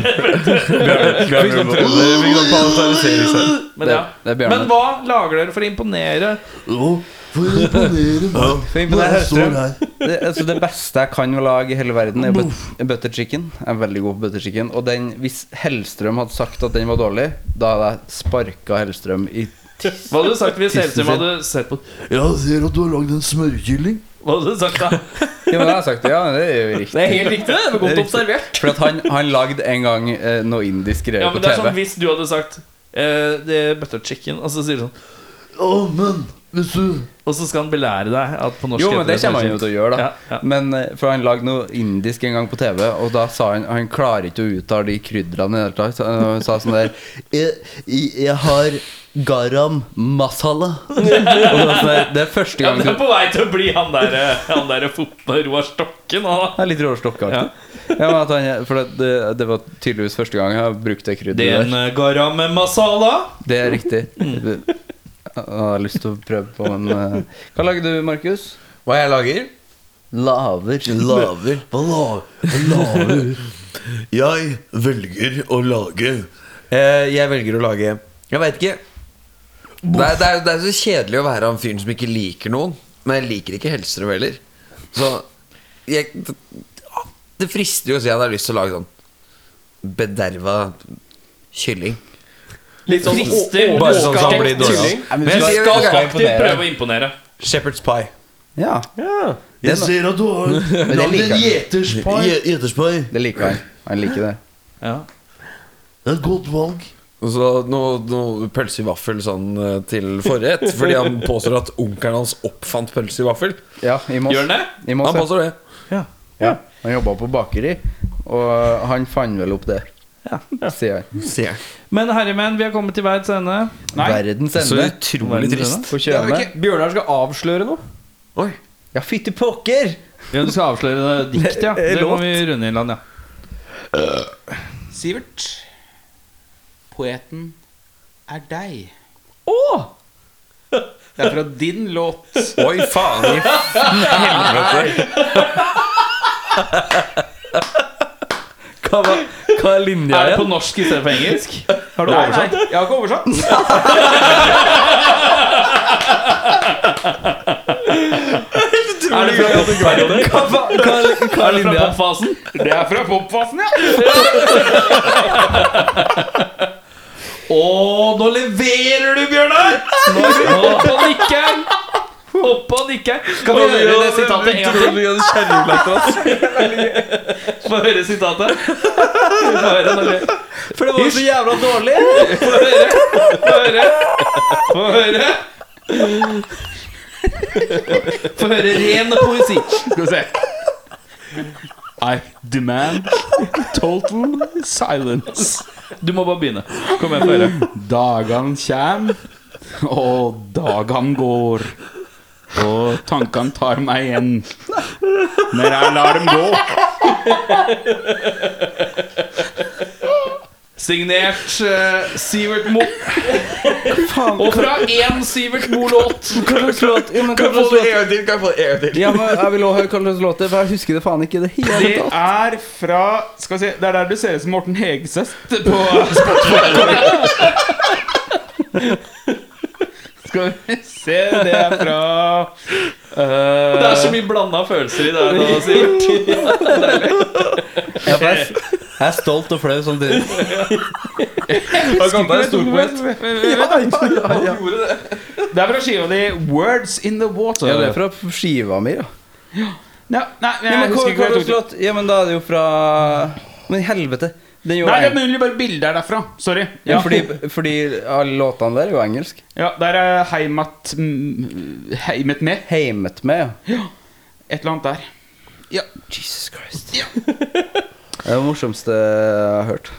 [SPEAKER 2] Men, ja.
[SPEAKER 8] Det er
[SPEAKER 2] Men
[SPEAKER 8] Bjørnar.
[SPEAKER 2] hva lager dere for å imponere?
[SPEAKER 5] Å, For å imponere meg
[SPEAKER 8] For
[SPEAKER 5] når
[SPEAKER 8] imponere
[SPEAKER 5] jeg
[SPEAKER 8] Hellstrøm.
[SPEAKER 5] står her.
[SPEAKER 8] Det, altså det beste jeg kan lage i hele verden, er but butter chicken. Jeg er veldig god på butter chicken. Og den, hvis Hellstrøm hadde sagt at den var dårlig, da hadde jeg sparka Hellstrøm i
[SPEAKER 2] Hva hadde du sagt hvis Hellstrøm hadde sett på
[SPEAKER 5] Ja, Jeg ser at du har lagd en smørkylling.
[SPEAKER 2] Hva hadde du sagt da?
[SPEAKER 8] Ja, men jeg har sagt det. Ja, det er jo riktig.
[SPEAKER 1] Det er helt riktig. det. Det var godt
[SPEAKER 8] riktig.
[SPEAKER 1] observert.
[SPEAKER 8] For at han, han lagde en gang eh, noe indisk greier
[SPEAKER 2] Ja,
[SPEAKER 8] på
[SPEAKER 2] men det er
[SPEAKER 8] TV.
[SPEAKER 2] sånn Hvis du hadde sagt eh, det er butter chicken, og så sier du sånn
[SPEAKER 5] Å, men hvis du
[SPEAKER 2] Og så skal han belære deg at på norsk sånn
[SPEAKER 8] jo, men det kommer han jo til å gjøre, da.
[SPEAKER 2] Ja, ja.
[SPEAKER 8] Men eh, For han lagde noe indisk en gang på TV, og da sa han han klarer ikke å uttale de krydderne i det hele tatt. Så Han sa sånn der jeg, jeg, jeg har garam masala. [LAUGHS] Og det, var sånn der, det er første
[SPEAKER 2] Ja,
[SPEAKER 8] gang
[SPEAKER 2] men
[SPEAKER 8] du
[SPEAKER 2] det er på vei til å bli han der, han der fotball Roar Stokken. Han, da.
[SPEAKER 8] Det er litt Roar Stokke-aktig. [LAUGHS] Ja, men at han- for det, det, det var tydeligvis første gang jeg har brukt det krydderet.
[SPEAKER 2] det er en
[SPEAKER 8] der.
[SPEAKER 2] eh, garam masala.
[SPEAKER 8] Det er riktig. Jeg har lyst til å prøve på, men eh, Hva lager du, Markus?
[SPEAKER 7] Hva jeg lager?
[SPEAKER 8] Laver.
[SPEAKER 5] Laver. Hva laver? Hva laver? Jeg velger å lage
[SPEAKER 7] Eh, jeg velger å lage Jeg veit ikke. Det er, det, er, det er så kjedelig å være han fyren som ikke liker noen. Men jeg liker ikke Hellstrøm heller. Så jeg, det, det frister jo å si at jeg har lyst til å lage sånn bederva kylling.
[SPEAKER 1] Litt sånn
[SPEAKER 2] Frister.
[SPEAKER 1] å-
[SPEAKER 7] Bare sånn at han
[SPEAKER 1] overstekt
[SPEAKER 7] blir dårlig.
[SPEAKER 1] kylling.
[SPEAKER 8] Men
[SPEAKER 7] Men jeg
[SPEAKER 8] skal-
[SPEAKER 7] sier-
[SPEAKER 8] skal
[SPEAKER 7] jeg-
[SPEAKER 2] Aktivt
[SPEAKER 8] imponere.
[SPEAKER 2] prøve å imponere.
[SPEAKER 7] Shepherd's pie.
[SPEAKER 8] Ja,
[SPEAKER 1] Ja.
[SPEAKER 5] Jeg ser at du
[SPEAKER 8] [LAUGHS]
[SPEAKER 5] har lagd
[SPEAKER 8] liker
[SPEAKER 5] en
[SPEAKER 8] jeg.
[SPEAKER 5] gjeterspai. Je- Gjeterspai.
[SPEAKER 8] det liker han. Han liker det.
[SPEAKER 5] Det er et godt valg.
[SPEAKER 7] Og så noe, noe pølse i vaffel sånn eh, til forrett. Fordi han påstår at onkelen hans oppfant pølse i vaffel.
[SPEAKER 8] Ja, i Moss.
[SPEAKER 2] Gjør han det?
[SPEAKER 8] I Moss
[SPEAKER 7] Han
[SPEAKER 8] ja.
[SPEAKER 7] påstår det.
[SPEAKER 8] Ja. Han jobba på bakeri, og han fant vel opp det. Sier han.
[SPEAKER 7] Sier jeg.
[SPEAKER 2] Men herremenn, vi har kommet til veis ende.
[SPEAKER 8] Verdens
[SPEAKER 7] Så
[SPEAKER 8] ende.
[SPEAKER 7] utrolig trist.
[SPEAKER 8] På kjønet.
[SPEAKER 1] Bjørnar skal avsløre noe.
[SPEAKER 7] Oi.
[SPEAKER 8] Ja, fytti pokker!
[SPEAKER 2] Ja, du skal avsløre det dikt, ja. Det må vi runde inn, ja.
[SPEAKER 4] Sivert, poeten er deg.
[SPEAKER 1] Å!
[SPEAKER 4] Det er fra din låt.
[SPEAKER 7] Oi, faen i helvete.
[SPEAKER 19] Hva, var- hva er linja
[SPEAKER 4] Er det på
[SPEAKER 19] igjen?
[SPEAKER 4] norsk istedenfor engelsk? Har du oversatt? Nei, jeg har ikke oversatt.
[SPEAKER 19] Er det fra Hva, hva, hva, er- hva er linja?
[SPEAKER 4] popfasen? Det er fra
[SPEAKER 2] [LAUGHS]
[SPEAKER 4] popfasen, ja. Å, nå leverer du, Bjørnar!
[SPEAKER 2] Opp og nikker! Opp og nikker! Kan vi høre det sitatet en gang til? [LAUGHS] Få høre sitatet. Få høre når det-
[SPEAKER 19] For det var jo så jævla dårlig.
[SPEAKER 2] Få høre. Få høre. Få høre. Få høre ren poesi.
[SPEAKER 4] Skal vi se. I demand total silence.
[SPEAKER 2] Du må bare begynne. Kom igjen, få høre.
[SPEAKER 4] Dagan kjem, og dagan går. Og tankene tar meg igjen når jeg lar dem gå.
[SPEAKER 2] Signert eh, Sivert Mo. Og fra én Sivert Mo-låt.
[SPEAKER 8] Ja, men jeg vil også høre hva slags låt det er, for jeg husker det faen ikke i det hele
[SPEAKER 4] Det
[SPEAKER 8] tatt.
[SPEAKER 4] er fra Skal vi se, det er der du ser ut som Morten Hegseth
[SPEAKER 8] [LAUGHS]
[SPEAKER 4] på Spotify. Skal vi se, det er fra eh,
[SPEAKER 2] Det er så mye blanda følelser i det her nå, Sivert.
[SPEAKER 8] Ja, for jeg, jeg er stolt og flau samtidig.
[SPEAKER 4] Skipper er storpoet. Det er fra skiva di 'Words In The Water'.
[SPEAKER 8] Ja, det er fra skiva mi, ja.
[SPEAKER 4] Nei, nei, men
[SPEAKER 8] Ja,
[SPEAKER 4] jeg
[SPEAKER 8] men, hva,
[SPEAKER 4] husker ikke
[SPEAKER 8] hva
[SPEAKER 4] hvor jeg
[SPEAKER 8] slags
[SPEAKER 4] tok det.
[SPEAKER 8] låt? ja, men da er det jo fra Men helvete. Den er jo
[SPEAKER 4] Nei, det er
[SPEAKER 8] eng-
[SPEAKER 4] mulig bare bildet er derfra. Sorry.
[SPEAKER 8] ja,
[SPEAKER 4] Ja,
[SPEAKER 8] fordi, fordi alle låtene der er jo engelsk.
[SPEAKER 4] ja Der er Heimat mm, Heimet med.
[SPEAKER 8] Heimet med, ja.
[SPEAKER 4] Et eller annet der.
[SPEAKER 8] Jesus Christ. Det er det morsomste jeg har hørt.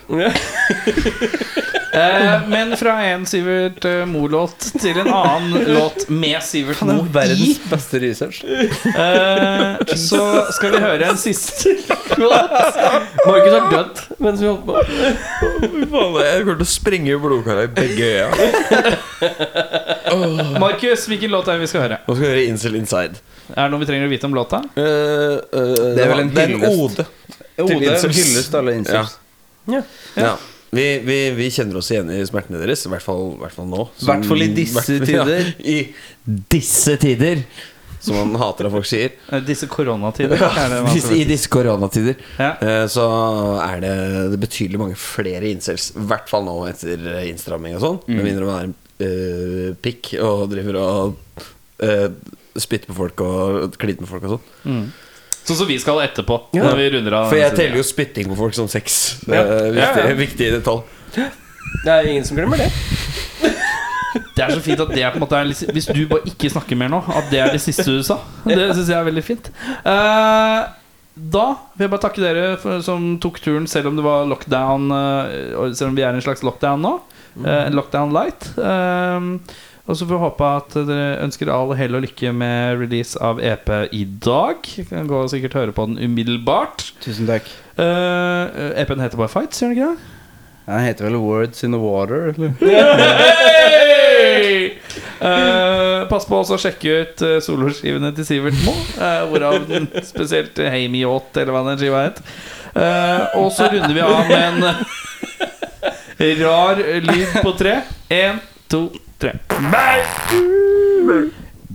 [SPEAKER 2] Eh, men fra en Sivert eh, Mo-låt til en annen låt med Sivert
[SPEAKER 8] Det
[SPEAKER 2] Mo.
[SPEAKER 8] er [LAUGHS] verdens beste research.
[SPEAKER 2] Eh, så skal vi høre en siste [LAUGHS]
[SPEAKER 20] Markus har dødd mens vi holdt på.
[SPEAKER 7] Jeg kommer til å sprenge blodkara i begge øya.
[SPEAKER 2] Markus, hvilken låt er det vi skal høre?
[SPEAKER 7] Nå skal vi høre Incel Inside.
[SPEAKER 2] Er det noe vi trenger å vite om låta?
[SPEAKER 7] Eh, eh,
[SPEAKER 8] Det er vel en
[SPEAKER 7] det er en
[SPEAKER 8] hyllest.
[SPEAKER 7] ode.
[SPEAKER 8] Ode
[SPEAKER 7] incels.
[SPEAKER 8] hyllest alle incels.
[SPEAKER 7] Ja. Vi, vi, vi kjenner oss igjen i smertene deres, i hvert fall, i hvert fall nå.
[SPEAKER 8] I hvert fall i disse
[SPEAKER 7] [LAUGHS]
[SPEAKER 8] tider.
[SPEAKER 7] I disse tider, som man hater at folk sier.
[SPEAKER 2] Eh, Disse koronatider. er det man
[SPEAKER 7] Hvis,
[SPEAKER 2] skal-
[SPEAKER 7] I disse koronatider
[SPEAKER 2] Ja.
[SPEAKER 7] eh, så er det, det betydelig mange flere incels. I hvert fall nå etter innstramming og sånn.
[SPEAKER 2] Mm.
[SPEAKER 7] Med mindre man er en eh, pikk og driver og eh, spytter på folk og kliner med folk og sånn.
[SPEAKER 2] Sånn som vi skal etterpå. Når vi runder av
[SPEAKER 7] For jeg
[SPEAKER 2] denne
[SPEAKER 7] teller
[SPEAKER 2] siden.
[SPEAKER 7] jo spytting på folk som sex. Det er viktig, viktig detalj.
[SPEAKER 20] Det er ingen som glemmer det.
[SPEAKER 2] Det er så fint at det er på en måte er litt, Hvis du bare ikke snakker mer nå, at det er det siste du sa. Det syns jeg er veldig fint. Eh, da vil jeg bare takke dere for, som tok turen, selv om det var lockdown eh, og Selv om vi er i en slags lockdown nå.
[SPEAKER 8] Mm.
[SPEAKER 2] eh, en lockdown light. Eh, og så får vi håpe at dere ønsker all hell og lykke med release av EP i dag. Vi Kan gå og sikkert høre på den umiddelbart.
[SPEAKER 8] Tusen takk.
[SPEAKER 2] Eh, EP-en heter bare Fights, gjør den ikke det?
[SPEAKER 8] Den heter vel Words in the Water, eller?
[SPEAKER 2] Hey! Eh, pass på også å sjekke ut eh, soloskivene til Sivert Moe. eh, hvorav den spesielt eh, Hey Me Yacht, eller hva den skiva het. Eh, og så runder vi av med en eh, rar lyd på tre. Én, to, tre.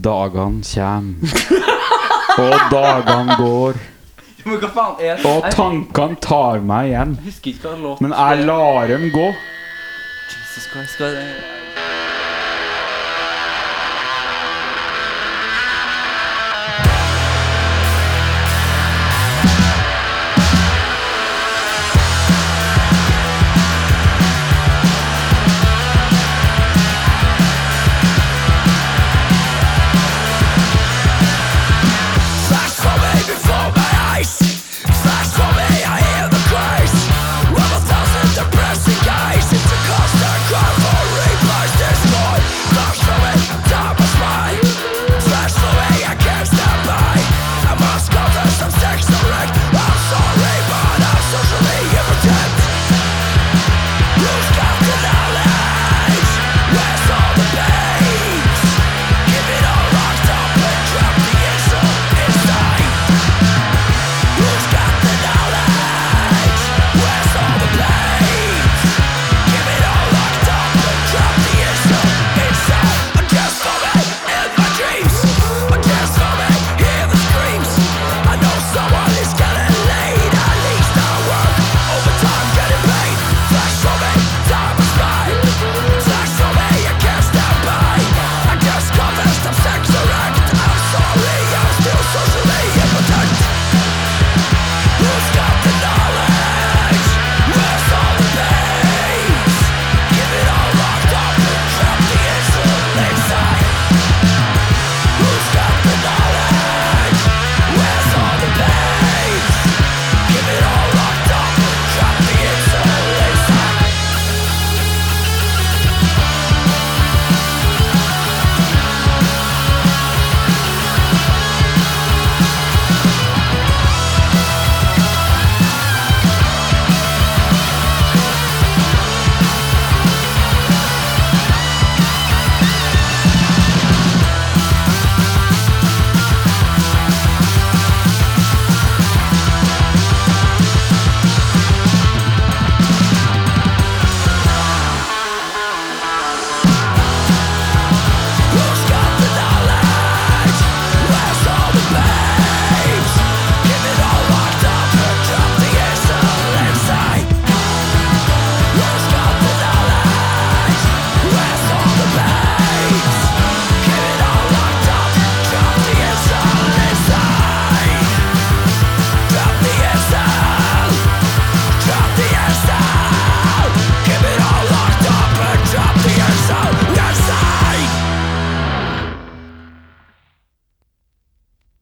[SPEAKER 4] Dagan kjem, og dagan går. Og tankene tar meg igjen. Men jeg lar dem gå.
[SPEAKER 8] Jesus Christ, hva er det?